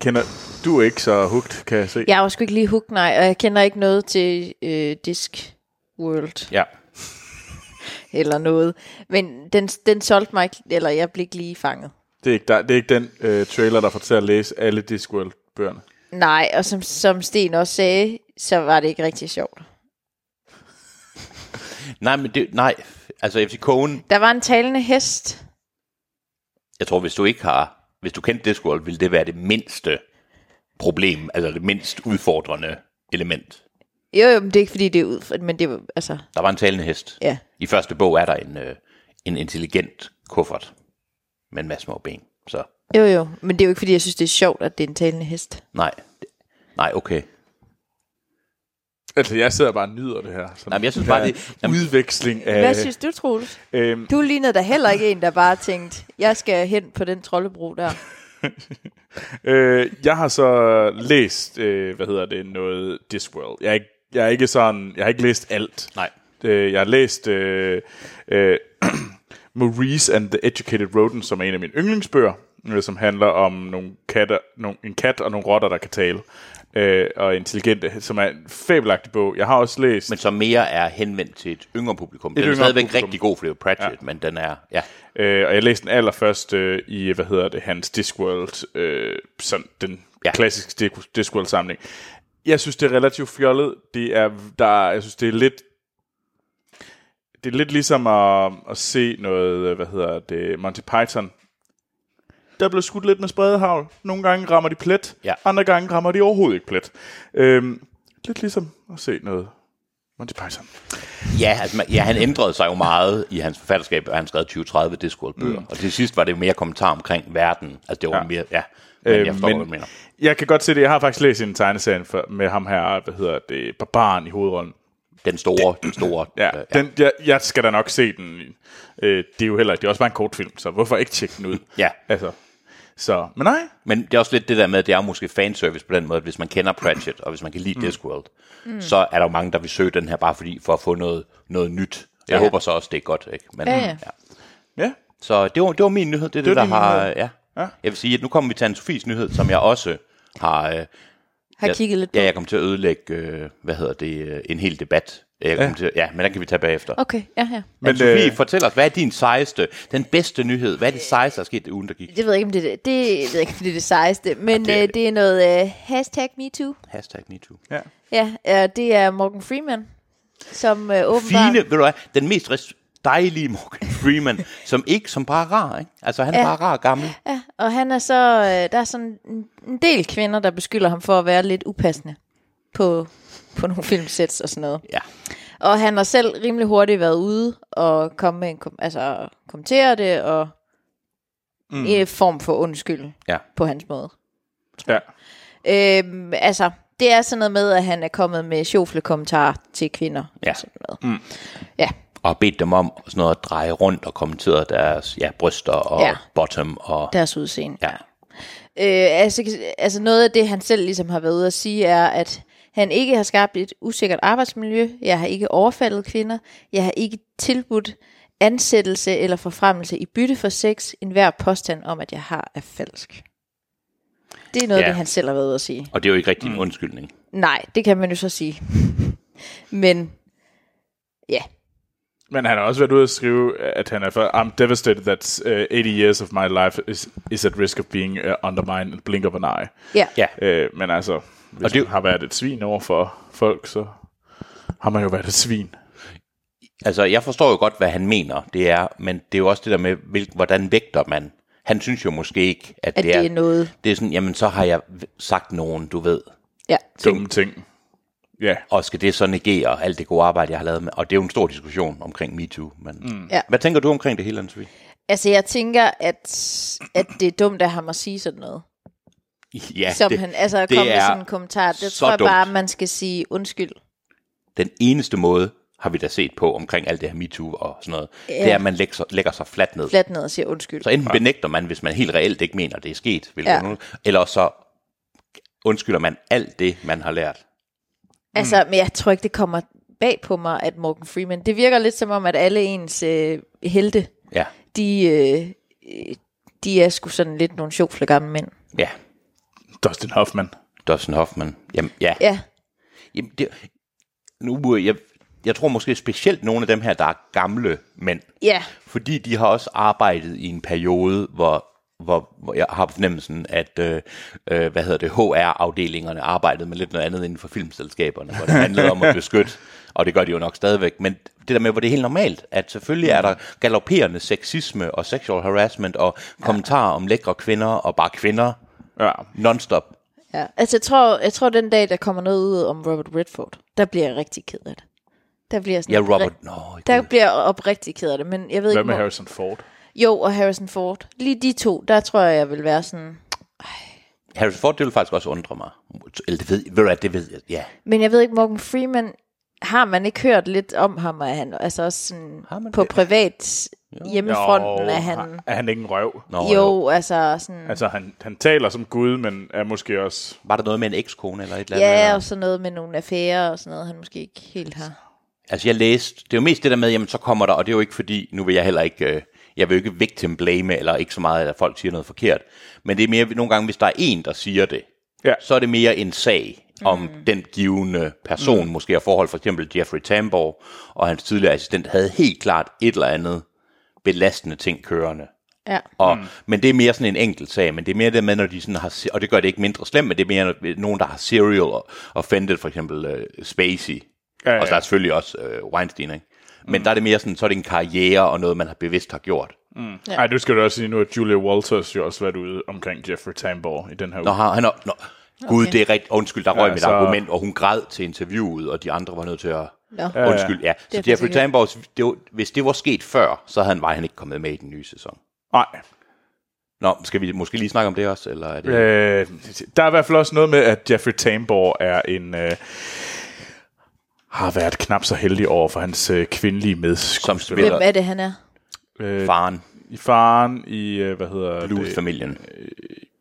Speaker 1: Kender, du er ikke så hugt, kan jeg se.
Speaker 2: Jeg har jo sgu ikke lige hook, nej, og jeg kender ikke noget til øh, Disk World
Speaker 3: ja.
Speaker 2: eller noget. Men den, den solgte mig ikke, eller jeg blev ikke lige fanget.
Speaker 1: Det, er ikke der, det er ikke den øh, trailer, der får til at læse alle Discworld-bøgerne.
Speaker 2: Nej, og som, som Sten også sagde, så var det ikke rigtig sjovt.
Speaker 3: Nej, men det, nej, altså FC Cohen,
Speaker 2: Der var en talende hest.
Speaker 3: jeg tror, hvis du ikke har, hvis du kendte Discworld, ville det være det mindste problem, altså det mindst udfordrende element.
Speaker 2: Jo, jo, men det er ikke fordi, det er ud, men det var, altså,
Speaker 3: Der var en talende hest.
Speaker 2: ja.
Speaker 3: I første bog er der en, øh, en intelligent kuffert med en masse små ben. Så
Speaker 2: Jo, jo, men det er jo ikke fordi, jeg synes, det er sjovt, at det er en talende hest.
Speaker 3: nej, nej okay.
Speaker 1: Altså, jeg sidder bare og nyder det her. Sådan
Speaker 3: Jamen, jeg synes
Speaker 1: den
Speaker 3: bare,
Speaker 1: her
Speaker 3: det- jamen-
Speaker 1: Udveksling af...
Speaker 2: Hvad synes du, Troels?
Speaker 1: Øhm,
Speaker 2: Du lignede da heller ikke en, der bare tænkte, jeg skal hen på den troldebro der.
Speaker 1: øh, jeg har så læst, øh, hvad hedder det, noget Discworld. Jeg er ikke, jeg er ikke sådan... Jeg har ikke læst alt.
Speaker 3: Nej.
Speaker 1: Øh, jeg har læst øh, øh, Maurice and the Educated Rodent, som er en af mine yndlingsbøger, øh, som handler om nogle katter, nogle, en kat og nogle rotter, der kan tale. Øh, og intelligente, som er en fabelagtig bog. Jeg har også læst...
Speaker 3: Men som mere er henvendt til et yngre publikum. Den er
Speaker 1: yngre
Speaker 3: stadigvæk
Speaker 1: publikum.
Speaker 3: rigtig god, for det er jo Pratchett, ja. men den er, ja.
Speaker 1: Øh, og jeg læste den allerførst øh, i, hvad hedder det, hans Discworld, øh, sådan den Ja. Klassisk Dis- Discworld-samling. Jeg synes, det er relativt fjollet. Det er, der, jeg synes, det er lidt det er lidt ligesom at, at se noget, øh, hvad hedder det, Monty Python. Der blev skudt lidt med spredehavl. Nogle gange rammer de plet,
Speaker 3: Ja.
Speaker 1: andre gange rammer de overhovedet ikke plet. Øhm, lidt ligesom at se noget Monty Python.
Speaker 3: Ja, altså, man- ja, han ændrede sig jo meget i hans forfatterskab, og han skrev 20-30 Discworld-bøger. Mm. Og til sidst var det jo mere kommentar omkring verden. Altså, det var ja. mere... Ja, men øh, jeg forstår, men... hvad du mener.
Speaker 1: Øhm, jeg kan godt se det. Jeg har faktisk læst en tegneserie for, med ham her, hvad hedder det, Barbaren i hovedrollen.
Speaker 3: Den store, den store...
Speaker 1: Ja,
Speaker 3: øh,
Speaker 1: ja. Den, jeg, jeg skal da nok se den. Øh, det er jo heller det er også bare en kortfilm, så hvorfor ikke tjekke den ud?
Speaker 3: Ja.
Speaker 1: Altså, så, men nej,
Speaker 3: Men det er også lidt det der med, at det er jo måske fanservice på den måde, at hvis man kender Pratchett, og hvis man kan lide mm. Discworld, mm. så er der jo mange, der vil søge den her bare fordi, for at få noget, noget nyt. Jeg ja. håber så også, det er godt. Ikke? Men,
Speaker 2: Ja, ja.
Speaker 1: ja,
Speaker 3: Så det var, det var min nyhed. Det er det,
Speaker 1: var
Speaker 3: det der
Speaker 1: din
Speaker 3: har...
Speaker 1: nyhed.
Speaker 3: Ja. ja. Jeg vil sige, at nu kommer vi til Anne-Sophies nyhed, som jeg også har... Øh,
Speaker 2: Har
Speaker 3: jeg,
Speaker 2: kigget lidt på.
Speaker 3: Ja, jeg kom til at ødelægge, øh, hvad hedder det, øh, en hel debat. Jeg ja. Til, at- ja, men den kan vi tage bagefter. Okay.
Speaker 2: Okay, ja, ja.
Speaker 1: men
Speaker 3: Sofie,
Speaker 1: øh,
Speaker 3: øh, fortæl os, hvad er din sejeste, den bedste nyhed? Hvad er det sejeste, der er sket i ugen, der gik?
Speaker 2: Det ved jeg ikke, om det er det, det, jeg ved ikke, om det, er det sejeste, men
Speaker 3: det
Speaker 2: det
Speaker 3: er
Speaker 2: er,
Speaker 3: det.
Speaker 2: øh, det er noget øh, hashtag MeToo.
Speaker 3: Hashtag MeToo.
Speaker 1: ja.
Speaker 2: Ja, ja, det er Morgan Freeman, som øh, åbenbart...
Speaker 3: Fine, ved du hvad, den mest res- dejlige Morgan Freeman, som ikke, som bare er rar, ikke? Altså, han er ja. bare rar og gammel.
Speaker 2: Ja, og han er så, øh, der er sådan en- en del kvinder, der beskylder ham for at være lidt upassende på, på nogle filmsets og sådan noget.
Speaker 3: Ja.
Speaker 2: Og han har selv rimelig hurtigt været ude og komme med en, kom- altså kommentere det og mm. en form for undskyld
Speaker 3: Ja.
Speaker 2: på hans måde.
Speaker 1: ja.
Speaker 2: Øhm, altså, det er sådan noget med, at han er kommet med sjofle kommentarer til kvinder.
Speaker 3: Ja.
Speaker 2: Og sådan noget. Mm. Ja,
Speaker 3: Og har bedt dem om sådan noget at dreje rundt og kommentere deres ja, bryster og ja.
Speaker 2: Ja.
Speaker 3: bottom. Og,
Speaker 2: deres udseende.
Speaker 3: ja.
Speaker 2: Øh, altså, altså noget af det, han selv ligesom har været ude at sige, er, at han ikke har skabt et usikkert arbejdsmiljø. Jeg har ikke overfaldet kvinder. Jeg har ikke tilbudt ansættelse eller forfremmelse i bytte for sex. En hver påstand om, at jeg har, er falsk. Det er noget,
Speaker 3: Ja.
Speaker 2: ja. det han selv har været ude at sige.
Speaker 3: og det er jo ikke rigtig mm. en undskyldning.
Speaker 2: Nej, det kan man jo så sige. Men ja,
Speaker 1: Men han har også været ude at skrive, at han er for, I'm devastated that uh, 80 years of my life is, is at risk of being uh, undermined in the blink of an eye.
Speaker 2: ja.
Speaker 3: Ja.
Speaker 1: Uh, men altså, hvis og
Speaker 3: det-
Speaker 1: det man har været et svin over for folk, så har man jo været et svin.
Speaker 3: Altså, jeg forstår jo godt, hvad han mener, det er, men det er jo også det der med, hvil, hvordan vægter man. Han synes jo måske ikke, at,
Speaker 2: at det er noget.
Speaker 3: Det er sådan, jamen så har jeg v- sagt nogen, du ved,
Speaker 2: Ja,
Speaker 1: Dumme ting. Ja,
Speaker 3: og skal det så negere alt det gode arbejde, jeg har lavet med? Og det er jo en stor diskussion omkring MeToo. Men... Mm.
Speaker 2: Ja.
Speaker 3: Hvad tænker du omkring det hele, Anne-Sophie?
Speaker 2: altså jeg tænker, at, at det er dumt af ham at sige sådan noget.
Speaker 3: Ja,
Speaker 2: som det, han altså
Speaker 3: det
Speaker 2: kom med
Speaker 3: er
Speaker 2: sådan en kommentar. Det
Speaker 3: så
Speaker 2: tror jeg
Speaker 3: dumt.
Speaker 2: bare, man skal sige undskyld.
Speaker 3: den eneste måde, har vi da set på omkring alt det her MeToo og sådan noget, ja. det er, at man lægger sig, lægger sig fladt ned.
Speaker 2: Fladt ned og siger undskyld.
Speaker 3: Så enten benægter man, hvis man helt reelt ikke mener, det er sket,
Speaker 2: Ja.
Speaker 3: ja. eller så undskylder man alt det, man har lært.
Speaker 2: Altså, men jeg tror ikke, det kommer bag på mig, at Morgan Freeman... Det virker lidt som om, at alle ens øh, helte,
Speaker 3: Ja,
Speaker 2: de, øh, øh, de er sgu sådan lidt nogle sjofle gamle mænd.
Speaker 3: ja.
Speaker 1: Dustin Hoffman.
Speaker 3: Dustin Hoffman. Jamen, ja. ja.
Speaker 2: Ja,
Speaker 3: Jamen, det, nu, øh, jeg, jeg tror måske specielt nogle af dem her, der er gamle mænd,
Speaker 2: ja,
Speaker 3: fordi de har også arbejdet i en periode, hvor hvor, hvor jeg har på fornemmelsen, at øh, øh, hvad hedder det, HR-afdelingerne arbejdede med lidt noget andet inden for filmselskaberne, hvor det handlede om at beskytte, og det gør de jo nok stadigvæk, men det der med, hvor det er helt normalt, at selvfølgelig er der galopperende sexisme og sexual harassment og kommentarer om lækre kvinder og bare kvinder
Speaker 1: Ja.
Speaker 3: nonstop.
Speaker 2: ja. Altså, jeg tror, jeg tror, den dag, der kommer noget ud om Robert Redford, der bliver jeg rigtig ked af det. Der bliver jeg sådan...
Speaker 3: Ja, Robert,
Speaker 2: opri-
Speaker 3: nå,
Speaker 2: Der
Speaker 3: der...
Speaker 2: bliver jeg oprigtig ked af det, men jeg
Speaker 1: Hvad
Speaker 2: ved ikke,
Speaker 1: med
Speaker 2: hvor-
Speaker 1: Harrison Ford?
Speaker 2: Jo, og Harrison Ford. Lige de to, der tror jeg, jeg vil være sådan...
Speaker 3: Harrison Ford, det ville faktisk også undre mig. Eller det ved, ved du hvad, det ved jeg, ja.
Speaker 2: Men jeg ved ikke, Morgan Freeman, har man ikke hørt lidt om ham, og han altså også sådan
Speaker 3: Har man
Speaker 2: på
Speaker 3: det?
Speaker 2: privat hjemmefronten,
Speaker 1: Jo,
Speaker 2: er han...
Speaker 1: Er han ikke en røv?
Speaker 3: Nå,
Speaker 2: Jo, jo, altså sådan...
Speaker 1: Altså, han, han taler som Gud, men er måske også...
Speaker 3: Var der noget med en ekskone eller et eller andet?
Speaker 2: Ja,
Speaker 3: eller?
Speaker 2: og sådan noget med nogle affærer og sådan noget, han måske ikke helt har.
Speaker 3: Altså jeg læste, det er jo mest det der med, jamen så kommer der, og det er jo ikke fordi, nu vil jeg heller ikke, øh, jeg vil jo ikke victim blame, eller ikke så meget, at folk siger noget forkert, men det er mere nogle gange, hvis der er en, der siger det,
Speaker 1: Ja.
Speaker 3: så er det mere en sag om mm. den givende person, mm. måske af forhold, for eksempel Jeffrey Tambor og hans tidligere assistent, havde helt klart et eller andet belastende ting kørende.
Speaker 2: Ja.
Speaker 3: Og, mm. Men det er mere sådan en enkelt sag, men det er mere det med, når de sådan har, se- og det gør det ikke mindre slemt, men det er mere når- nogen, der har serial og offended, for eksempel uh, Spacey,
Speaker 1: Ja, ja.
Speaker 3: ja, ja. og så er der selvfølgelig også uh, Weinstein, ikke? Men mm. der er det mere sådan, så er det en karriere og noget, man har bevidst har gjort.
Speaker 1: Nej, ja. du skal du også sige nu, at Julia Walters jo også været ude omkring Jeffrey Tambor i den her uge.
Speaker 3: Nå, har han op, nå. Gud, det er rigtigt. Undskyld, der røg
Speaker 1: Ja,
Speaker 3: ja, mit
Speaker 1: så-
Speaker 3: argument, og hun græd til interviewet, og de andre var nødt til at...
Speaker 2: Nå.
Speaker 3: Ja, Undskyld, ja.
Speaker 2: Det er
Speaker 3: Så Jeffrey
Speaker 2: faktisk ikke-
Speaker 3: Tambor, det var, hvis det var sket før, så havde han, var han ikke kommet med i den nye sæson.
Speaker 1: Nej.
Speaker 3: Nå, skal vi måske lige snakke om det også? Eller er det...
Speaker 1: Øh, der er i hvert fald også noget med, at Jeffrey Tambor er en... Øh, har været knap så heldig over for hans øh, kvindelige
Speaker 3: Som
Speaker 1: medskuespiller.
Speaker 3: spiller
Speaker 2: Hvem er det, han er?
Speaker 1: Øh,
Speaker 3: faren,
Speaker 1: I faren i, øh, hvad hedder det?
Speaker 3: Blues-familien.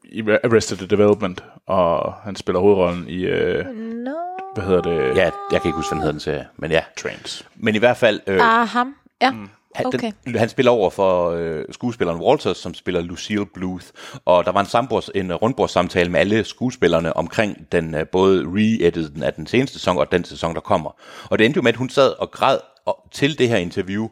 Speaker 1: I Arrested Development, og han spiller hovedrollen i, øh,
Speaker 2: Nå.
Speaker 1: hvad hedder det?
Speaker 3: Ja, jeg kan ikke huske, hvad den hedder den serie, men ja.
Speaker 1: Trains.
Speaker 3: Men i hvert fald, øh,
Speaker 2: Ah, ham. Ja.
Speaker 3: han,
Speaker 2: okay.
Speaker 3: den, han spiller over for øh, skuespilleren Walters, som spiller Lucille Bluth. Og der var en, sambords, en øh, rundbordssamtale med alle skuespillerne omkring den øh, både re-editen af den seneste sæson og den sæson, der kommer. Og det endte jo med, at hun sad og græd og, til det her interview,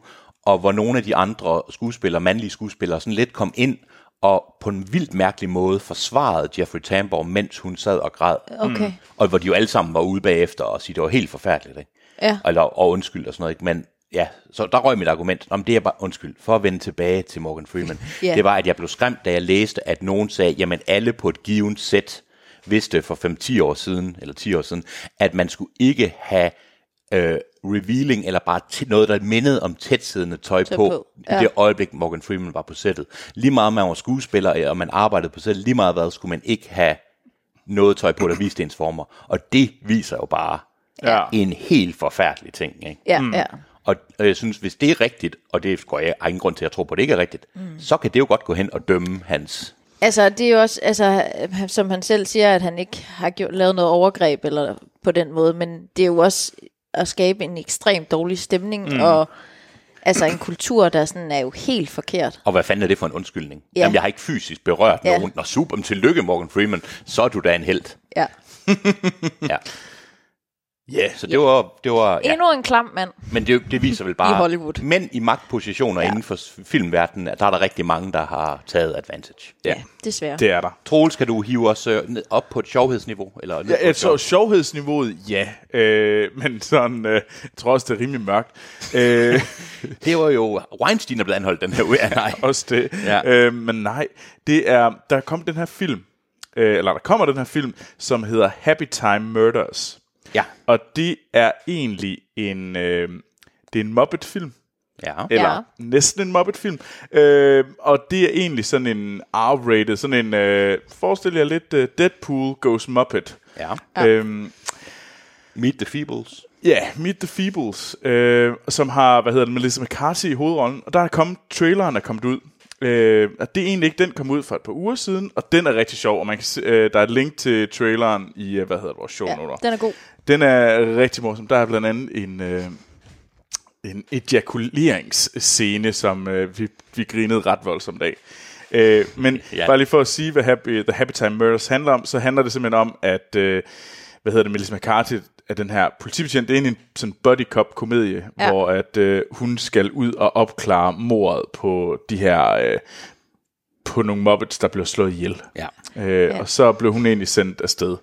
Speaker 3: og hvor nogle af de andre skuespillere, mandlige skuespillere, sådan lidt kom ind og på en vildt mærkelig måde forsvarede Jeffrey Tambor, mens hun sad og græd.
Speaker 2: Okay.
Speaker 3: Og hvor de jo alle sammen var ude bagefter og sige, det var helt forfærdeligt, ikke?
Speaker 2: Ja.
Speaker 3: Eller, og undskyld og sådan noget, ikke? Men ja, så der røg mit argument. Om det er bare, undskyld, for at vende tilbage til Morgan Freeman.
Speaker 2: Ja.
Speaker 3: Det var, at jeg blev skræmt, da jeg læste, at nogen sagde, jamen alle på et givet sæt vidste for 5-10 år siden, eller 10 år siden, at man skulle ikke have øh, revealing, eller bare t- noget, der mindede om tætsiddende tøj, tøj
Speaker 2: på,
Speaker 3: på, på.
Speaker 2: ja.
Speaker 3: Ja. i det øjeblik, Morgan Freeman var på sættet. Lige meget man var skuespiller, og man arbejdede på sættet, lige meget hvad, skulle man ikke have noget tøj på, der viste ens former. Og det viser jo bare
Speaker 1: Ja.
Speaker 3: en helt forfærdelig ting. Ikke?
Speaker 2: Ja, ja.
Speaker 3: Og, og jeg synes, hvis det er rigtigt, og det går jeg har ingen grund til at tro på, at det ikke er rigtigt, mm. så kan det jo godt gå hen og dømme hans...
Speaker 2: Altså, det er jo også, altså, øh, som han selv siger, at han ikke har gjort, lavet noget overgreb eller på den måde, men det er jo også at skabe en ekstremt dårlig stemning, mm. og altså en kultur, der sådan er jo helt forkert.
Speaker 3: Og hvad fanden er det for en undskyldning?
Speaker 2: Ja.
Speaker 3: Jamen, jeg har ikke fysisk berørt
Speaker 2: Ja.
Speaker 3: nogen. Nå, super, men tillykke, Morgan Freeman. Så er du da en held.
Speaker 2: Ja.
Speaker 3: Ja. Ja, så det var... Det var ja.
Speaker 2: Endnu en klam mand.
Speaker 3: Men det, det viser vel bare...
Speaker 2: I Hollywood.
Speaker 3: Mænd i magtpositioner ja. inden for s- filmverdenen, at der er der rigtig mange, der har taget advantage.
Speaker 2: Ja, desværre. Det.
Speaker 1: Det er der.
Speaker 3: Troels, kan du hive os øh, ned, op på et sjovhedsniveau? Eller ned på
Speaker 1: Ja,
Speaker 3: et
Speaker 1: så sjovhedsniveauet, ja. Øh, men sådan, øh, jeg tror også, det er rimelig mørkt. Øh,
Speaker 3: Det var jo Weinstein, der blev anholdt den her uge. Ja, nej.
Speaker 1: også det.
Speaker 3: Ja.
Speaker 1: Øh, men nej, det er, der kom den her film, øh, eller der kommer den her film, som hedder Happy Time Murders.
Speaker 3: Ja.
Speaker 1: Og det er egentlig en, øh, det er en Muppet-film.
Speaker 3: ja.
Speaker 1: Eller
Speaker 2: Ja.
Speaker 1: ja. næsten en Muppet-film. Øh, og det er egentlig sådan en R-rated, sådan en, øh, forestil jer lidt, øh, Deadpool goes Muppet.
Speaker 3: ja.
Speaker 1: Ja. Øhm,
Speaker 3: Meet the Feebles.
Speaker 1: Ja, yeah, Meet the Feebles, øh, som har, hvad hedder det, Melissa McCarthy i hovedrollen, og der er kommet, traileren er kommet ud. Øh, og det er egentlig ikke, den kom ud for et par uger siden, og den er rigtig sjov, og man kan se, øh, der er et link til traileren i, øh, hvad hedder det, vores show
Speaker 2: Ja,
Speaker 1: noter.
Speaker 2: den er god.
Speaker 1: Den er rigtig morsom. Der er blandt andet en, øh, en ejakuleringsscene, som øh, vi, vi grinede ret voldsomt af. Øh, men ja.
Speaker 3: Ja.
Speaker 1: bare lige for at sige, hvad Happy, The Happy Time Murders handler om, så handler det simpelthen om, at, øh, hvad hedder det, Melissa McCarthy er den her politibetjent. Det er egentlig en sådan buddy cop komedie, ja.
Speaker 2: Ja.
Speaker 1: hvor at, øh, hun skal ud og opklare mordet på de her, øh, på nogle mobbets, der blev slået ihjel.
Speaker 3: Ja.
Speaker 1: Øh,
Speaker 2: Ja.
Speaker 1: Og så blev hun egentlig sendt afsted.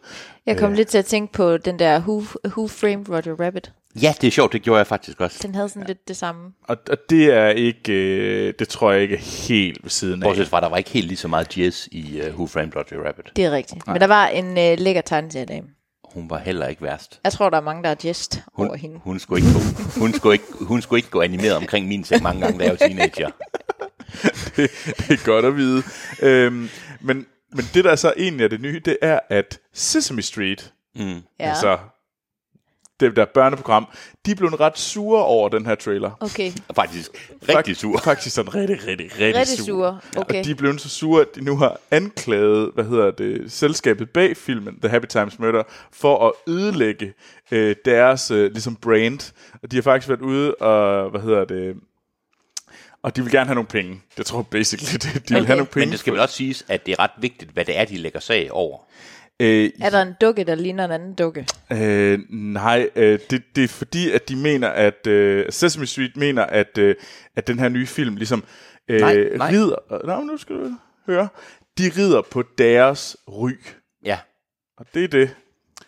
Speaker 2: Jeg kom lidt til at tænke på den der Who, Who Framed Roger Rabbit.
Speaker 3: Ja, det er sjovt, det gjorde jeg faktisk også.
Speaker 2: Den havde sådan ja. lidt det samme.
Speaker 1: Og, og det er ikke, øh, det tror jeg ikke er helt ved siden af.
Speaker 3: Bortset fra, der var ikke helt lige så meget jazz i uh, Who Framed Roger Rabbit.
Speaker 2: Det er rigtigt. Men der var en øh, lækker tegneserie dame.
Speaker 3: Hun var heller ikke værst.
Speaker 2: Jeg tror, der er mange, der er jest
Speaker 3: Hun,
Speaker 2: over hende.
Speaker 3: hun, skulle ikke gå, hun, skulle ikke, hun skulle ikke gå animeret omkring min seng mange gange, da jeg var teenager.
Speaker 1: det er godt at vide. øhm, men, men det, der så egentlig er det nye, det er, at Sesame Street,
Speaker 2: Ja.
Speaker 1: altså det der børneprogram, de blev ret sure over den her trailer.
Speaker 2: Okay.
Speaker 3: Faktisk rigtig
Speaker 1: Fakt-
Speaker 3: sur.
Speaker 1: Faktisk sådan rigtig, rigtig, rigtig,
Speaker 2: Rigtig
Speaker 1: sure.
Speaker 2: sure. Okay.
Speaker 1: Og de er blevet så sure, at de nu har anklaget, hvad hedder det, selskabet bag filmen, The Happy Times Murder, for at ødelægge øh, deres øh, ligesom brand. Og de har faktisk været ude og, hvad hedder det, og de vil gerne have nogle penge. Jeg tror basically, det, de okay. vil
Speaker 2: Okay.
Speaker 1: have nogle penge.
Speaker 3: Men det skal vel også siges, at det er ret vigtigt, hvad det er, de lægger sag over.
Speaker 1: Øh,
Speaker 2: Er der en dukke, der ligner en anden dukke?
Speaker 1: Øh, nej, øh, det, det er fordi, at de mener, at øh, Sesame Street mener, at, øh, at den her nye film ligesom
Speaker 3: Nej,
Speaker 1: øh,
Speaker 3: nej.
Speaker 1: rider... Nå, men nu skal du høre. De rider på deres ry.
Speaker 3: Ja.
Speaker 1: Og det er det,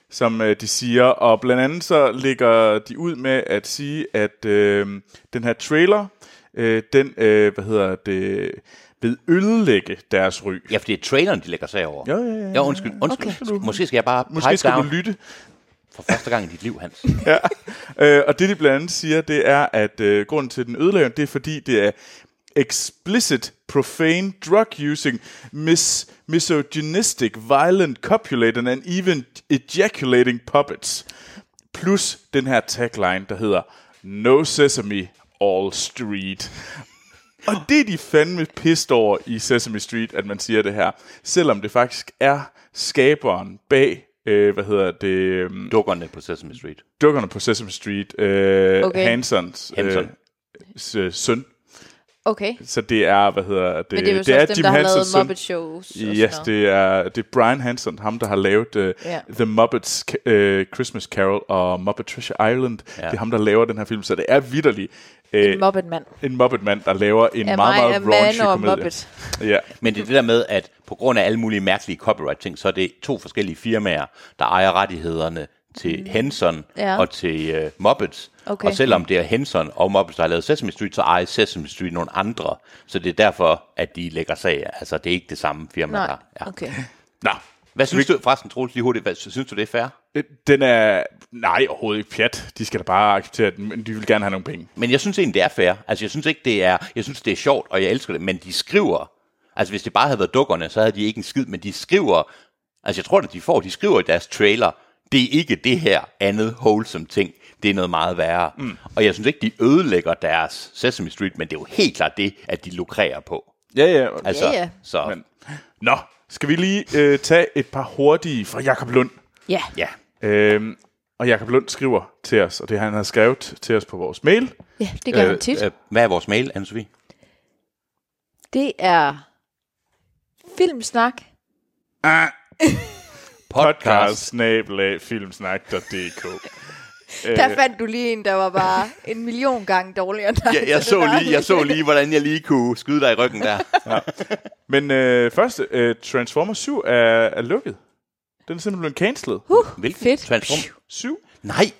Speaker 1: som øh, de siger. Og blandt andet så ligger de ud med at sige, at øh, den her trailer, øh, den, øh, hvad hedder det, vil ødelægge deres ry.
Speaker 3: ja, for det er traileren, de lægger sig over.
Speaker 1: Ja, ja, ja,
Speaker 3: ja undskyld. undskyld.
Speaker 1: Okay. Skal du-
Speaker 3: Okay. Måske skal jeg bare
Speaker 1: Måske
Speaker 3: pipe
Speaker 1: skal
Speaker 3: down
Speaker 1: du lytte.
Speaker 3: for første gang i dit liv, Hans.
Speaker 1: ja. øh, og det, de blandt andet siger, det er, at øh, grunden til den ødelæggende, det er, fordi det er explicit, profane, drug-using, mis misogynistic, violent, copulating and even ejaculating puppets. Plus den her tagline, der hedder No Sesame, All Street. Og det er de fandme pissed over i Sesame Street, at man siger det her. Selvom det faktisk er skaberen bag, øh, hvad hedder det... øhm,
Speaker 3: Dukkerne på Sesame Street.
Speaker 1: dukkerne på Sesame Street, øh, okay.
Speaker 2: Okay.
Speaker 1: Hansons øh,
Speaker 3: Hanson.
Speaker 1: s- øh, søn.
Speaker 2: Okay.
Speaker 1: Så det er, hvad hedder det?
Speaker 2: Men det er jo
Speaker 3: Øh,
Speaker 1: det
Speaker 2: så
Speaker 1: er
Speaker 2: også dem, der har lavet
Speaker 1: søn.
Speaker 2: Muppet Shows. og sådan
Speaker 1: Yes,
Speaker 2: noget.
Speaker 1: det er, det er Brian Hansen, ham der har lavet uh,
Speaker 2: Ja.
Speaker 1: The Muppets uh, Christmas Carol og Muppet Treasure Island. Ja. Det er ham, der laver den her film, så det er vidderligt uh,
Speaker 2: En Muppet-mand.
Speaker 1: en Muppet-mand, der laver en
Speaker 2: Er
Speaker 1: meget, meget
Speaker 2: mig- er man
Speaker 1: raunchy
Speaker 2: og
Speaker 1: komedie.
Speaker 2: Muppet.
Speaker 1: Ja.
Speaker 3: Men det er det der med, at på grund af alle mulige mærkelige copyright-ting, så er det to forskellige firmaer, der ejer rettighederne til Henson
Speaker 2: Mm. Ja.
Speaker 3: og til uh, Muppets.
Speaker 2: Okay.
Speaker 3: Og selvom det er Henson og Muppets, der har lavet Sesame Street, så ejer Sesame Street nogle andre. Så det er derfor, at de lægger sag. Altså, det er ikke det samme firma,
Speaker 2: Nej,
Speaker 3: der ja.
Speaker 2: okay.
Speaker 3: Nå, hvad synes du, forresten Troels, lige hurtigt, hvad, synes du, det er fair?
Speaker 1: Øh, Den er... Nej, overhovedet ikke pjat. De skal da bare acceptere den, men de vil gerne have nogle penge.
Speaker 3: Men jeg synes egentlig, det er fair. Altså, jeg synes ikke, det er... Jeg synes, det er sjovt, og jeg elsker det, men de skriver... Altså, hvis det bare havde været dukkerne, så havde de ikke en skid, men de skriver... Altså, jeg tror, at de får... De skriver i deres trailer, det er ikke det her andet wholesome ting. Det er noget meget værre. Mm. Og jeg synes ikke, de ødelægger deres Sesame Street, men det er jo helt klart det, at de lukrerer på.
Speaker 1: Ja, ja.
Speaker 3: Altså,
Speaker 2: Ja, ja.
Speaker 3: Så,
Speaker 1: Men,
Speaker 3: men.
Speaker 1: nå, skal vi lige øh, tage et par hurtige fra Jakob Lund.
Speaker 2: Ja.
Speaker 3: ja.
Speaker 1: Øhm, og Jakob Lund skriver til os, og det han har skrevet til os på vores mail.
Speaker 2: ja, det
Speaker 3: Øh,
Speaker 2: gør han tit.
Speaker 3: hvad er vores mail, anne -Sophie?
Speaker 2: Det er filmsnak.
Speaker 3: Ah,
Speaker 1: Podcast-filmsnak.dk
Speaker 3: Øh.
Speaker 2: Der fandt du lige en, der var bare en million gange dårligere end dig.
Speaker 3: Ja, jeg,
Speaker 2: det
Speaker 3: så
Speaker 2: var-
Speaker 3: lige, jeg så lige, hvordan jeg lige kunne skyde dig i ryggen der.
Speaker 1: Men øh, først, øh, Transformers 7 er, er lukket. Den er simpelthen blevet cancelled.
Speaker 2: Huh,
Speaker 3: Hvilken
Speaker 2: fedt.
Speaker 3: transform?
Speaker 1: 7?
Speaker 3: Nej,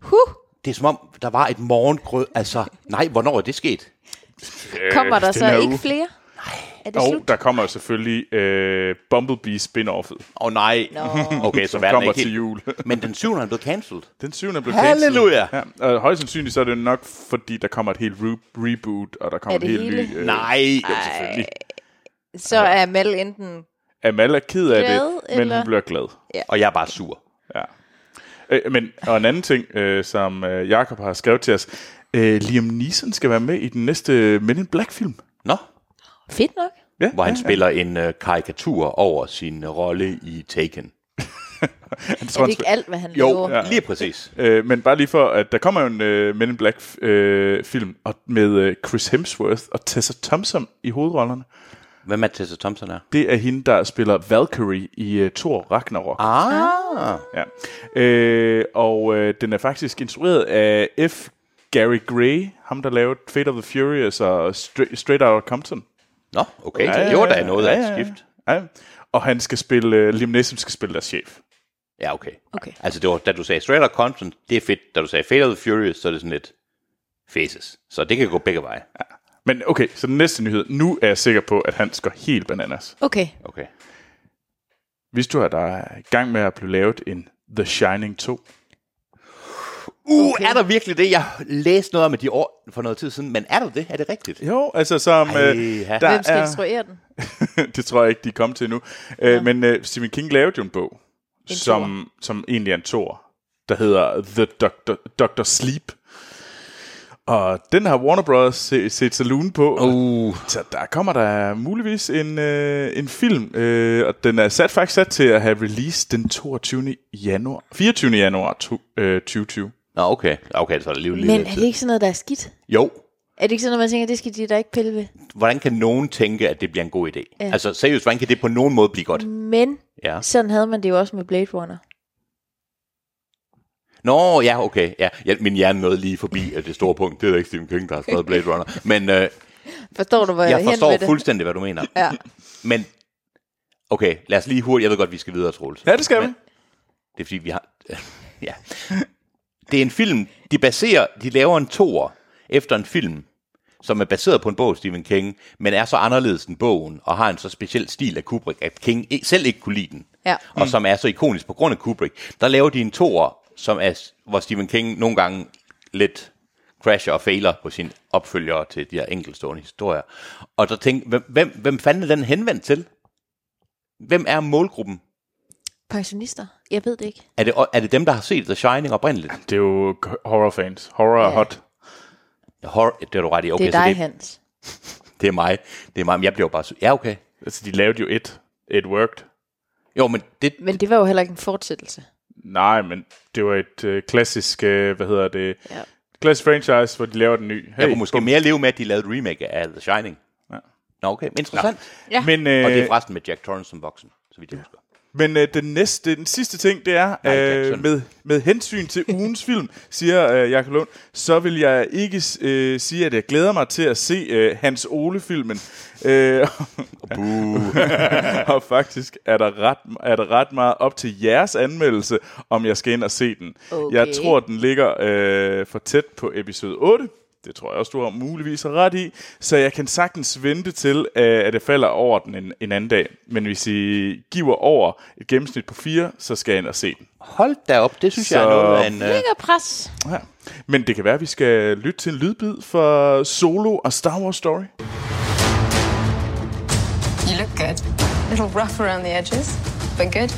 Speaker 2: Huh,
Speaker 3: Det er som om, der var et morgengrød. Altså, nej, hvornår er det sket?
Speaker 2: Øh, kommer der
Speaker 3: Øh,
Speaker 1: den
Speaker 2: så
Speaker 1: her
Speaker 2: ikke
Speaker 1: uge.
Speaker 2: flere? Er det
Speaker 1: Og
Speaker 2: slut?
Speaker 1: der kommer jo selvfølgelig øh, Bumblebee spin-offet.
Speaker 3: Åh oh, nej.
Speaker 2: Nå.
Speaker 3: Okay, så
Speaker 1: Den
Speaker 3: verden er
Speaker 1: kommer
Speaker 3: ikke
Speaker 1: til
Speaker 3: helt...
Speaker 1: jul.
Speaker 3: Men den 7. er blevet cancelled.
Speaker 1: Den 7. er blevet
Speaker 3: Halleluja!
Speaker 1: cancelled. Ja, og højst sandsynligt så er det nok, fordi der kommer et helt re- reboot, og der kommer
Speaker 2: Er det
Speaker 1: en helt
Speaker 2: hele?
Speaker 1: ny... Øh,
Speaker 3: Nej.
Speaker 1: Ja, selvfølgelig.
Speaker 2: Så er Mal enten...
Speaker 1: Amal er ked af
Speaker 2: Glad,
Speaker 1: det, men
Speaker 2: eller?
Speaker 1: hun bliver glad.
Speaker 3: Og jeg er bare sur.
Speaker 1: Ja. Øh, men, og en anden ting, øh, som øh, Jakob har skrevet til os. Øh, Liam Neeson skal være med i den næste øh, Men in Black-film.
Speaker 3: Nå,
Speaker 2: Fedt nok.
Speaker 1: Ja,
Speaker 3: hvor han
Speaker 1: ja,
Speaker 3: spiller en øh, karikatur over sin øh, rolle i Taken.
Speaker 1: han tror,
Speaker 2: Er
Speaker 1: han
Speaker 2: det ikke alt, hvad han
Speaker 3: Jo,
Speaker 2: laver?
Speaker 3: ja. lige præcis.
Speaker 1: spiller- øh, men bare lige for, at der kommer jo en øh, Men in Black-film øh, film, og med øh, Chris Hemsworth og Tessa Thompson i hovedrollerne.
Speaker 3: Hvem er Tessa Thompson er?
Speaker 1: Det er hende, der spiller Valkyrie i øh, Thor Ragnarok.
Speaker 3: Ah,
Speaker 1: Ja. Øh, og øh, den er faktisk instrueret af F. Gary Gray, ham der lavede Fate of the Furious og Stra- Straight Outta Compton.
Speaker 3: nå, okay. det var da noget af et skift.
Speaker 1: Ja. Og han skal spille, øh, Liam Neeson skal spille deres chef.
Speaker 3: Ja, okay.
Speaker 2: Okay.
Speaker 3: Altså, det var, da du sagde Straight Outta Compton, det er fedt. Da du sagde Fate of the Furious, så er det sådan lidt faces. Så det kan gå begge veje.
Speaker 1: Men okay, så den næste nyhed. Nu er jeg sikker på, at han går helt bananas.
Speaker 2: Okay.
Speaker 3: Okay.
Speaker 1: Hvis du er der er i gang med at blive lavet en The Shining 2.
Speaker 3: Uh, okay. er der virkelig det? Jeg læste noget om at de år for noget tid siden, men er der det? Er det rigtigt?
Speaker 1: Jo, altså som...
Speaker 3: Ej, ja.
Speaker 1: der
Speaker 2: Hvem skal
Speaker 1: er,
Speaker 2: instruere den?
Speaker 1: det tror jeg ikke, de er kommet til endnu. Ja. Men øh, Stephen King lavede jo en bog, som, som egentlig er en tor, der hedder The Doctor, Doctor Sleep. Og den har Warner Bros. se- set sig lune på.
Speaker 3: Uh,
Speaker 1: Så der kommer der muligvis en, øh, en film, øh, og den er sat faktisk sat til at have release den 22. januar, 24. januar to, øh, 2020.
Speaker 3: Nå, okay. Okay, så er der lige lidt
Speaker 2: Men
Speaker 3: lidt
Speaker 2: er
Speaker 3: tid.
Speaker 2: det ikke sådan noget, der er skidt?
Speaker 3: Jo.
Speaker 2: Er det ikke sådan noget, man tænker, det skal de da ikke pille ved?
Speaker 3: Hvordan kan nogen tænke, at det bliver en god idé? Ja. Altså, seriøst, hvordan kan det på nogen måde blive godt?
Speaker 2: Men
Speaker 3: Ja.
Speaker 2: sådan havde man det jo også med Blade Runner.
Speaker 3: Nå, ja, okay. Ja. Ja, min hjerne nåede lige forbi at det store punkt. Det er da ikke Stephen King, der har skrevet Blade Runner. Men øh,
Speaker 2: Forstår du, hvor jeg,
Speaker 3: Jeg
Speaker 2: er hen med
Speaker 3: forstår
Speaker 2: det?
Speaker 3: fuldstændig, hvad du mener.
Speaker 2: Ja.
Speaker 3: Men, okay, lad os lige hurtigt. Jeg ved godt, vi skal videre, Troels.
Speaker 1: Ja, det skal vi.
Speaker 3: Men- Det er fordi, vi har... ja. Det er en film, de baserer... De laver en toer efter en film, som er baseret på en bog af Stephen King, men er så anderledes end bogen, og har en så speciel stil af Kubrick, at King i- selv ikke kunne lide den.
Speaker 2: Ja.
Speaker 3: Og som er så ikonisk på grund af Kubrick. Der laver de en toer, som er, s- hvor Stephen King nogle gange lidt crasher og fejler på sine opfølgere til de her enkeltstående historier. Og der tænker, hvem, hvem, hvem fanden er den henvendt til? Hvem er målgruppen?
Speaker 2: Pensionister? Jeg ved det ikke.
Speaker 3: Er det, er det dem, der har set The Shining oprindeligt?
Speaker 1: Det er jo horrorfans. Horror er
Speaker 2: Ja.
Speaker 1: hot.
Speaker 3: Horror, det er du ret i. Okay,
Speaker 2: Det er dig,
Speaker 3: så det,
Speaker 2: Hans.
Speaker 3: det, er mig. Det er mig, men jeg bliver jo bare... sy- Ja, okay.
Speaker 1: Altså, de lavede jo et. It worked.
Speaker 3: Jo, men det...
Speaker 2: Men det var jo heller ikke en fortsættelse.
Speaker 1: Nej, men det var et øh, klassisk, øh, hvad hedder det,
Speaker 2: Ja.
Speaker 1: klassisk franchise, hvor de laver den nye. Hey.
Speaker 3: Jeg kunne måske mere leve med, at de lavede et remake af The Shining.
Speaker 1: Ja.
Speaker 3: Nå, okay. Interessant. Nå.
Speaker 2: Ja.
Speaker 1: Men, øh,
Speaker 3: Og det er forresten med Jack Torrance som voksen, så vidt jeg husker.
Speaker 1: Men øh, den næste, den sidste ting, det er,
Speaker 3: Nej,
Speaker 1: øh,
Speaker 3: Jackson.
Speaker 1: med, med hensyn til ugens film, siger øh, Jakob Lund, så vil jeg ikke øh, sige, at jeg glæder mig til at se øh, Hans Ole-filmen. Øh, og faktisk er der, ret, er der ret meget op til jeres anmeldelse, om jeg skal ind og se den.
Speaker 2: Okay.
Speaker 1: Jeg tror, den ligger øh, for tæt på episode 8. Det tror jeg også, du har muligvis har ret i. Så jeg kan sagtens vente til, øh, at det falder over den en, en anden dag. Men hvis I giver over et gennemsnit på 4, så skal jeg ind og se den.
Speaker 3: Hold da op, det synes så... jeg er
Speaker 1: Så-
Speaker 3: noget af en... øh,
Speaker 2: Lækker pres.
Speaker 1: Ja. Men det kan være, at vi skal lytte til en lydbid for Solo og Star Wars Story.
Speaker 4: You look good. A little rough around the edges, but good.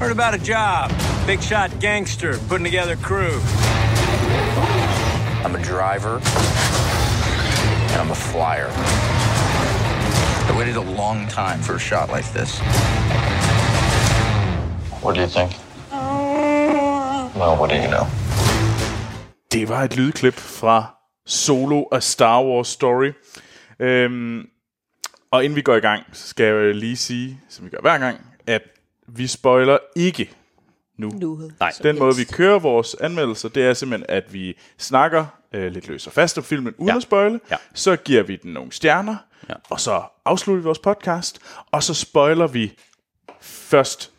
Speaker 5: Heard about a job. Big shot gangster putting together crew.
Speaker 6: I'm a driver and I'm a flyer. I waited a long time for a shot like this. What do you think? Well, what do you know?
Speaker 1: Det var et lydklip fra Solo og Star Wars Story. Øhm, og inden vi går i gang, så skal jeg jo lige sige, som vi gør hver gang, at vi spoiler ikke nu.
Speaker 2: Nu.
Speaker 3: Nej.
Speaker 2: Som
Speaker 1: Den måde, vi
Speaker 2: helst.
Speaker 1: kører vores anmeldelser, det er simpelthen, at vi snakker øh, lidt løs og fast om filmen uden
Speaker 3: Ja.
Speaker 1: at spoile.
Speaker 3: Ja.
Speaker 1: Så giver vi den nogle stjerner, ja. og så afslutter vi vores podcast, og så spoiler vi først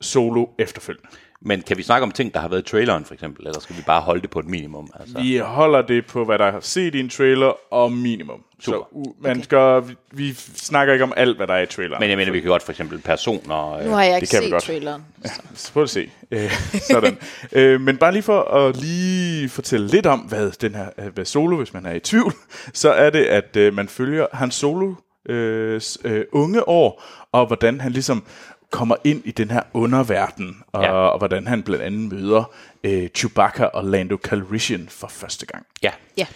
Speaker 1: solo efterfølgende.
Speaker 3: Men kan vi snakke om ting, der har været i traileren, for eksempel? Eller skal vi bare holde det på et minimum? Altså,
Speaker 1: Vi holder det på, hvad der er set i en trailer, og minimum. Så
Speaker 3: Super.
Speaker 1: u- man okay. gør, vi, vi snakker ikke om alt, hvad der er i traileren.
Speaker 3: Men jeg mener, vi kan godt for eksempel personer... Øh,
Speaker 2: Nu har jeg ikke
Speaker 1: Det kan vi
Speaker 2: set
Speaker 1: godt.
Speaker 2: traileren.
Speaker 1: Så prøv at se. Øh, sådan. øh, men bare lige for at lige fortælle lidt om, hvad den her øh, hvad Solo, hvis man er i tvivl, så er det, at øh, man følger hans Solo øh, s- øh, unge år, og hvordan han ligesom kommer ind i den her underverden, og, ja.
Speaker 3: Ja.
Speaker 1: og hvordan han blandt andet møder øh, Chewbacca og Lando Calrissian for første gang.
Speaker 3: Ja,
Speaker 2: Ja.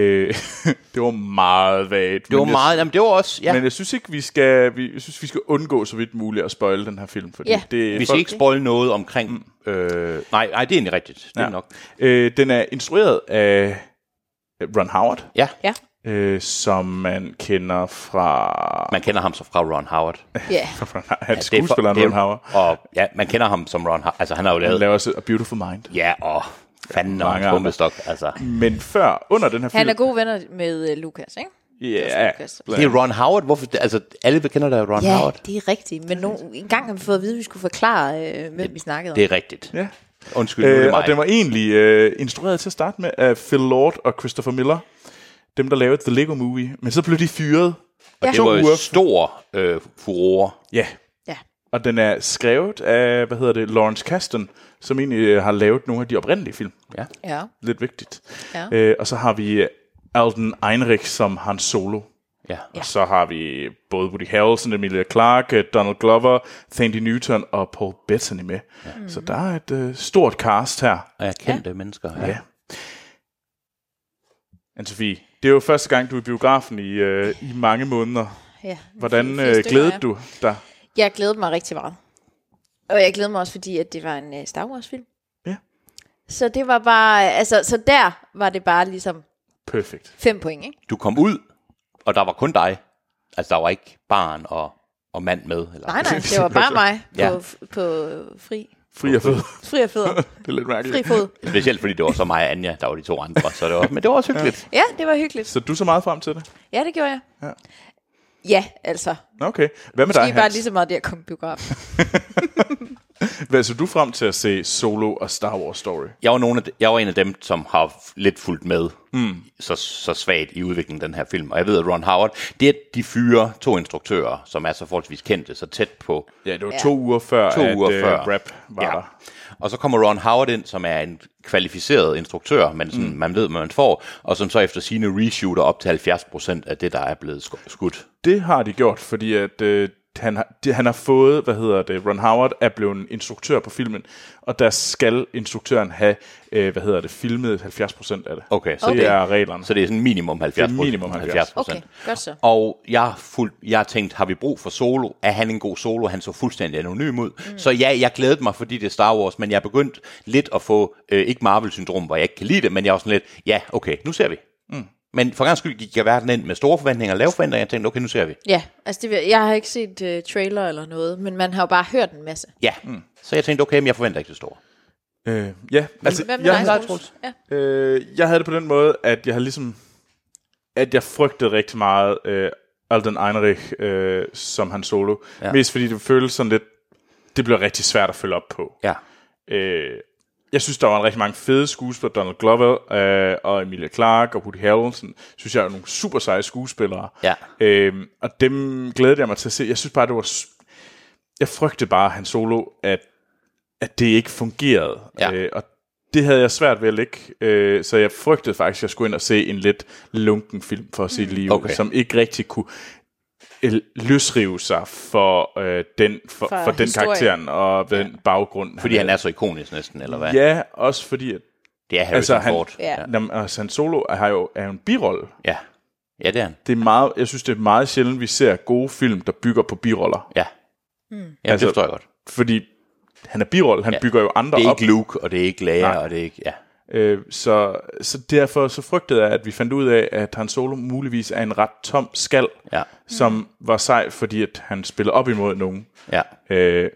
Speaker 1: Øh, det var meget vagt.
Speaker 3: det var
Speaker 1: men
Speaker 3: meget... Jamen, det var også... Ja.
Speaker 1: Jeg, men jeg synes ikke, vi skal, vi, jeg synes, vi skal undgå så vidt muligt at spoile den her film. Fordi
Speaker 2: Ja.
Speaker 1: det,
Speaker 3: Vi skal ikke spoil noget omkring... Øh, nej, nej, det er egentlig rigtigt. Det er
Speaker 1: Ja.
Speaker 3: nok.
Speaker 1: Øh, den er instrueret af Ron Howard,
Speaker 3: Ja,
Speaker 2: Ja.
Speaker 1: øh, som man kender fra...
Speaker 3: man kender ham så fra Ron Howard.
Speaker 2: Ja.
Speaker 1: fra han ja,
Speaker 3: Det er for-
Speaker 1: skuespilleren
Speaker 3: det er-
Speaker 1: Ron Howard.
Speaker 3: Og, ja, man kender ham som Ron Howard. Altså, han har jo
Speaker 1: Han
Speaker 3: lavet...
Speaker 1: laver også A Beautiful Mind.
Speaker 3: Ja, og fanden og
Speaker 1: Mange
Speaker 3: hans
Speaker 1: andre.
Speaker 3: bombestok. Altså.
Speaker 1: Men før, under den her film...
Speaker 2: Han er gode venner med øh, Lukas, ikke?
Speaker 1: Ja,
Speaker 2: Lukas.
Speaker 1: blandt-
Speaker 3: Det er Ron Howard. Hvorfor, altså, alle kender da Ron
Speaker 2: Ja,
Speaker 3: Howard.
Speaker 2: det er rigtigt. Men no, en gang har vi fået at vide, at vi skulle forklare, øh, hvem vi snakkede om.
Speaker 3: Det er rigtigt.
Speaker 1: ja.
Speaker 3: Undskyld, nu er det
Speaker 1: Øh, og
Speaker 3: mig.
Speaker 1: den var egentlig øh, instrueret til at starte med af Phil Lord og Christopher Miller. Dem, der lavede The Lego Movie. Men så blev de fyret.
Speaker 3: og det
Speaker 1: to
Speaker 3: var jo
Speaker 1: uger.
Speaker 3: stor øh, furore.
Speaker 1: Ja.
Speaker 2: Ja.
Speaker 1: Og den er skrevet af, hvad hedder det, Lawrence Kasdan, som egentlig øh, har lavet nogle af de oprindelige film.
Speaker 2: Ja.
Speaker 1: lidt vigtigt.
Speaker 2: Ja.
Speaker 1: Øh, og så har vi øh, Alden Einrich som Han Solo.
Speaker 3: Ja.
Speaker 1: Og så har vi øh, både Woody Harrelson, Emilia Clarke, øh, Donald Glover, Thandie Newton og Paul Bettany med. Ja. Så der er et øh, stort cast her.
Speaker 3: Og jeg kendte ja. mennesker. Ja.
Speaker 1: Ja. Anne-Sophie, det er jo første gang, du er i biografen i, øh, i mange måneder.
Speaker 2: ja.
Speaker 1: Hvordan
Speaker 2: Fire stykker,
Speaker 1: øh, glædede
Speaker 2: ja.
Speaker 1: du dig?
Speaker 2: Jeg glædede mig rigtig meget. Og jeg glædede mig også, fordi at det var en øh, Star Wars-film.
Speaker 1: Ja.
Speaker 2: Så det var bare, altså, så der var det bare ligesom
Speaker 1: Perfekt.
Speaker 2: fem point, ikke?
Speaker 3: Du kom ud, og der var kun dig. Altså, der var ikke barn og, og mand med. Eller
Speaker 2: Nej, nej, det var bare mig på,
Speaker 3: Ja.
Speaker 2: f- på fri
Speaker 1: Fri og fed.
Speaker 2: Fri af fødder.
Speaker 1: Det er lidt
Speaker 2: Fri
Speaker 1: mærkeligt.
Speaker 2: fod.
Speaker 3: Specielt fordi det var så mig og Anja, der var de to andre. Så det var, men det var også hyggeligt.
Speaker 2: Ja, det var hyggeligt.
Speaker 1: Så du så meget frem til det?
Speaker 2: Ja, det gjorde jeg.
Speaker 1: Ja.
Speaker 2: Ja, altså.
Speaker 1: Nå, Okay. Hvad med
Speaker 2: Det
Speaker 1: dig,
Speaker 2: er bare
Speaker 1: Hans?
Speaker 2: lige så meget der kom biograf.
Speaker 1: Hvad så du frem til at se Solo og Star Wars Story?
Speaker 3: Jeg var, nogen af de, jeg var en af dem, som har f- lidt fulgt med mm. så, så svagt i udviklingen af den her film. Og jeg ved, at Ron Howard, det er de fyre to instruktører, som er så forholdsvis kendte, så tæt på
Speaker 1: Ja, det var
Speaker 2: Ja.
Speaker 1: to uger før,
Speaker 3: to
Speaker 1: at
Speaker 3: uger
Speaker 1: øh,
Speaker 3: før.
Speaker 1: rap var ja. der.
Speaker 3: Og så kommer Ron Howard ind, som er en kvalificeret instruktør, men sådan, mm. man ved, hvad man får, og som så efter sine reshooter op til 70% af det, der er blevet sk- skudt.
Speaker 1: Det har de gjort, fordi at, øh, han, har, de, han har fået, hvad hedder det, Ron Howard er blevet en instruktør på filmen, og der skal instruktøren have, øh, hvad hedder det, filmet 70% af det.
Speaker 3: Okay, så,
Speaker 1: Det
Speaker 3: okay.
Speaker 2: Okay.
Speaker 3: Det,
Speaker 1: er reglerne.
Speaker 3: så det er sådan minimum 70%.
Speaker 1: Det er minimum 70.
Speaker 2: Okay, godt så.
Speaker 3: Og jeg har, fuld, jeg har tænkt, har vi brug for solo? Er han en god solo? Han så fuldstændig anonym ud. Mm. Så ja, jeg glædede mig, fordi det er Star Wars, men jeg er begyndt lidt at få, øh, ikke Marvel-syndrom, hvor jeg ikke kan lide det, men jeg er også sådan lidt, ja, okay, nu ser vi. Mm. Men for gangs skyld gik jeg verden ind med store forventninger og lave forventninger, jeg tænkte, okay, nu ser vi.
Speaker 2: Ja, altså det, vil- jeg har ikke set uh, trailer eller noget, men man har jo bare hørt en masse.
Speaker 3: Ja, mm. så jeg tænkte, okay, men jeg forventer ikke det store.
Speaker 1: Øh, ja, altså,
Speaker 2: Hvad med
Speaker 1: jeg,
Speaker 2: dig,
Speaker 1: havde-
Speaker 2: Troels? Ja.
Speaker 1: øh, jeg havde det på den måde, at jeg havde ligesom, at jeg frygtede rigtig meget øh, Alden Einrich øh, som han solo. Ja. Mest fordi det føltes sådan lidt, det blev rigtig svært at følge op på.
Speaker 3: Ja.
Speaker 1: Øh, jeg synes, der var en rigtig mange fede skuespillere. Donald Glover øh, og Emilia Clarke og Woody Harrelson, synes jeg er nogle super seje skuespillere.
Speaker 3: Ja.
Speaker 1: Øh, og dem glædede jeg mig til at se. Jeg synes bare, det var... s- Jeg frygtede bare, han solo, at, at det ikke fungerede.
Speaker 3: Ja.
Speaker 1: Øh, og det havde jeg svært ved at lægge, øh, så jeg frygtede faktisk, at jeg skulle ind og se en lidt lunken film for at se livet,
Speaker 3: Okay.
Speaker 1: okay. som ikke rigtig kunne øh, løsrive sig for, øh, den, for,
Speaker 2: For
Speaker 1: for, for den
Speaker 2: historien.
Speaker 1: karakteren og den baggrund.
Speaker 3: Fordi han
Speaker 1: havde.
Speaker 3: er så ikonisk næsten, eller hvad?
Speaker 1: Ja, også fordi, at
Speaker 3: Det er Harrison
Speaker 1: Altså, han-
Speaker 3: Ford.
Speaker 2: Ja.
Speaker 1: jamen, altså, han solo har jo, er jo en birolle.
Speaker 3: ja. Ja, det er han.
Speaker 1: Det er meget, jeg synes, det er meget sjældent, vi ser gode film, der bygger på biroller.
Speaker 3: Ja. Mm. Ja, altså,
Speaker 1: Altså,
Speaker 3: det forstår jeg godt.
Speaker 1: Fordi han er birolle, han ja. bygger jo andre
Speaker 3: Det er
Speaker 1: op.
Speaker 3: ikke Luke, og det er ikke Leia,
Speaker 1: Nej.
Speaker 3: og det er ikke... Ja.
Speaker 1: Øh, så, så derfor så frygtede jeg, at vi fandt ud af, at han solo muligvis er en ret tom skal,
Speaker 3: Ja.
Speaker 1: som var sej, fordi at han spiller op imod nogen.
Speaker 3: ja.
Speaker 1: Øh,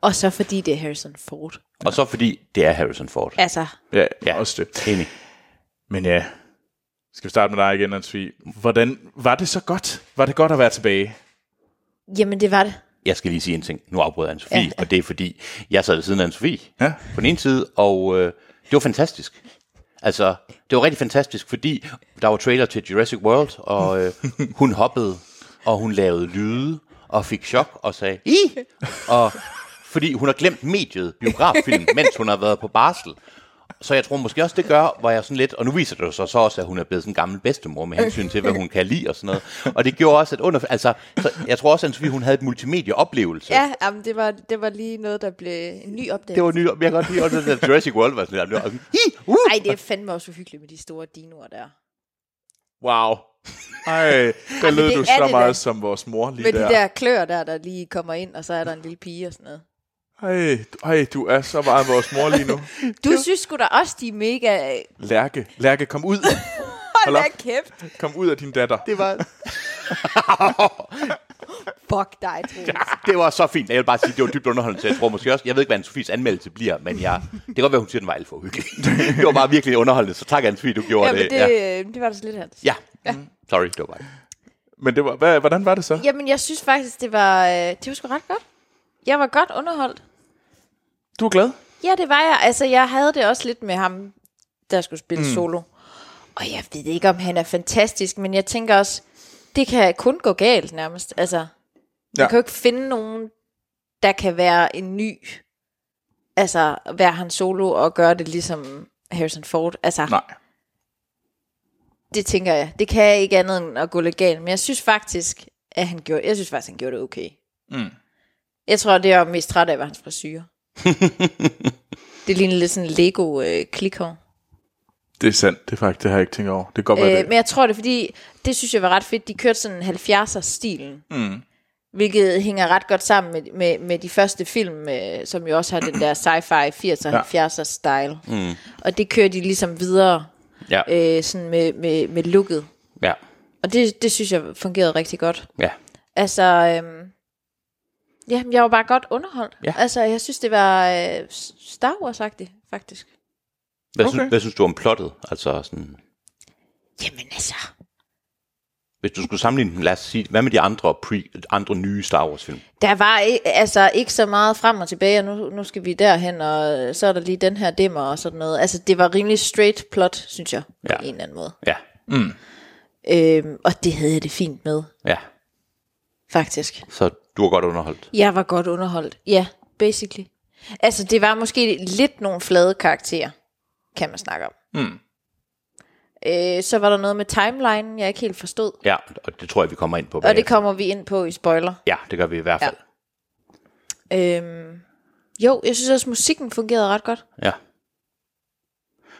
Speaker 2: Og så fordi det er Harrison Ford.
Speaker 3: Og så fordi det er Harrison Ford.
Speaker 2: Altså,
Speaker 1: ja,
Speaker 3: Ja.
Speaker 1: ja, også det.
Speaker 3: Enig.
Speaker 1: Men ja, skal vi starte med dig igen, Ansvi. Hvordan var det så godt? Var det godt at være tilbage?
Speaker 2: jamen det var det.
Speaker 3: Jeg skal lige sige en ting. Nu afbryder jeg Anne-Sophie,
Speaker 2: Ja.
Speaker 3: ja. og det er fordi, jeg sad ved siden af Anne-Sophie
Speaker 1: Ja.
Speaker 3: på den ene side, og øh, det var fantastisk. Altså, det var rigtig fantastisk, fordi der var trailer til Jurassic World, og øh, hun hoppede, og hun lavede lyde, og fik chok, og sagde, i, og fordi hun har glemt mediet, biograffilm, mens hun har været på barsel. Så jeg tror måske også, det gør, hvor jeg sådan lidt, og nu viser det jo så, så også, at hun er blevet sådan en gammel bedstemor med hensyn til, hvad hun kan lide og sådan noget. Og det gjorde også, at under, altså, så jeg tror også, at hun havde et multimedieoplevelse.
Speaker 2: Ja, jamen, det, var, det var lige noget, der blev en ny opdagelse.
Speaker 3: Det var nyt, men jeg kan godt lide, under det der Jurassic World var sådan der. Hi, uh!
Speaker 2: Ej, det er fandme også uhyggeligt med de store dinoer der.
Speaker 1: Wow. Ej, der lød
Speaker 2: det
Speaker 1: du
Speaker 2: er
Speaker 1: så
Speaker 2: det da.
Speaker 1: meget som vores mor lige
Speaker 2: Med
Speaker 1: der.
Speaker 2: de der klør der, der lige kommer ind, og så er der en lille pige og sådan noget.
Speaker 1: Ej, du- ej, du er så meget vores mor lige nu.
Speaker 2: Du synes sgu da også, de er mega...
Speaker 1: Lærke, Lærke, kom ud.
Speaker 2: Hold da
Speaker 1: op.
Speaker 2: kæft.
Speaker 1: Kom ud af din datter.
Speaker 3: Det var,
Speaker 2: Fuck dig, Troels. Ja.
Speaker 3: det var så fint. Jeg vil bare sige, det var dybt underholdende, så jeg tror måske også, jeg ved ikke, hvad Anne-Sophies anmeldelse bliver, men jeg, det kan godt være, hun siger, den var alt for uhyggelig. det var bare virkelig underholdende, så tak Anne-Sophie, du gjorde
Speaker 2: Ja, men
Speaker 3: det. Ja.
Speaker 2: det, øh, det var da så lidt hans.
Speaker 3: ja. Mm. Sorry, det var bare.
Speaker 1: Men det var, hvad, hvordan var det så?
Speaker 2: Jamen, jeg synes faktisk, det var, øh, det var sgu ret godt. Jeg var godt underholdt.
Speaker 1: Du er glad?
Speaker 2: Ja, det var jeg. Altså, jeg havde det også lidt med ham, der skulle spille mm. solo. Og jeg ved ikke, om han er fantastisk, men jeg tænker også, det kan kun gå galt nærmest. Altså, ja.
Speaker 1: Ja.
Speaker 2: man kan jo ikke finde nogen, der kan være en ny, altså være han solo og gøre det ligesom Harrison Ford. Altså,
Speaker 1: Nej.
Speaker 2: det tænker jeg. Det kan jeg ikke andet end at gå lidt galt. Men jeg synes faktisk, at han gjorde, jeg synes faktisk, han gjorde det okay. Mm. Jeg tror, det jeg var mest træt af, var hans frisyr. det lignede lidt sådan en Lego øh, klikhår.
Speaker 1: Det er sandt, det er faktisk, det har jeg ikke tænkt over. Det kan godt være
Speaker 2: Øh,
Speaker 1: det.
Speaker 2: men jeg tror det, er, fordi det synes jeg var ret fedt. De kørte sådan 70'er-stilen. Mm. Hvilket hænger ret godt sammen med, med, med de første film, øh, som jo også har den der sci-fi 80'er og ja. 70'er style. Mm. Og det kører de ligesom videre
Speaker 3: Ja.
Speaker 2: øh, sådan med, med, med looket.
Speaker 3: ja.
Speaker 2: Og det, det synes jeg fungerede rigtig godt.
Speaker 3: Ja.
Speaker 2: Altså, øhm, Ja, jeg var bare godt underholdt.
Speaker 3: Ja.
Speaker 2: Ja. Altså, jeg synes, det var øh, Star wars faktisk.
Speaker 3: Hvad, okay.
Speaker 1: Okay.
Speaker 3: synes, hvad synes du om plottet? Altså sådan,
Speaker 2: Jamen altså,
Speaker 3: hvis du skulle sammenligne den, lad os sige, hvad med de andre, pre, andre nye Star Wars-film?
Speaker 2: der var i- altså ikke så meget frem og tilbage, og nu, nu skal vi derhen, og øh, så er der lige den her dimmer og sådan noget. Altså, det var rimelig straight plot, synes jeg, på
Speaker 3: Ja.
Speaker 2: ja. en eller anden måde.
Speaker 3: Ja,
Speaker 2: Øhm, og det havde jeg det fint med,
Speaker 3: ja.
Speaker 2: faktisk.
Speaker 3: Så du er godt underholdt.
Speaker 2: Jeg var godt underholdt. Ja, basically. Altså, det var måske lidt nogle flade karakterer, kan man snakke om. Mm.
Speaker 1: Hmm.
Speaker 2: Øh, så var der noget med timelinen, jeg ikke helt forstod.
Speaker 3: Ja, og det tror jeg, vi kommer ind på.
Speaker 2: Og det
Speaker 3: bagefter.
Speaker 2: kommer vi ind på i spoiler.
Speaker 3: Ja, det gør vi i hvert fald.
Speaker 2: Øhm, jo, jeg synes også, musikken fungerede ret godt.
Speaker 3: Ja. ja.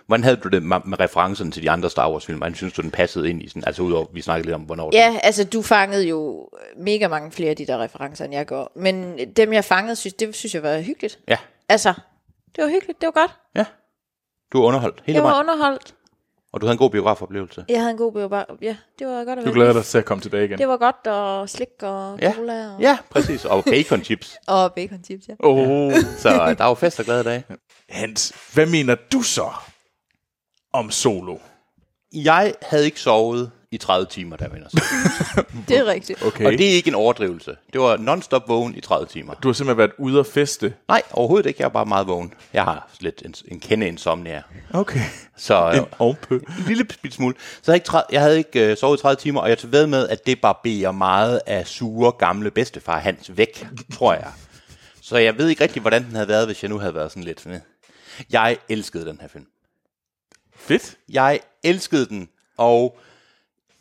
Speaker 3: Hvordan havde du det med, med referencen til de andre Star Wars-film? Hvordan synes du, den passede ind i sådan? Altså udover, vi snakkede lidt om, hvornår den-
Speaker 2: Ja, altså du fangede jo mega mange flere af de der referencer, end jeg gjorde. Men dem, jeg fangede, synes, det synes jeg var hyggeligt.
Speaker 3: Ja,
Speaker 2: Altså, det var hyggeligt, det var godt.
Speaker 3: ja. Du var underholdt hele
Speaker 2: Jeg var
Speaker 3: vejen,
Speaker 2: underholdt.
Speaker 3: og du havde en god biografoplevelse.
Speaker 2: Jeg havde en god biobar. Ja, det var godt at
Speaker 1: Du
Speaker 2: være
Speaker 1: glæder
Speaker 2: med.
Speaker 1: dig til at komme tilbage igen.
Speaker 2: Det var godt, og slik og
Speaker 3: Ja,
Speaker 2: cola og,
Speaker 3: ja præcis. Og bacon chips.
Speaker 2: og bacon chips, ja.
Speaker 1: Åh, oh,
Speaker 3: Så øh, der var fest og glade dage.
Speaker 1: Hans, hvad mener du så om Solo?
Speaker 3: Jeg havde ikke sovet i 30 timer, der vinder.
Speaker 2: Det er rigtigt.
Speaker 1: Okay.
Speaker 3: Og det er ikke en overdrivelse. Det var non-stop vågen i 30 timer.
Speaker 1: Du har simpelthen været ude at feste.
Speaker 3: Nej, overhovedet ikke. Jeg var bare meget vågen. Jeg har lidt en, en kende insomnia.
Speaker 1: Okay.
Speaker 3: Så øh,
Speaker 1: En ovenpø.
Speaker 3: en lille bitte smule. Så jeg, havde ikke, tre- jeg havde ikke øh, sovet i 30 timer, og jeg tog ved med, at det barberer meget af sure, gamle bedstefar Hans væk, tror jeg. Så jeg ved ikke rigtig, hvordan den havde været, hvis jeg nu havde været sådan lidt... "Næh." Jeg elskede den her film.
Speaker 1: Fedt.
Speaker 3: Jeg elskede den, og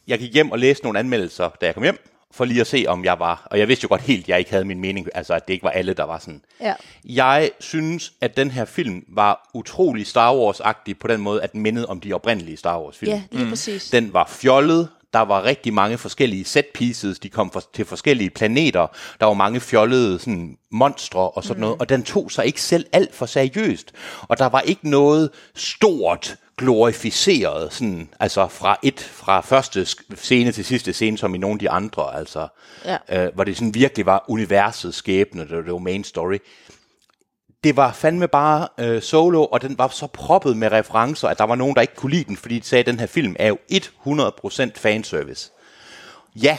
Speaker 3: jeg gik hjem og læste nogle anmeldelser, da jeg kom hjem, for lige at se, om jeg var... Og jeg vidste jo godt helt, at jeg ikke havde min mening, altså at det ikke var alle, der var sådan.
Speaker 2: Ja.
Speaker 3: Jeg synes, at den her film var utrolig Star Wars-agtig på den måde, at den mindede om de oprindelige Star Wars-film.
Speaker 2: Ja, lige mm. præcis.
Speaker 3: Den var fjollet. Der var rigtig mange forskellige set pieces. De kom for, til forskellige planeter. Der var mange fjollede sådan, monstre og sådan mm. noget. Og den tog sig ikke selv alt for seriøst. Og der var ikke noget stort glorificeret, sådan, altså fra et, fra første sk- scene til sidste scene, som i nogle af de andre, altså,
Speaker 2: Ja.
Speaker 3: øh, hvor det sådan virkelig var universets skæbne, det, var- det var main story det var fandme bare øh, solo, og den var så proppet med referencer, at der var nogen, der ikke kunne lide den, fordi de sagde, at den her film er jo 100% fanservice. Ja,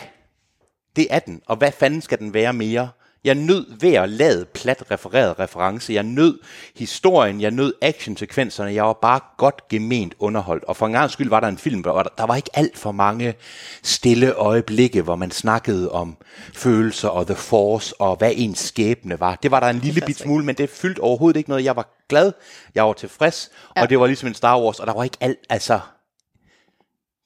Speaker 3: det er den. Og hvad fanden skal den være mere? Jeg nød ved at lade plat refereret reference. Jeg nød historien, jeg nød actionsekvenserne. Jeg var bare godt gement underholdt. Og for en gang skyld var der en film, hvor der, der var ikke alt for mange stille øjeblikke, hvor man snakkede om følelser og The Force og hvad ens skæbne var. Det var der en lille bit smule, men det fyldte overhovedet ikke noget. Jeg var glad, jeg var tilfreds, ja. og det var ligesom en Star Wars, og der var ikke alt, altså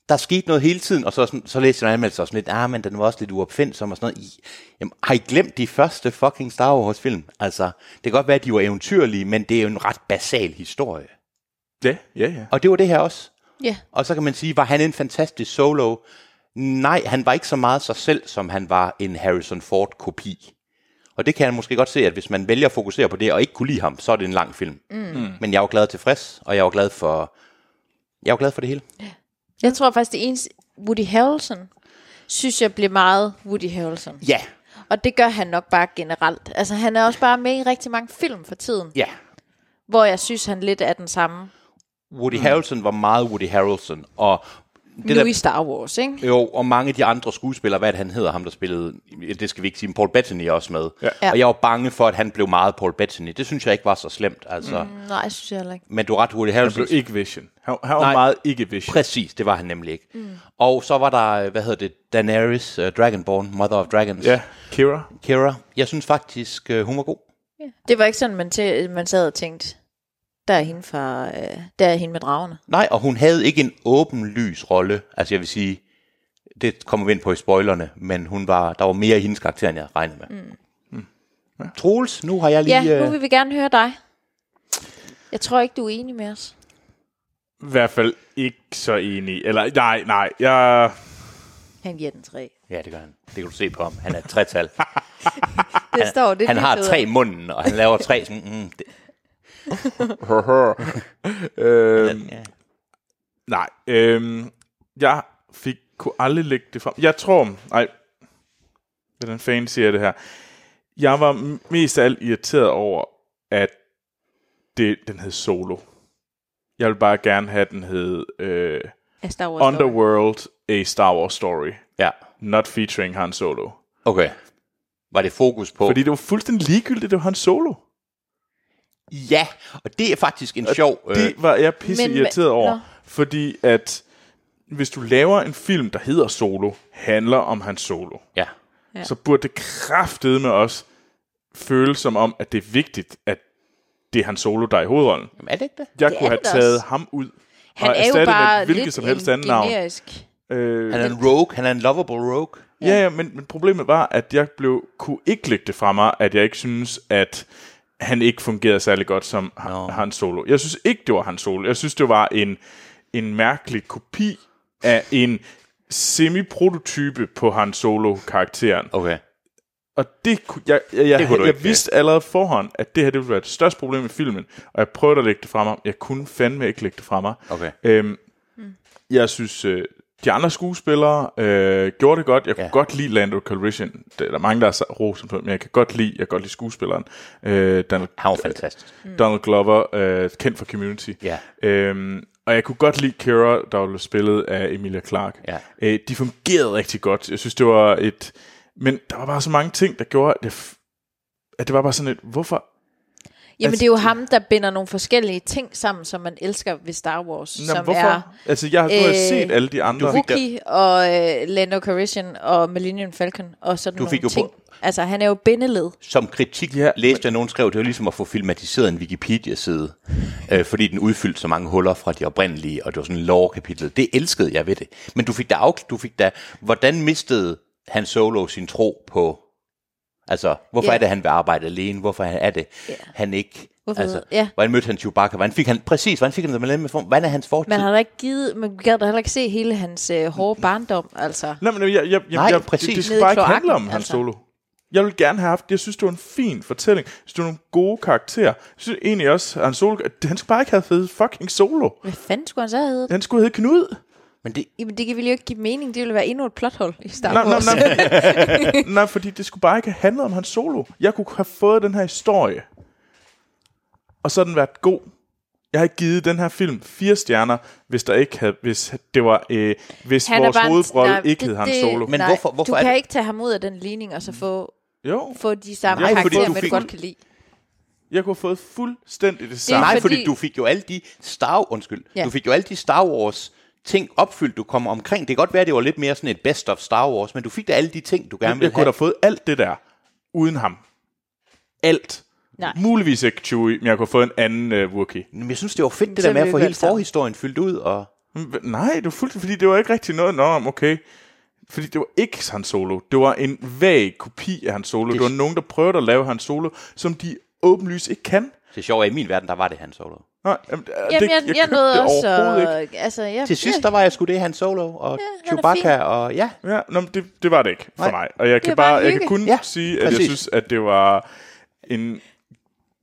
Speaker 3: der skete noget hele tiden, og så, sådan, så læste jeg en anmeldelse og sådan lidt, ah, men den var også lidt uopfindsom og sådan noget. I, jamen, har I glemt de første fucking Star Wars film? Altså, det kan godt være, at de var eventyrlige, men det er jo en ret basal historie.
Speaker 1: Ja, ja, ja.
Speaker 3: Og det var det her også.
Speaker 2: Ja,
Speaker 3: Og så kan man sige, var han en fantastisk solo? Nej, han var ikke så meget sig selv, som han var en Harrison Ford-kopi. Og det kan han måske godt se, at hvis man vælger at fokusere på det, og ikke kunne lide ham, så er det en lang film. Mm. Men jeg var glad og tilfreds, og jeg var glad for, jeg var glad for det hele.
Speaker 2: jeg tror faktisk, det eneste Woody Harrelson, synes jeg bliver meget Woody Harrelson.
Speaker 3: Ja,
Speaker 2: Og det gør han nok bare generelt. Altså, han er også bare med i rigtig mange film for tiden,
Speaker 3: ja.
Speaker 2: hvor jeg synes, han lidt er den samme.
Speaker 1: Mm.
Speaker 3: Woody Harrelson var meget Woody Harrelson, og det
Speaker 2: Det nu
Speaker 3: der,
Speaker 2: i Star Wars, ikke?
Speaker 3: jo, og mange af de andre skuespillere, hvad er det, han hedder, ham der spillede, det skal vi ikke sige, men Paul Bettany er også med.
Speaker 2: Ja.
Speaker 3: Og jeg var bange for, at han blev meget Paul Bettany. Det synes jeg ikke var så slemt, altså. Mm.
Speaker 2: Nej, synes jeg heller ikke.
Speaker 3: Men du er ret, Woody
Speaker 1: Han
Speaker 3: Harrelson.
Speaker 1: blev ikke vision. Han, han var
Speaker 3: Nej.
Speaker 1: meget ikke vision.
Speaker 3: Præcis, det var han nemlig ikke. Mm. Og så var der, øh, hvad hedder det, Daenerys, uh, Dragonborn, Mother of Dragons,
Speaker 1: Ja, Kira.
Speaker 3: Kira. Jeg synes faktisk, uh, hun var god.
Speaker 2: Det var ikke sådan, man, tæ- man sad og tænkte, der er hende, fra, øh, der er hende med dragerne.
Speaker 3: Nej, og hun havde ikke en åben lys rolle. Altså jeg vil sige, det kommer vi ind på i spoilerne, men hun var, der var mere i hendes karakter, end jeg regnede med. Mm. Mm. Troels, nu har jeg lige...
Speaker 2: Ja, nu
Speaker 3: øh,
Speaker 2: vil vi gerne høre dig. Jeg tror ikke, du er enig med os.
Speaker 1: I hvert fald ikke så enig. Eller, nej, nej. Jeg,
Speaker 2: Han giver den tre.
Speaker 3: ja, det gør han. Det kan du se på ham. Han er et tretal.
Speaker 2: Det står det.
Speaker 3: han har tre i munden, og han laver tre sådan... Mm, det,
Speaker 1: øh,
Speaker 3: ja.
Speaker 1: nej. Øh, jeg fik, kunne aldrig lægge det frem. Jeg tror... Nej. Hvordan fanden siger jeg det her? Jeg var m- mest af alt irriteret over, at det, den hed Solo. Jeg ville bare gerne have, at den hed øh,
Speaker 2: af Star Wars. Story.
Speaker 1: Underworld, A Star Wars Story.
Speaker 3: Ja,
Speaker 1: Not featuring Han Solo.
Speaker 3: okay. Var det fokus på...
Speaker 1: Fordi det var fuldstændig ligegyldigt, det var Han Solo.
Speaker 3: Ja, og det er faktisk en sjov... Øh,
Speaker 1: Det var jeg pisse
Speaker 2: Men-
Speaker 1: irriteret
Speaker 2: men-
Speaker 1: over.
Speaker 2: nå.
Speaker 1: Fordi at hvis du laver en film, der hedder Solo, handler om hans solo,
Speaker 3: ja.
Speaker 1: ja. så burde det kraftede med os føles som om, at det er vigtigt, at det er hans solo, der er i hovedrollen.
Speaker 3: Jamen, er det ikke det?
Speaker 1: Jeg
Speaker 2: Det
Speaker 1: kunne
Speaker 2: er
Speaker 1: have
Speaker 2: det
Speaker 1: taget
Speaker 2: også.
Speaker 1: ham ud
Speaker 2: Han
Speaker 1: og
Speaker 2: er jo
Speaker 1: erstattet
Speaker 2: bare
Speaker 1: med hvilket
Speaker 2: lidt
Speaker 1: som helst
Speaker 2: en
Speaker 1: andet navn.
Speaker 2: generisk.
Speaker 1: Øh,
Speaker 3: Han er en rogue, han er en lovable rogue.
Speaker 1: Ja, ja men, men problemet var, at jeg blev, kunne ikke lægge det fra mig, at jeg ikke synes, at han ikke fungerede særlig godt som no. Han Solo. Jeg synes ikke, det var Han Solo. Jeg synes, det var en, en mærkelig kopi af en semi-prototype på Han Solo-karakteren.
Speaker 3: Okay.
Speaker 1: Og det kunne, jeg, jeg, jeg,
Speaker 3: Det kunne du
Speaker 1: jeg,
Speaker 3: ikke,
Speaker 1: jeg vidste allerede forhånd, at det her det ville være det største problem i filmen, og jeg prøvede at lægge det fra mig. Jeg kunne fandme ikke lægge det fra mig.
Speaker 3: Okay.
Speaker 1: Øhm, mm. Jeg synes, øh, de andre skuespillere øh, gjorde det godt. Jeg kunne
Speaker 3: Ja.
Speaker 1: ja. godt lide Lando Calrissian. Der der er mange, der er rosen på, men jeg kan godt lide, jeg kan godt lide skuespilleren. Øh, Donald,
Speaker 3: Han var fantastisk.
Speaker 1: mm. Donald Glover, øh, kendt fra Community.
Speaker 3: Ja.
Speaker 1: Øhm, og jeg kunne godt lide Kira, der blev spillet af Emilia Clarke.
Speaker 3: Ja.
Speaker 1: Øh, de fungerede rigtig godt. Jeg synes, det var et... Men der var bare så mange ting, der gjorde, at det, f- at det var bare sådan et... Hvorfor?
Speaker 2: Jamen,
Speaker 1: Altså,
Speaker 2: det er jo ham, der binder nogle forskellige ting sammen, som man elsker ved Star Wars,
Speaker 1: Nå,
Speaker 2: som
Speaker 1: hvorfor?
Speaker 2: er
Speaker 1: altså, jeg har, nu har jeg
Speaker 2: øh,
Speaker 1: set alle de andre.
Speaker 3: fik-
Speaker 2: Wookie og øh, Lando Calrissian og Millennium Falcon og sådan
Speaker 3: Du
Speaker 2: nogle
Speaker 3: fik jo
Speaker 2: ting.
Speaker 3: på-
Speaker 2: Altså, han er jo bindeled.
Speaker 3: Som kritik ja,
Speaker 1: Ja,
Speaker 3: læste jeg, nogen skrev, det var ligesom at få filmatiseret en Wikipedia-side, øh, fordi den udfyldte så mange huller fra de oprindelige, og det var sådan lore kapitel. Det elskede jeg ved det. Men du fik da, af, du fik da hvordan mistede han Solo sin tro på, altså, hvorfor
Speaker 2: Ja.
Speaker 3: er det, han vil arbejde alene? Hvorfor er det, han ikke...
Speaker 2: Hvorfor-
Speaker 3: altså,
Speaker 2: ja.
Speaker 3: Hvordan mødte han Chewbacca? Hvordan fik han, præcis, hvordan fik han det med med form? Hvordan er hans fortid?
Speaker 2: Man har da ikke givet, man gad da heller ikke se hele hans øh, hårde barndom, altså.
Speaker 1: Nej, men jeg, jeg, jeg,
Speaker 3: Nej,
Speaker 1: jeg,
Speaker 3: præcis.
Speaker 1: Det, det
Speaker 2: Nede i
Speaker 1: skulle bare ikke
Speaker 2: kloakken,
Speaker 1: handle om hans
Speaker 2: altså.
Speaker 1: solo. Jeg ville gerne have haft, jeg synes, det var en fin fortælling. Jeg synes, det var nogle gode karakterer. Jeg synes egentlig også, at han, solo, at han skulle bare ikke have fået fucking solo.
Speaker 2: Hvad fanden skulle han så have heddet?
Speaker 1: Han skulle hedde Knud.
Speaker 3: Men det,
Speaker 2: Jamen, det ville jo ikke give mening. Det ville være endnu et plothul i Star
Speaker 1: Nej, nej,
Speaker 2: Wars.
Speaker 1: nej. nej, fordi det skulle bare ikke have handlet om hans solo. Jeg kunne have fået den her historie, og så havde den været god. Jeg har givet den her film fire stjerner, hvis der ikke havde, hvis det var, øh, hvis
Speaker 2: Han er
Speaker 1: vores
Speaker 2: bare en-
Speaker 1: hovedrolle
Speaker 2: nej,
Speaker 1: ikke
Speaker 2: det-
Speaker 1: hed Han
Speaker 2: det-
Speaker 1: Solo.
Speaker 3: Men
Speaker 2: nej,
Speaker 3: hvorfor- hvorfor
Speaker 2: du
Speaker 3: er
Speaker 2: kan
Speaker 3: det-
Speaker 2: ikke tage ham ud af den ligning, og så få,
Speaker 1: Jo,
Speaker 2: få de samme
Speaker 1: Nej,
Speaker 2: nej,
Speaker 1: fordi
Speaker 2: karakterer,
Speaker 1: du
Speaker 2: men du
Speaker 1: fik-
Speaker 2: godt kan lide.
Speaker 1: jeg kunne have fået fuldstændig det samme.
Speaker 2: er
Speaker 3: Nej, fordi,
Speaker 2: fordi-
Speaker 3: fordi du fik jo alle de Star, undskyld, ja.
Speaker 2: Ja.
Speaker 3: du fik jo alle de Star Wars ting opfyldt, du kommer omkring. Det kan godt være, det var lidt mere sådan et best of Star Wars, men du fik da alle de ting, du gerne
Speaker 1: Jeg
Speaker 3: ville
Speaker 1: kunne
Speaker 3: have.
Speaker 1: da have fået alt det der, uden ham. Alt.
Speaker 2: Nej.
Speaker 1: Muligvis ikke Chewie, men jeg kunne have fået en anden øh, Wookie.
Speaker 3: Men jeg synes, det var fedt det
Speaker 2: Så
Speaker 3: der med at
Speaker 2: vil
Speaker 3: få
Speaker 2: vi
Speaker 3: hele
Speaker 2: alt sammen.
Speaker 3: forhistorien fyldt ud. Og...
Speaker 1: Hva- Nej, det var fuldt, fordi det var ikke rigtig noget, nå, men okay. Fordi det var ikke Han Solo. Det var en vag kopi af Han Solo. Det,
Speaker 3: Det-
Speaker 1: det var nogen, der prøvede at lave Han Solo, som de åbenlyst ikke kan.
Speaker 3: Det sjove er, i min verden, der var det Han Solo.
Speaker 1: Nej, jamen, øh, det,
Speaker 2: Jamen, jeg, jeg,
Speaker 1: købte det
Speaker 2: nåede også...
Speaker 1: overhovedet ikke.
Speaker 2: Ikke. Altså, jeg,
Speaker 3: Til sidst, der var jeg sgu det Han Solo og
Speaker 2: han er
Speaker 3: ja, Chewbacca, og ja,
Speaker 1: Ja, nå, men det, det var det ikke for
Speaker 3: Nej.
Speaker 1: Nej. mig. Og jeg
Speaker 2: var
Speaker 1: kan,
Speaker 2: bare
Speaker 1: bare, jeg
Speaker 2: hygge.
Speaker 1: kan kun
Speaker 3: Ja,
Speaker 1: ja, sige, at
Speaker 3: præcis.
Speaker 1: jeg synes, at det var en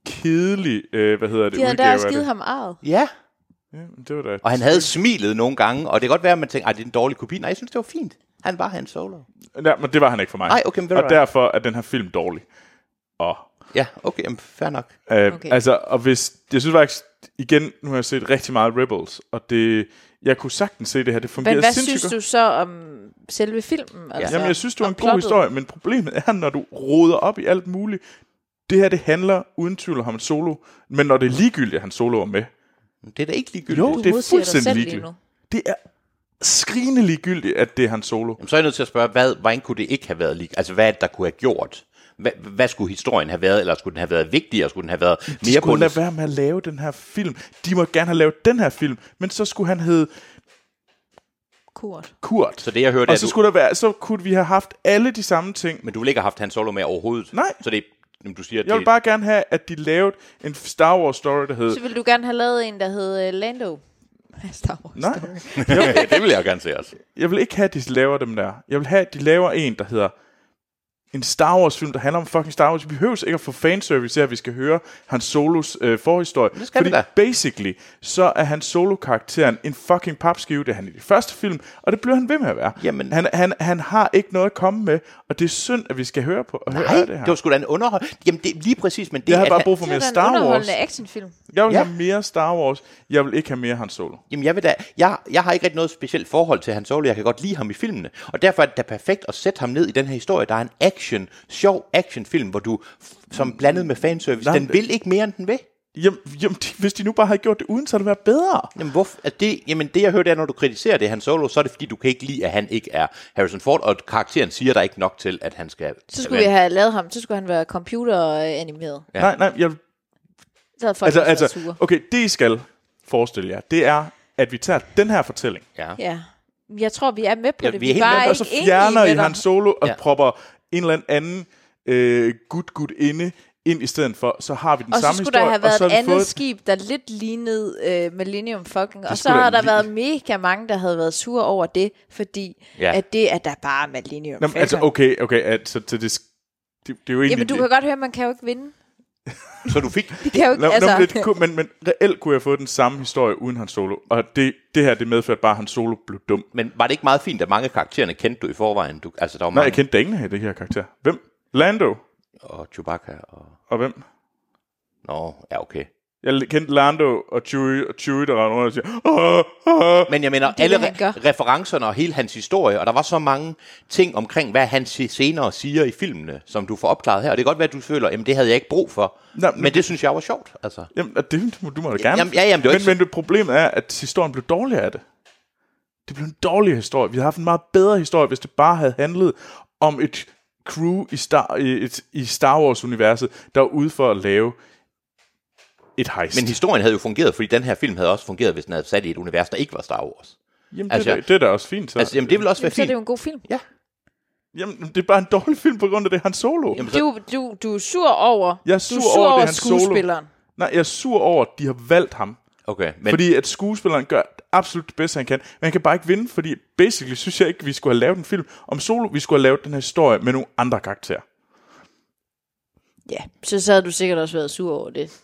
Speaker 1: kedelig, øh, hvad hedder det,
Speaker 2: de havde
Speaker 1: udgave
Speaker 2: da
Speaker 1: af
Speaker 2: også givet
Speaker 1: det.
Speaker 2: ham arvet.
Speaker 3: ja.
Speaker 1: Jamen, det var da
Speaker 3: Og han havde smilet nogle gange, og det kan godt være, at man tænkte, at det er en dårlig kopi. Nej, jeg synes, det var fint. Han var Han Solo.
Speaker 1: Ja, men det var han ikke for mig.
Speaker 3: Nej, okay, men ved du
Speaker 1: og
Speaker 3: hvad?
Speaker 1: derfor er den her film dårlig. Og,
Speaker 3: Ja, okay, jamen, fair nok.
Speaker 1: øh,
Speaker 2: Okay.
Speaker 1: okay. Altså, og hvis, jeg synes faktisk, igen, nu har jeg set rigtig meget Rebels, og det, jeg kunne sagtens se det her, det fungerede
Speaker 2: Men hvad
Speaker 1: sindssygt godt.
Speaker 2: synes du så om selve filmen? Altså,
Speaker 1: Jamen, jeg synes, det var
Speaker 2: om
Speaker 1: en god
Speaker 2: plottet?
Speaker 1: historie, men problemet er, når du roder op i alt muligt, det her, det handler uden tvivl om hans solo, men når det er ligegyldigt, at han solo er med,
Speaker 3: Det er da ikke ligegyldigt.
Speaker 1: jo, det er
Speaker 2: modsiger dig selv
Speaker 1: fuldstændig
Speaker 2: lige
Speaker 1: ligegyldigt.
Speaker 2: nu.
Speaker 1: Det er skrigende ligegyldigt, at det er han solo.
Speaker 3: Jamen, så er jeg nødt til at spørge, hvad, hvordan kunne det ikke have været lige? Altså, hvad er det, der kunne have gjort? Hvad, hvad skulle historien have været? Eller skulle den have været vigtigere? Skulle den have været mere
Speaker 1: De skulle lade
Speaker 3: bundet?
Speaker 1: være med at lave den her film. De må gerne have lavet den her film, men så skulle han hedde
Speaker 2: Kurt.
Speaker 1: Kurt.
Speaker 3: Så det, jeg hørte, er,
Speaker 1: og
Speaker 3: at
Speaker 1: så,
Speaker 3: du-
Speaker 1: skulle der være, så kunne vi have haft alle de samme ting.
Speaker 3: Men du ville ikke have haft hans solo med overhovedet?
Speaker 1: Nej.
Speaker 3: Så det er- jamen, du siger, at
Speaker 1: Jeg
Speaker 3: det,
Speaker 1: vil bare gerne have, at de lavede en Star Wars story, der hed...
Speaker 2: Så ville du gerne have lavet en, der hed øh, Lando. Star Wars.
Speaker 1: Nej,
Speaker 3: det vil jeg gerne se også.
Speaker 1: jeg vil ikke have, at de laver dem der. Jeg vil have, at de laver en, der hedder en Star Wars-film, der handler om fucking Star Wars. Vi behøver ikke at få fanservice her, vi skal høre hans Solos øh, forhistorie. Det
Speaker 3: skal vi
Speaker 1: fordi
Speaker 3: da.
Speaker 1: basically, så er han Solo-karakteren en fucking papskive, det er han i de første film, og det bliver han ved med at være.
Speaker 3: Jamen.
Speaker 1: Han, han, han har ikke noget at komme med, og det er synd, at vi skal høre på og
Speaker 3: Nej,
Speaker 1: høre det
Speaker 3: det,
Speaker 1: her.
Speaker 3: var sgu da en underhold. Jamen, det, lige præcis, men det
Speaker 1: jeg har
Speaker 3: at
Speaker 1: bare
Speaker 3: han-
Speaker 1: brug for
Speaker 2: Det er
Speaker 1: mere
Speaker 2: da en
Speaker 1: Star Wars.
Speaker 2: underholdende actionfilm.
Speaker 1: Jeg vil
Speaker 3: Ja.
Speaker 1: have mere Star Wars. Jeg vil ikke have mere Han Solo.
Speaker 3: Jamen, jeg, vil da, jeg, jeg har ikke rigtig noget specielt forhold til Han Solo. Jeg kan godt lide ham i filmene. Og derfor er det da perfekt at sætte ham ned i den her historie. Der er en action, sjov actionfilm, hvor du, f- som blandet med fanservice,
Speaker 1: Nej,
Speaker 3: den
Speaker 1: men-
Speaker 3: vil ikke mere, end den vil.
Speaker 1: Jamen, jamen de, hvis de nu bare havde gjort det uden, så havde det været bedre.
Speaker 3: Jamen, hvorfor? Altså det, jamen, det jeg hørte er, når du kritiserer det Han Solo, så er det fordi, du kan ikke lide, at han ikke er Harrison Ford, og karakteren siger dig ikke nok til, at han skal...
Speaker 2: Så skulle vi have lavet ham, så skulle han være computeranimeret.
Speaker 1: Ja. Nej, nej, jeg,
Speaker 2: Så havde folk
Speaker 1: altså,
Speaker 2: altså, altså,
Speaker 1: altså,
Speaker 2: sure.
Speaker 1: okay, det I skal forestille jer, det er, at vi tager den her fortælling,
Speaker 3: Ja.
Speaker 2: Ja. Jeg tror, vi er med på
Speaker 3: Ja,
Speaker 2: det.
Speaker 3: vi er helt
Speaker 2: bare
Speaker 3: med,
Speaker 2: ikke
Speaker 1: og så fjerner
Speaker 2: enige
Speaker 1: I
Speaker 2: med
Speaker 1: Han
Speaker 2: dig.
Speaker 1: Solo og
Speaker 3: Ja.
Speaker 1: ja. propper en eller anden øh, gut gut inde ind i stedet for, så har vi den
Speaker 2: Og så
Speaker 1: samme
Speaker 2: skulle
Speaker 1: historie,
Speaker 2: der have været
Speaker 1: og så
Speaker 2: et
Speaker 1: har vi
Speaker 2: andet
Speaker 1: fået...
Speaker 2: skib, der lidt lignede øh, Millennium Falcon. Og så
Speaker 1: skulle da
Speaker 2: har der
Speaker 1: lige-
Speaker 2: været mega mange, der havde været sure over det, fordi
Speaker 3: Ja.
Speaker 2: ja. at det er der bare Millennium
Speaker 1: Jamen,
Speaker 2: Falcon.
Speaker 1: altså, okay, okay, altså, det, det, det, det er jo egentlig...
Speaker 2: Jamen, du kan godt høre, man kan jo ikke vinde.
Speaker 3: Så du fik...
Speaker 2: Det kan jo ikke,
Speaker 1: Nå, altså.
Speaker 2: altså.
Speaker 1: nå, men, det, kunne- men, men reelt kunne jeg få den samme historie uden Han Solo, og det, det her, det medførte bare, at Han Solo blev dum.
Speaker 3: Men var det ikke meget fint, at mange af karaktererne kendte du i forvejen? Du, altså, der var
Speaker 1: Nej,
Speaker 3: mange...
Speaker 1: jeg kendte da ingen af det her karakter. Hvem? Lando.
Speaker 3: Og Chewbacca og...
Speaker 1: Og hvem?
Speaker 3: Nå, ja, okay.
Speaker 1: Jeg kendte Lando og Chewie, og Chewie der render rundt og siger, åh, åh.
Speaker 3: Men jeg mener,
Speaker 2: er
Speaker 3: alle
Speaker 2: det, han
Speaker 3: re-
Speaker 2: gør.
Speaker 3: referencerne og hele hans historie, og der var så mange ting omkring, hvad han si- senere siger i filmene, som du får opklaret her. Og det kan godt være, at du føler, at det havde jeg ikke brug for.
Speaker 1: Nå,
Speaker 3: men,
Speaker 1: men-
Speaker 3: men det synes jeg var sjovt. Altså.
Speaker 1: Jamen, og det må- du må da gerne.
Speaker 3: Jamen, ja, jamen, det var
Speaker 1: men,
Speaker 3: ikke så-
Speaker 1: men det problem er, at historien blev dårligere af det. Det blev en dårlig historie. Vi havde haft en meget bedre historie, hvis det bare havde handlet om et crew i Star, i, et, i Star Wars-universet, der var ude for at lave et heist.
Speaker 3: Men historien havde jo fungeret, fordi den her film havde også fungeret, hvis den havde sat i et univers, der ikke var Star Wars.
Speaker 1: jamen, det,
Speaker 3: altså-
Speaker 1: altså, det, det er da også fint. Så.
Speaker 3: Altså, jamen, det ville også være
Speaker 2: Jamen, så er
Speaker 3: fint.
Speaker 2: det jo en god film.
Speaker 3: Ja,
Speaker 1: jamen, det er bare en dårlig film på grund af det, han solo. Jamen.
Speaker 3: jamen, så,
Speaker 2: Du, du, du er sur over,
Speaker 1: Jeg er
Speaker 2: du
Speaker 1: sur
Speaker 2: er sur
Speaker 1: over, det
Speaker 2: over,
Speaker 1: er
Speaker 2: over
Speaker 1: hans solo.
Speaker 2: skuespilleren.
Speaker 1: Nej, jeg er sur over, at de har valgt ham.
Speaker 3: okay. Men,
Speaker 1: Men... Fordi at skuespilleren gør absolut det bedste, han kan. Men han kan bare ikke vinde, fordi basically synes jeg ikke, vi skulle have lavet en film om Solo. Vi skulle have lavet den her historie med nogle andre karakterer.
Speaker 2: Ja, så, så havde du sikkert også været sur over det.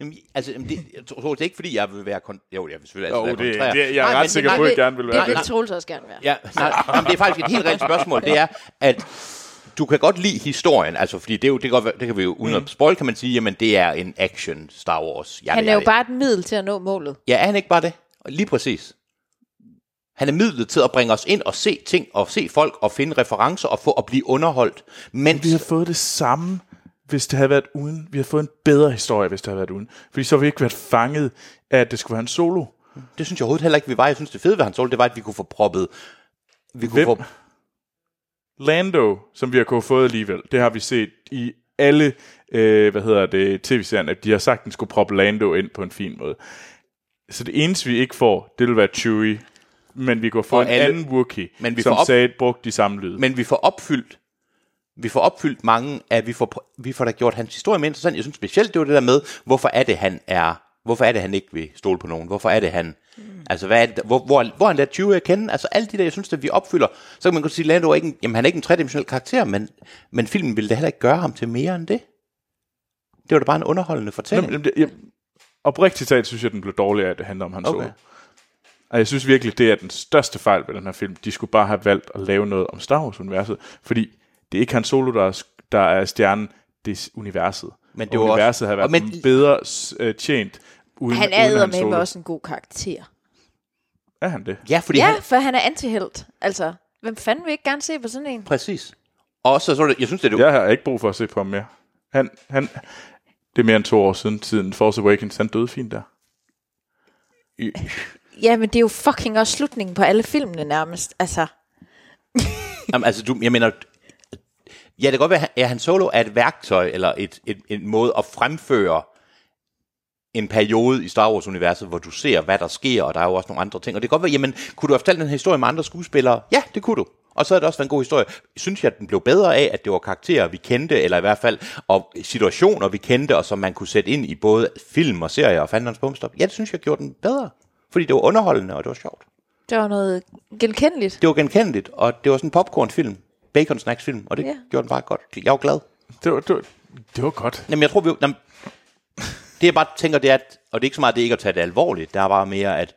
Speaker 3: Jamen, altså, jamen, det, jeg tror, tror det er ikke, fordi jeg vil være... Kon- jo, jeg vil selvfølgelig
Speaker 1: Jo,
Speaker 3: altid
Speaker 1: det-
Speaker 3: være kontrær.
Speaker 1: det er jeg ret
Speaker 3: men det-
Speaker 1: sikker Jeg på. kunne
Speaker 2: Nej, det,
Speaker 1: gerne ville være
Speaker 2: det.
Speaker 1: det.
Speaker 2: ville Troels også gerne være.
Speaker 3: Ja, nej, jamen, det er faktisk et helt rent spørgsmål. Det er, at du kan godt lide historien, altså, fordi det, er jo, det, kan, godt være- det kan vi jo uden at spoil, kan man sige, jamen det er en action Star Wars. Ja,
Speaker 2: Han
Speaker 3: det
Speaker 2: er jo bare et middel til at nå målet.
Speaker 3: Ja, er han ikke bare det? Og Lige præcis. Han er midlet til at bringe os ind og se ting, og se folk, og finde referencer, og få at blive underholdt. Men
Speaker 1: Vi har fået det samme, hvis det havde været uden. Vi har fået en bedre historie, hvis det havde været uden. Fordi så har vi ikke været fanget af, at det skulle være en Solo.
Speaker 3: det synes jeg overhovedet heller ikke, vi var. Jeg synes, det fede ved Hans Solo, det var, at vi kunne få proppet... Vi kunne
Speaker 1: Hvem?
Speaker 3: få...
Speaker 1: Lando, som vi har kunnet fået alligevel, det har vi set i alle, øh, hvad hedder det, tv-serien, at de har sagt, at den skulle proppe Lando ind på en fin måde. Så det eneste, vi ikke får, det vil være Chewie, men vi kunne få
Speaker 3: Og
Speaker 1: en
Speaker 3: alle-
Speaker 1: anden Wookiee,
Speaker 3: Men vi
Speaker 1: som
Speaker 3: får op-
Speaker 1: sagde, brugte de samme lyde.
Speaker 3: Men vi får opfyldt vi får opfyldt mange af, vi får, pr- vi får da gjort hans historie mere interessant. Jeg synes specielt, det var det der med, hvorfor er det, han er, hvorfor er det, han ikke vil stole på nogen? Hvorfor er det, han, altså hvad er det, der- hvor, hvor, hvor er han der 20 at kende? Altså alle de der, jeg synes, at vi opfylder, så kan man godt sige, Lando er ikke en, jamen han er ikke en tredimensionel karakter, men, men filmen ville da heller ikke gøre ham til mere end det. Det var da bare en underholdende fortælling.
Speaker 1: Jamen, jamen, det- jeg, oprigtigt talt synes jeg, den blev dårligere, at det handler om hans
Speaker 3: Okay.
Speaker 1: okay. Og jeg synes virkelig, det er den største fejl ved den her film. De skulle bare have valgt at lave noget om Star Wars-universet, fordi det er ikke Han Solo, der er, der er stjernen, det er s- universet.
Speaker 3: Men det
Speaker 1: Og
Speaker 3: var også-
Speaker 1: universet havde
Speaker 3: og
Speaker 1: været
Speaker 3: men-
Speaker 1: men... bedre s- øh, tjent uden
Speaker 2: Han
Speaker 1: uden
Speaker 2: er
Speaker 1: Han Solo.
Speaker 2: med også en god karakter.
Speaker 1: Er han det?
Speaker 3: ja, fordi
Speaker 2: Ja,
Speaker 3: han,
Speaker 2: for han er antihelt. Altså, hvem fanden vil ikke gerne se på sådan en?
Speaker 3: præcis. Og så, så var det, jeg synes, det er det
Speaker 1: Jeg har ikke brug for at se på ham mere. Han, han, det er mere end to år siden, siden Force Awakens, han døde fint der.
Speaker 2: Ja, men det er jo fucking også slutningen på alle filmene nærmest. Altså,
Speaker 3: Jamen, altså, du, jeg mener... Ja, det kan godt være, at ja, Han Solo er et værktøj, eller et, et, en måde at fremføre en periode i Star Wars-universet, hvor du ser, hvad der sker, og der er jo også nogle andre ting. Og det kan godt være, jamen, kunne du have fortalt den her historie med andre skuespillere? Ja, det kunne du. Og så havde det også været en god historie. Synes jeg, at den blev bedre af, at det var karakterer, vi kendte, eller i hvert fald og situationer, vi kendte, og som man kunne sætte ind i både film og serier og fandens bumstop? Ja, det synes jeg gjorde den bedre. Fordi det var underholdende, og det var sjovt.
Speaker 2: det var noget genkendeligt.
Speaker 3: Det var genkendeligt, og det var sådan en popcornfilm. bacon snacks film, og det
Speaker 2: Ja.
Speaker 3: yeah. gjorde den bare godt. Jeg var glad.
Speaker 1: Det var, det var, det var godt.
Speaker 3: Jamen, jeg tror, vi... Jamen, det, jeg bare tænker, det er, at, og det er ikke så meget, det er ikke at tage det alvorligt, der er bare mere, at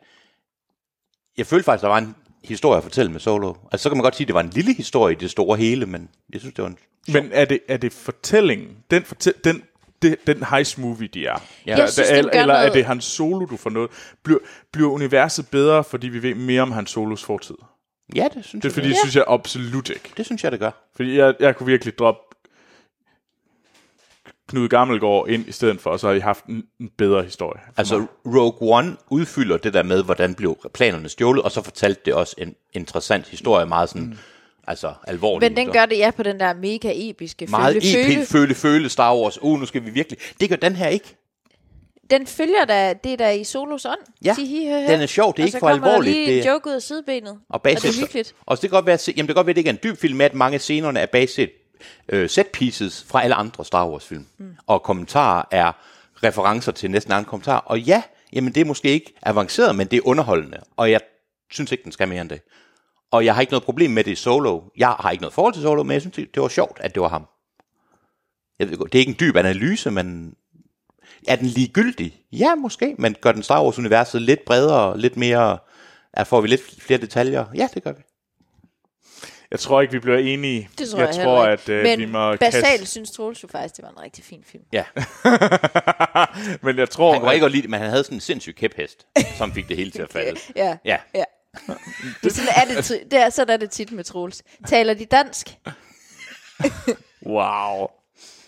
Speaker 3: jeg følte faktisk, der var en historie at fortælle med Solo. Altså, så kan man godt sige, at det var en lille historie i det store hele, men jeg synes, det var en...
Speaker 1: Men er det, er det fortællingen, den, fortæl, den, det, den heist movie, de er?
Speaker 2: Jeg synes, den
Speaker 1: eller,
Speaker 2: gør
Speaker 1: eller er
Speaker 2: noget-
Speaker 1: det hans solo, du får noget? Bliver, bliver universet bedre, fordi vi ved mere om hans solos fortid?
Speaker 3: Ja, det synes
Speaker 1: Det er
Speaker 3: jeg,
Speaker 1: fordi, ja. synes jeg absolut ikke.
Speaker 3: det synes jeg, det gør.
Speaker 1: Fordi jeg, jeg kunne virkelig droppe Knud Gammelgaard ind i stedet for, og så har I haft en, en bedre historie.
Speaker 3: Altså, Rogue One udfylder det der med, hvordan blev planerne stjålet, og så fortalte det også en interessant historie, meget sådan, mm. altså alvorlig.
Speaker 2: Men den gør det, ja, på den der mega episke
Speaker 3: meget
Speaker 2: følge, følge.
Speaker 3: EP, føle, føle, Star Wars. Uh, nu skal vi virkelig... Det gør den her ikke.
Speaker 2: Den følger da det, der er i Solos ånd.
Speaker 3: Ja,
Speaker 2: Sige, hi, hi, hi.
Speaker 3: den er sjov, det er
Speaker 2: og
Speaker 3: ikke
Speaker 2: så
Speaker 3: for
Speaker 2: kommer der
Speaker 3: alvorligt,
Speaker 2: lige
Speaker 3: det
Speaker 2: det...
Speaker 3: er-
Speaker 2: en joke ud af sidebenet.
Speaker 3: Og
Speaker 2: og det
Speaker 3: basis,
Speaker 2: er hyggeligt.
Speaker 3: og det kan godt være, at se- jamen det kan godt være, at det ikke er en dyb film, men at mange af scenerne er baseret øh, set pieces fra alle andre Star Wars film. Mm. Og kommentarer er referencer til næsten andre kommentarer. Og ja, jamen det er måske ikke avanceret, men det er underholdende. Og jeg synes ikke, den skal mere end det. Og jeg har ikke noget problem med det i solo. Jeg har ikke noget forhold til solo, men jeg synes, det det var sjovt, at det var ham. Jeg ved, godt, det er ikke en dyb analyse, men er den ligegyldig? Ja, måske, men gør den Star Wars-universet lidt bredere, lidt mere... Er, får vi lidt flere detaljer? Ja, det gør vi.
Speaker 1: Jeg tror ikke, vi bliver enige.
Speaker 2: Det tror
Speaker 1: jeg
Speaker 2: jeg,
Speaker 1: tror,
Speaker 2: heller
Speaker 1: at
Speaker 2: ikke.
Speaker 1: øh,
Speaker 2: Men
Speaker 1: vi må
Speaker 2: basalt
Speaker 1: kaste...
Speaker 2: synes Troels jo faktisk, det var en rigtig fin film.
Speaker 3: Ja,
Speaker 1: Men jeg tror,
Speaker 3: han kunne
Speaker 1: at-
Speaker 3: ikke godt lide det, men han havde sådan en sindssyg kæphest, som fik det hele til at falde.
Speaker 2: Ja.
Speaker 3: Ja,
Speaker 2: ja. Det, er sådan, er det, ti- det er, sådan er det tit med Troels. Taler de dansk?
Speaker 1: Wow.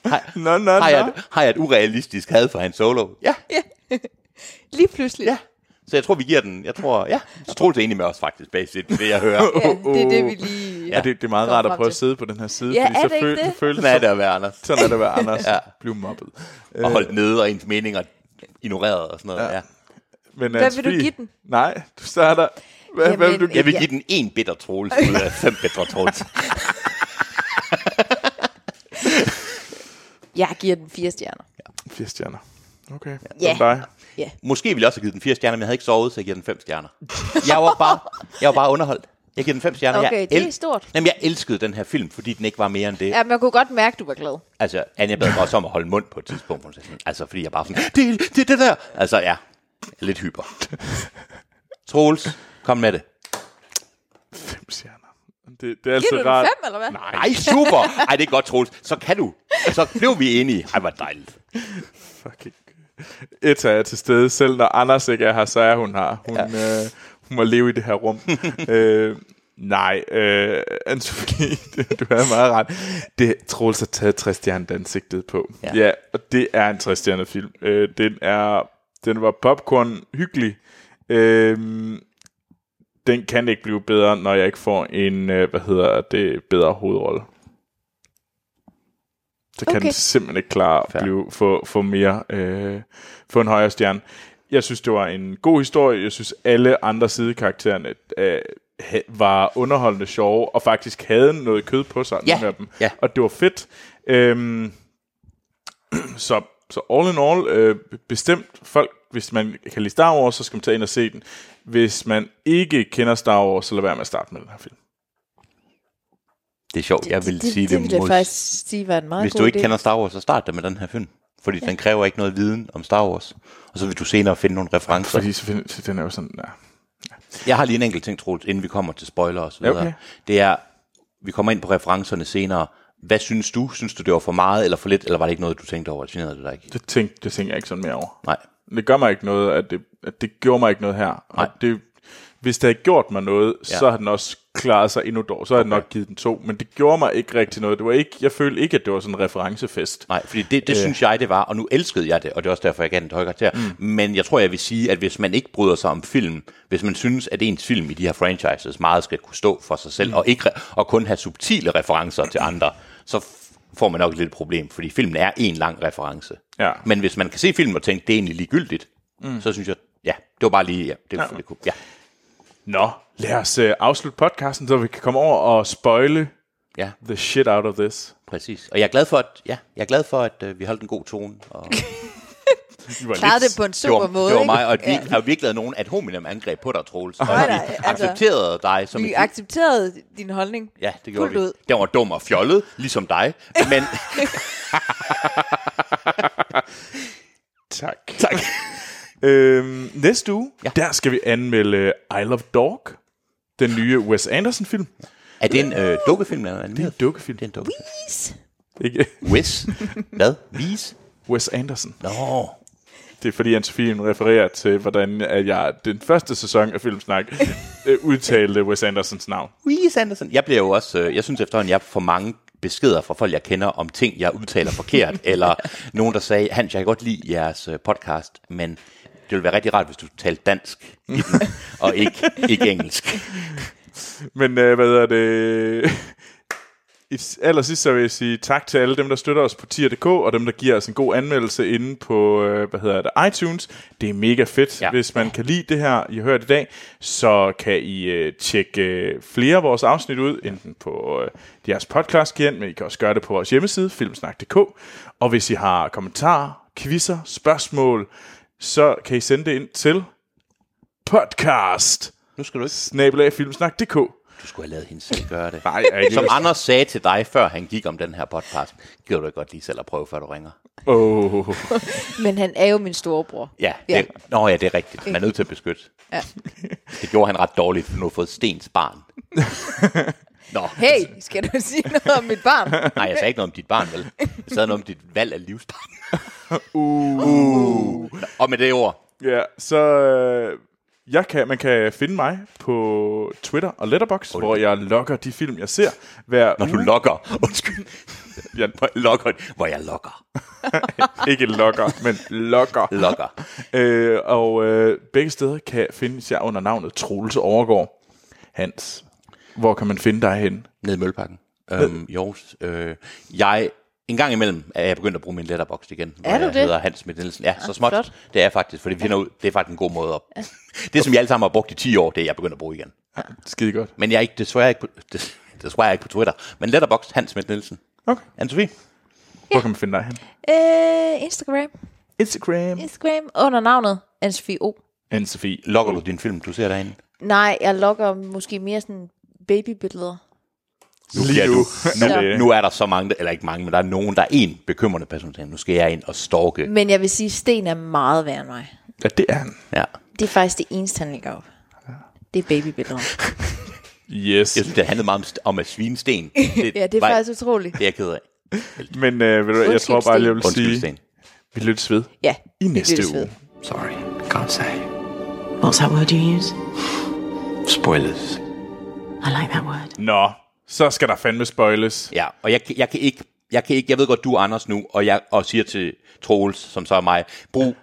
Speaker 3: Har-
Speaker 1: Nå, nå,
Speaker 3: har,
Speaker 1: nå.
Speaker 3: jeg, et- har jeg et urealistisk had for hans solo? Ja,
Speaker 2: Lige pludselig.
Speaker 3: ja. Så jeg tror, vi giver den, jeg tror, ja. Så tror det egentlig med os faktisk, basic, det jeg hører.
Speaker 2: ja det er det, vi lige...
Speaker 1: Ja, det, det er meget
Speaker 2: Kom
Speaker 1: rart at
Speaker 2: frem
Speaker 1: prøve at
Speaker 2: til.
Speaker 1: sidde på den her side,
Speaker 2: Ja,
Speaker 1: fordi
Speaker 2: er
Speaker 1: så
Speaker 2: det ikke
Speaker 1: føl-
Speaker 2: det?
Speaker 1: føles
Speaker 3: Sådan er det at være, Anders.
Speaker 1: sådan er det at være Anders. ja.
Speaker 3: Ja.
Speaker 1: Blev mobbet.
Speaker 3: Og holdt nede, og ens meninger ignoreret og sådan noget. Ja. Ja.
Speaker 1: Øh, Men
Speaker 2: Hvad vil du give den?
Speaker 1: Nej, du starter... Hvad, Jamen, hvad vil du
Speaker 2: Jamen,
Speaker 1: give
Speaker 3: Jeg vil
Speaker 2: Ja.
Speaker 3: give den en bitter trolls ud af fem bitter trolls.
Speaker 2: Jeg giver den fire stjerner.
Speaker 1: den? Fire stjerner. Okay.
Speaker 2: Ja.
Speaker 1: Om dig.
Speaker 3: Måske ville jeg også have givet den fire stjerner, men jeg havde ikke sovet, så jeg giver den fem stjerner. Jeg var bare, jeg var bare underholdt. Jeg giver den fem stjerner.
Speaker 2: Okay,
Speaker 3: jeg
Speaker 2: det er stort.
Speaker 3: Jamen, jeg elskede den her film, fordi den ikke var mere end det.
Speaker 2: Ja, men jeg kunne godt mærke, du var glad.
Speaker 3: Altså, Anja bad mig også om at holde mund på et tidspunkt. Hun sagde sådan, altså, fordi jeg bare sådan, det, er- det, er det der. Altså, ja, jeg er lidt hyper. Troels, kom med det.
Speaker 1: Fem stjerner. Det, det er altså
Speaker 2: Giver du den
Speaker 1: rart.
Speaker 2: fem, eller hvad?
Speaker 3: Nej, super. Ej, det er godt, Troels. Så kan du. Så blev vi enige. Ej, hvor dejligt.
Speaker 1: Fucking. Etta er til stede, selv når Anders ikke er her, så er hun her. Hun, ja. øh, hun må leve i det her rum. øh, nej, øh, Anne-Sophie, det- du har meget ret. Det Troels har taget 60 stjernet ansigtet på. Ja.
Speaker 3: Ja.
Speaker 1: ja, og det er en 60 stjernet film. Øh, den er, den var popcorn hyggelig. Øh, den kan ikke blive bedre, når jeg ikke får en, øh, hvad hedder det, bedre hovedrolle. Så kan okay.
Speaker 2: Okay.
Speaker 1: den simpelthen ikke klare at
Speaker 3: Fair.
Speaker 1: blive, få, få mere, øh, få en højere stjerne. Jeg synes, det var en god historie. Jeg synes, alle andre sidekaraktererne øh, ha- var underholdende sjove, og faktisk havde noget kød på sig,
Speaker 3: Ja,
Speaker 1: nogle af dem.
Speaker 3: ja.
Speaker 1: Og det var fedt. Øhm, så, så all in all, øh, bestemt folk, hvis man kan lide Star Wars, så skal man tage ind og se den. Hvis man ikke kender Star Wars, så lad være med at starte med den her film.
Speaker 3: Det er sjovt, jeg vil
Speaker 2: det,
Speaker 3: sige
Speaker 2: det,
Speaker 3: det,
Speaker 2: ville jeg
Speaker 3: mod-
Speaker 2: faktisk sige var en meget
Speaker 3: Hvis
Speaker 2: god
Speaker 3: du ikke
Speaker 2: idé.
Speaker 3: kender Star Wars, så start da med den her film. Fordi ja. den kræver ikke noget viden om Star Wars. Og så vil du senere finde nogle referencer.
Speaker 1: Fordi så find, så den er jo sådan, ja.
Speaker 3: Jeg har lige en enkelt ting, Troels, inden vi kommer til spoiler og så videre.
Speaker 1: Okay.
Speaker 3: Okay. Det er, vi kommer ind på referencerne senere. Hvad synes du? Synes du, det var for meget eller for lidt? Eller var det ikke noget, du tænkte over? Generede det dig ikke?
Speaker 1: det, tænkte, det tænker jeg ikke sådan mere over.
Speaker 3: Nej.
Speaker 1: det gør mig ikke noget, at det, at det gjorde mig ikke noget her. Og
Speaker 3: Nej.
Speaker 1: det, hvis det havde gjort mig noget, ja. så
Speaker 3: Ja.
Speaker 1: havde den også klaret sig endnu dårligere. Så havde okay. den nok givet den to, men det gjorde mig ikke rigtig noget. Det var ikke, jeg følte ikke, at det var sådan en referencefest.
Speaker 3: Nej, fordi det, det øh. synes jeg, det var, og nu elskede jeg det, og det er også derfor, jeg gav den et højt karakter. Mm. Men jeg tror, jeg vil sige, at hvis man ikke bryder sig om film, hvis man synes, at ens film i de her franchises meget skal kunne stå for sig selv, mm. og, ikke, re- og kun have subtile referencer til andre, så f- får man nok et lille problem, fordi filmen er en lang reference.
Speaker 1: Ja.
Speaker 3: Men hvis man kan se filmen og tænke, det er egentlig ligegyldigt, mm. så synes jeg, ja, det var bare lige, ja, det var ja. cool. Ja,
Speaker 1: Nå, lad os uh, afslutte podcasten, så vi kan komme over og spoile
Speaker 3: ja,
Speaker 1: the shit out of this.
Speaker 3: præcis. Og jeg er glad for, at, ja, jeg er glad for, at øh, vi holdt en god tone, og
Speaker 1: Vi var
Speaker 2: klarede
Speaker 1: lidt-
Speaker 2: det på en super
Speaker 3: det var,
Speaker 2: måde.
Speaker 3: det var mig,
Speaker 2: ikke?
Speaker 3: og at vi, ja. at vi ikke lavede nogen ad hominem angreb på dig, Troels. Og
Speaker 2: Nej,
Speaker 3: at vi
Speaker 2: nej, altså-
Speaker 3: accepterede dig som
Speaker 2: Vi
Speaker 3: et
Speaker 2: accepterede din holdning.
Speaker 3: Ja, det gjorde
Speaker 2: fuldt
Speaker 3: vi.
Speaker 2: Ud.
Speaker 3: Den var dum og fjollet, ligesom dig. Men
Speaker 1: Tak. tak. øhm, næste uge, ja. der skal vi anmelde øh, I Love Dog, den nye Wes Anderson-film.
Speaker 3: er det en øh, dukkefilm eller en animeret?
Speaker 1: Dukkefilm.
Speaker 3: Det er en dukkefilm.
Speaker 1: Ikke? øh,
Speaker 3: Wes. Hvad? Vis?
Speaker 1: Wes Anderson.
Speaker 3: Nå.
Speaker 1: Det er fordi, Anne-Sophie refererer til, hvordan at jeg den første sæson af Filmsnak øh, udtalte Wes Andersons navn.
Speaker 3: Wes Anderson. Jeg bliver jo også, øh, jeg synes efterhånden, jeg får mange beskeder fra folk, jeg kender om ting, jeg udtaler forkert, eller nogen, der sagde, Hans, jeg kan godt lide jeres øh, podcast, men det ville være rigtig rart, hvis du talte dansk i den, og ikke, ikke engelsk.
Speaker 1: Men øh, hvad er det? I s- allersidst så vil jeg sige tak til alle dem, der støtter os på tier.dk, og dem, der giver os en god anmeldelse inde på, øh, hvad hedder det, iTunes. Det er mega fedt. Ja.
Speaker 3: Ja.
Speaker 1: Hvis man kan lide det her, I har hørt i dag, så kan I øh, tjekke øh, flere af vores afsnit ud, enten på øh, jeres podcast igen, men I kan også gøre det på vores hjemmeside, filmsnak.dk. Og hvis I har kommentarer, quizzer, spørgsmål, så kan I sende det ind til podcast
Speaker 3: Nu skal du ikke,
Speaker 1: snabelagfilmsnak.dk.
Speaker 3: du skulle have lavet hende selv gøre det.
Speaker 1: Nej, jeg er ikke
Speaker 3: Som Anders sagde til dig, før han gik om den her podcast, gider du ikke godt lige selv at prøve, før du ringer?
Speaker 1: Oh.
Speaker 2: Men han er jo min storebror.
Speaker 3: Ja,
Speaker 2: Ja.
Speaker 3: det, nå ja, det er rigtigt. Man er nødt til at beskytte.
Speaker 2: Ja.
Speaker 3: Det gjorde han ret dårligt, for nu har fået Stens barn. Nå,
Speaker 2: Hey, skal du sige noget om mit barn?
Speaker 3: nej, jeg sagde ikke noget om dit barn, vel? Jeg sagde noget om dit valg af livsbarn. uh. Nå, Og med det ord,
Speaker 1: Ja, så øh, jeg kan, man kan finde mig på Twitter og Letterboxd, hvor jeg logger de film, jeg ser hver
Speaker 3: når du
Speaker 1: uge.
Speaker 3: lokker, undskyld,
Speaker 1: jeg,
Speaker 3: hvor jeg lokker, hvor jeg lokker,
Speaker 1: ikke logger, men logger.
Speaker 3: lokker.
Speaker 1: Øh, og øh, begge steder kan findes jeg under navnet Troels Overgaard. Hans, hvor kan man finde dig hen?
Speaker 3: Ned i Mølleparken. Øhm, jo, øh, jeg en gang imellem er jeg begyndt at bruge min letterbox igen. hvor
Speaker 2: Er du
Speaker 3: jeg
Speaker 2: det? Ah,
Speaker 3: hedder Hans Schmidt Nielsen. Ja, så småt.
Speaker 2: flot.
Speaker 3: Det er jeg faktisk, for det finder ud, det er faktisk en god måde op. Det, som jeg alle sammen har brugt i 10 år, det er jeg begyndt at bruge igen.
Speaker 1: Skide godt.
Speaker 3: Men jeg er ikke, desværre ikke på, des, desværre ikke på Twitter. Men letterbox Hans Schmidt Nielsen.
Speaker 1: Okay.
Speaker 3: Anne-Sophie?
Speaker 1: Hvor kan man finde dig hen?
Speaker 2: Øh, Instagram.
Speaker 1: Instagram.
Speaker 2: Instagram under navnet Anne-Sophie O.
Speaker 1: Anne-Sophie.
Speaker 3: Logger du din film, du ser derinde?
Speaker 2: Nej, jeg logger måske mere sådan babybilleder.
Speaker 1: Lige nu.
Speaker 3: Nu,
Speaker 1: øh,
Speaker 3: nu er der så mange, der- eller ikke mange, men der er nogen, der er en bekymrende person, der tænker, nu skal jeg ind og stalke.
Speaker 2: Men jeg vil sige, Sten er meget værre end mig.
Speaker 1: Ja, det er han.
Speaker 3: Ja.
Speaker 2: Det er faktisk det eneste, han lægger op. Det er babybilleder.
Speaker 1: Yes.
Speaker 3: Jeg synes, det handlede meget om, st- om at svine sten. Det,
Speaker 2: Ja, det er
Speaker 3: var-
Speaker 2: faktisk utroligt.
Speaker 3: Det er jeg ked af.
Speaker 1: Men øh, ved du, hvad, jeg tror bare, jeg vil
Speaker 3: Undskyld,
Speaker 1: sige,
Speaker 3: Sten.
Speaker 1: vi lyttes ved
Speaker 2: Ja,
Speaker 1: i
Speaker 2: det
Speaker 1: næste
Speaker 2: lyttes ved.
Speaker 1: uge.
Speaker 6: Sorry, can't say.
Speaker 7: What's that word you use?
Speaker 6: Spoilers.
Speaker 7: I like that word.
Speaker 1: Nå, så skal der fandme spoiles.
Speaker 3: Ja, og jeg, kan- jeg kan ikke, jeg kan ikke, jeg ved godt, du er Anders nu, og jeg og siger til Troels, som så er mig, brug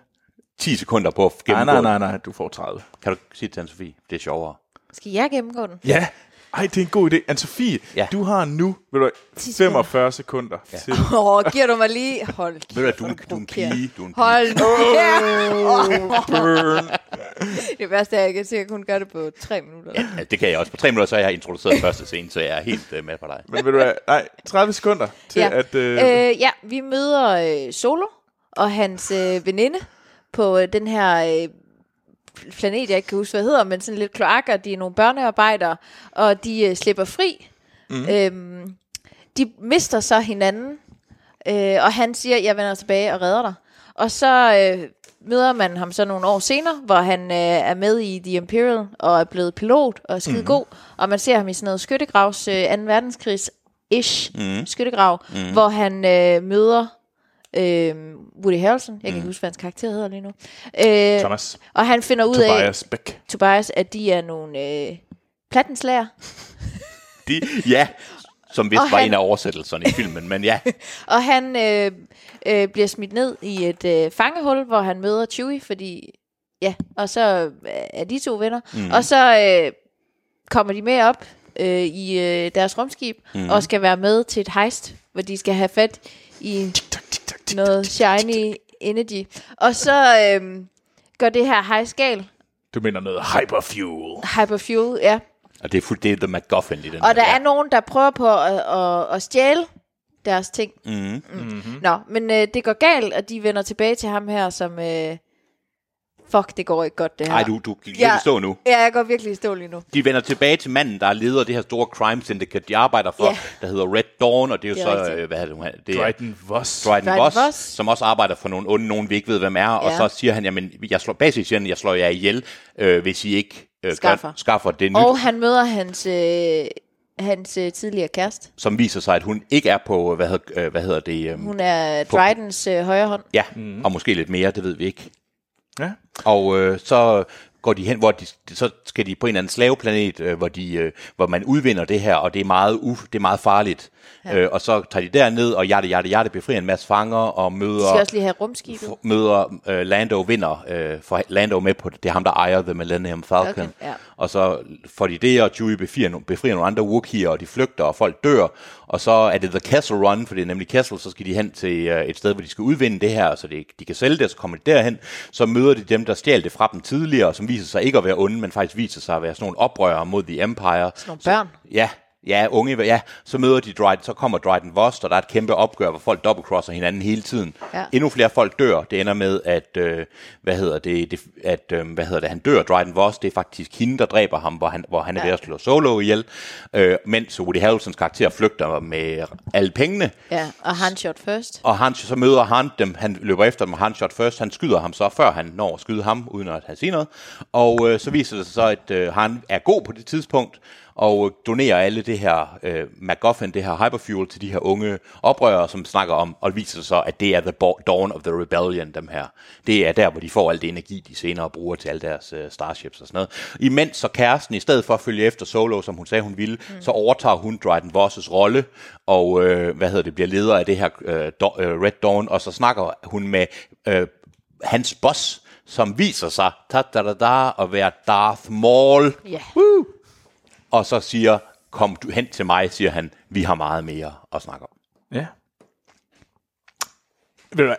Speaker 3: 10 sekunder på at
Speaker 1: Nej,
Speaker 3: gennemgå.
Speaker 1: nej, nej, nej, du får 30.
Speaker 3: Kan du sige det til Anne-Sophie? Det er sjovere.
Speaker 2: Skal jeg gennemgå den?
Speaker 1: Ja. Ej, det er en god idé. Anne-Sofie, ja.
Speaker 3: Ja.
Speaker 1: du har nu ved du,
Speaker 2: 10 sekunder.
Speaker 1: 45 sekunder. Ja. Til.
Speaker 2: Åh, oh, giver du mig lige... Hold kæft,
Speaker 3: Ved du, at du, er en- du er en
Speaker 2: provokerende.
Speaker 3: pige, du er en pige.
Speaker 2: Hold nu kæft.
Speaker 1: Burn.
Speaker 2: Det værste er, at jeg kan se, at jeg kun gør det på tre minutter. Ja.
Speaker 3: Altså, det kan jeg også. På tre minutter, så har jeg introduceret første scene, så jeg er helt øh, med på dig.
Speaker 1: Men ved du hvad, nej, 30 sekunder til ja. at... Øh, øh.
Speaker 2: øh, ja, vi møder øh, Solo og hans øh, veninde på øh, den her øh, planet, jeg ikke kan huske, hvad hedder, men sådan lidt kloakker. De er nogle børnearbejdere, og de øh, slipper fri. Mm. Øhm, de mister så hinanden, øh, og han siger, jeg vender tilbage og redder dig. Og så øh, møder man ham så nogle år senere, hvor han øh, er med i The Imperial og er blevet pilot og er skide
Speaker 1: Mhm.
Speaker 2: god. Og man ser ham i sådan noget skyttegravs øh, 2. verdenskrigs-ish mm.
Speaker 1: Mhm.
Speaker 2: skyttegrav, mm. hvor han øh, møder øh, Woody Harrelson. Jeg kan ikke huske, hvad hans karakter hedder lige nu. Øh,
Speaker 1: Mhm. Thomas
Speaker 2: og han finder ud af,
Speaker 1: Tobias Beck.
Speaker 2: Tobias, at de er nogle øh, plattenslager.
Speaker 3: De, ja, som vist
Speaker 2: Og
Speaker 3: var
Speaker 2: han-
Speaker 3: en af oversættelserne i filmen, men ja.
Speaker 2: Og han øh, øh, bliver smidt ned i et øh, fangehul, hvor han møder Chewie, fordi... Ja, og så øh, er de to venner. Mm. Og så øh, kommer de med op øh, i øh, deres rumskib, mm. og skal være med til et heist, hvor de skal have fat i noget shiny energy. Og så øh, går det her heist galt.
Speaker 1: Du mener noget hyperfuel.
Speaker 2: Hyperfuel, ja.
Speaker 3: Og det er fuldt, det er The MacGuffin i den
Speaker 2: Og
Speaker 3: her,
Speaker 2: der
Speaker 3: ja.
Speaker 2: er nogen, der prøver på at, at, at stjæle deres ting. Mm. Mm. Mm-hmm. Nå, men øh, det går galt, og de vender tilbage til ham her, som... Øh, fuck, det går ikke godt, det her.
Speaker 3: Nej, du, du gik ja. stå nu.
Speaker 2: Ja, jeg går virkelig i stå lige nu.
Speaker 3: De vender tilbage til manden, der er leder af det her store crime syndicate, de arbejder for,
Speaker 2: Ja.
Speaker 3: der hedder Red Dawn, og det er jo
Speaker 2: Det er
Speaker 3: så,
Speaker 2: rigtigt.
Speaker 3: øh, hvad er det, nu, han- det er
Speaker 1: Dryden Voss.
Speaker 3: Dryden
Speaker 2: Dryden
Speaker 3: Voss,
Speaker 2: Voss.
Speaker 3: som også arbejder for nogle onde, nogen vi ikke ved, hvem er, og
Speaker 2: Ja.
Speaker 3: så siger han, jamen, jeg slår, basisk siger han, jeg slår jer ihjel, øh, hvis I ikke øh,
Speaker 2: Skaffer.
Speaker 3: Gør, skaffer det nyt,
Speaker 2: Og han møder hans, øh, hans øh, tidligere kæreste.
Speaker 3: som viser sig, at hun ikke er på, hvad hedder, øh, hvad hedder det, øh,
Speaker 2: Hun er Drydens øh, højre hånd.
Speaker 3: ja, mm. og måske lidt mere, det ved vi ikke.
Speaker 1: Ja.
Speaker 3: Og øh, så går de hen, hvor de, så skal de på en eller anden slaveplanet, øh, hvor, de, øh, hvor man udvinder det her, og det er meget, uf, det er meget farligt. Ja. Øh, og så tager de derned, og jatte, jatte, jatte, befrier en masse fanger, og
Speaker 2: De skal
Speaker 3: møder,
Speaker 2: også lige have rumskibet.
Speaker 3: f- møder øh, Lando vinder, øh, får Lando med på det. Det er ham, der ejer The Millennium Falcon.
Speaker 2: Falcon, ja.
Speaker 3: Og så får de det, og Chewie befrier, no- befrier nogle andre Wookiee'er, og de flygter, og folk dør. Og så er det The Castle Run, for det er nemlig Castle, så skal de hen til øh, et sted, hvor de skal udvinde det her, så de, de kan sælge det, og så kommer de derhen. Så møder de dem, der stjal det fra dem tidligere, og som viser sig ikke at være onde, men faktisk viser sig at være sådan nogle oprørere mod The Empire. Sådan
Speaker 2: nogle børn.
Speaker 3: Ja, ja, unge, ja, så møder de Dryden, så kommer Dryden Vost, og der er et kæmpe opgør, hvor folk dobbeltcrosser hinanden hele tiden.
Speaker 2: Ja.
Speaker 3: Endnu flere folk dør, det ender med, at, øh, hvad hedder det, det at, øh, hvad hedder det, han dør, Dryden Vost, det er faktisk hende, der dræber ham, hvor han, hvor han er ved at slå Solo ihjel, øh, mens Woody Harrelsons karakter flygter med alle pengene,
Speaker 2: Ja, og han shot first.
Speaker 3: og han, så møder han dem, han løber efter dem, og han shot først, han skyder ham så, før han når at skyde ham, uden at have sige noget. Og øh, så viser det sig så, at øh, han er god på det tidspunkt, og øh, donerer alle det her øh, MacGuffin, det her hyperfuel, til de her unge oprørere, som snakker om, og det viser sig så, at det er the bo- dawn of the rebellion, dem her. Det er der, hvor de får al det energi, de senere bruger til alle deres øh, starships og sådan noget. Imens så kæresten, i stedet for at følge efter Solo, som hun sagde, hun ville, mm. så overtager hun Dryden Voss' rolle, og øh, hvad hedder det, bliver leder af det her øh, Do- øh, Red Dawn, og så snakker hun med øh, hans boss, som viser sig ta -da -da -da, at være Darth Maul,
Speaker 2: Ja.
Speaker 3: og så siger, kom du hen til mig, siger han, vi har meget mere at snakke om.
Speaker 1: Ja. Ved du hvad?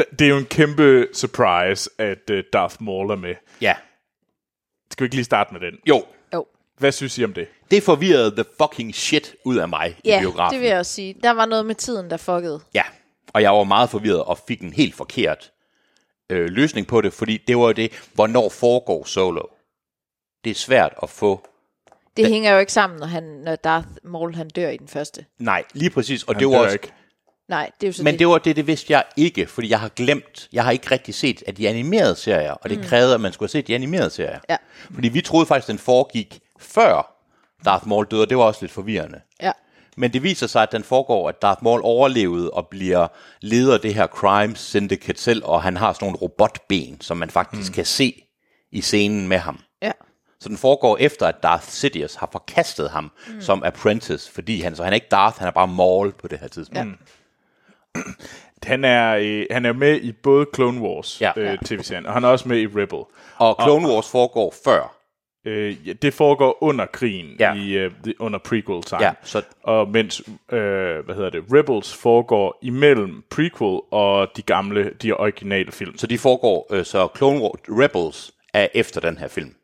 Speaker 1: D- Det er jo en kæmpe surprise, at øh, Darth Maul er med.
Speaker 3: Ja,
Speaker 1: Skal vi ikke lige starte med den?
Speaker 3: jo,
Speaker 2: Jo.
Speaker 1: Hvad synes I om det?
Speaker 3: det forvirrede the fucking shit ud af mig i
Speaker 2: Ja,
Speaker 3: biografen.
Speaker 2: det vil jeg også sige. Der var noget med tiden, der fuckede.
Speaker 3: Ja, og jeg var meget forvirret og fik en helt forkert øh, løsning på det, fordi det var jo det, hvornår foregår solo. Det er svært at få.
Speaker 2: Det hænger jo ikke sammen, når, han, når Darth Maul han dør i den første.
Speaker 3: Nej, lige præcis. Og det
Speaker 1: Han
Speaker 3: var
Speaker 1: dør
Speaker 3: også,
Speaker 1: ikke.
Speaker 2: Nej, det er jo så
Speaker 3: men det var det, det vidste jeg ikke, fordi jeg har glemt, jeg har ikke rigtig set, at de animerede serier, og det mm. krævede, at man skulle have set de animerede serier.
Speaker 2: Ja.
Speaker 3: Fordi vi troede faktisk, den foregik før Darth Maul døde, og det var også lidt forvirrende.
Speaker 2: Ja.
Speaker 3: Men det viser sig, at den foregår, at Darth Maul overlevede og bliver leder af det her crime syndicate selv, og han har sådan nogle robotben, som man faktisk mm. kan se i scenen med ham.
Speaker 2: Ja.
Speaker 3: Så den foregår efter, at Darth Sidious har forkastet ham mm. som apprentice, fordi han, så han er ikke Darth, han er bare Maul på det her tidspunkt.
Speaker 1: Han er, øh, han er med i både Clone Wars
Speaker 3: Ja.
Speaker 1: ja. øh, tv-serien, og han er også med i Rebel.
Speaker 3: Og Clone Wars foregår før.
Speaker 1: Øh, ja, det foregår under krigen,
Speaker 3: Ja.
Speaker 1: ja. i, øh, the- under prequel time.
Speaker 3: Ja, så-
Speaker 1: Og mens, øh, hvad hedder det, Rebels foregår imellem prequel og de gamle, de originale film.
Speaker 3: Så de foregår, øh, så Clone Wars Rebels er efter den her film.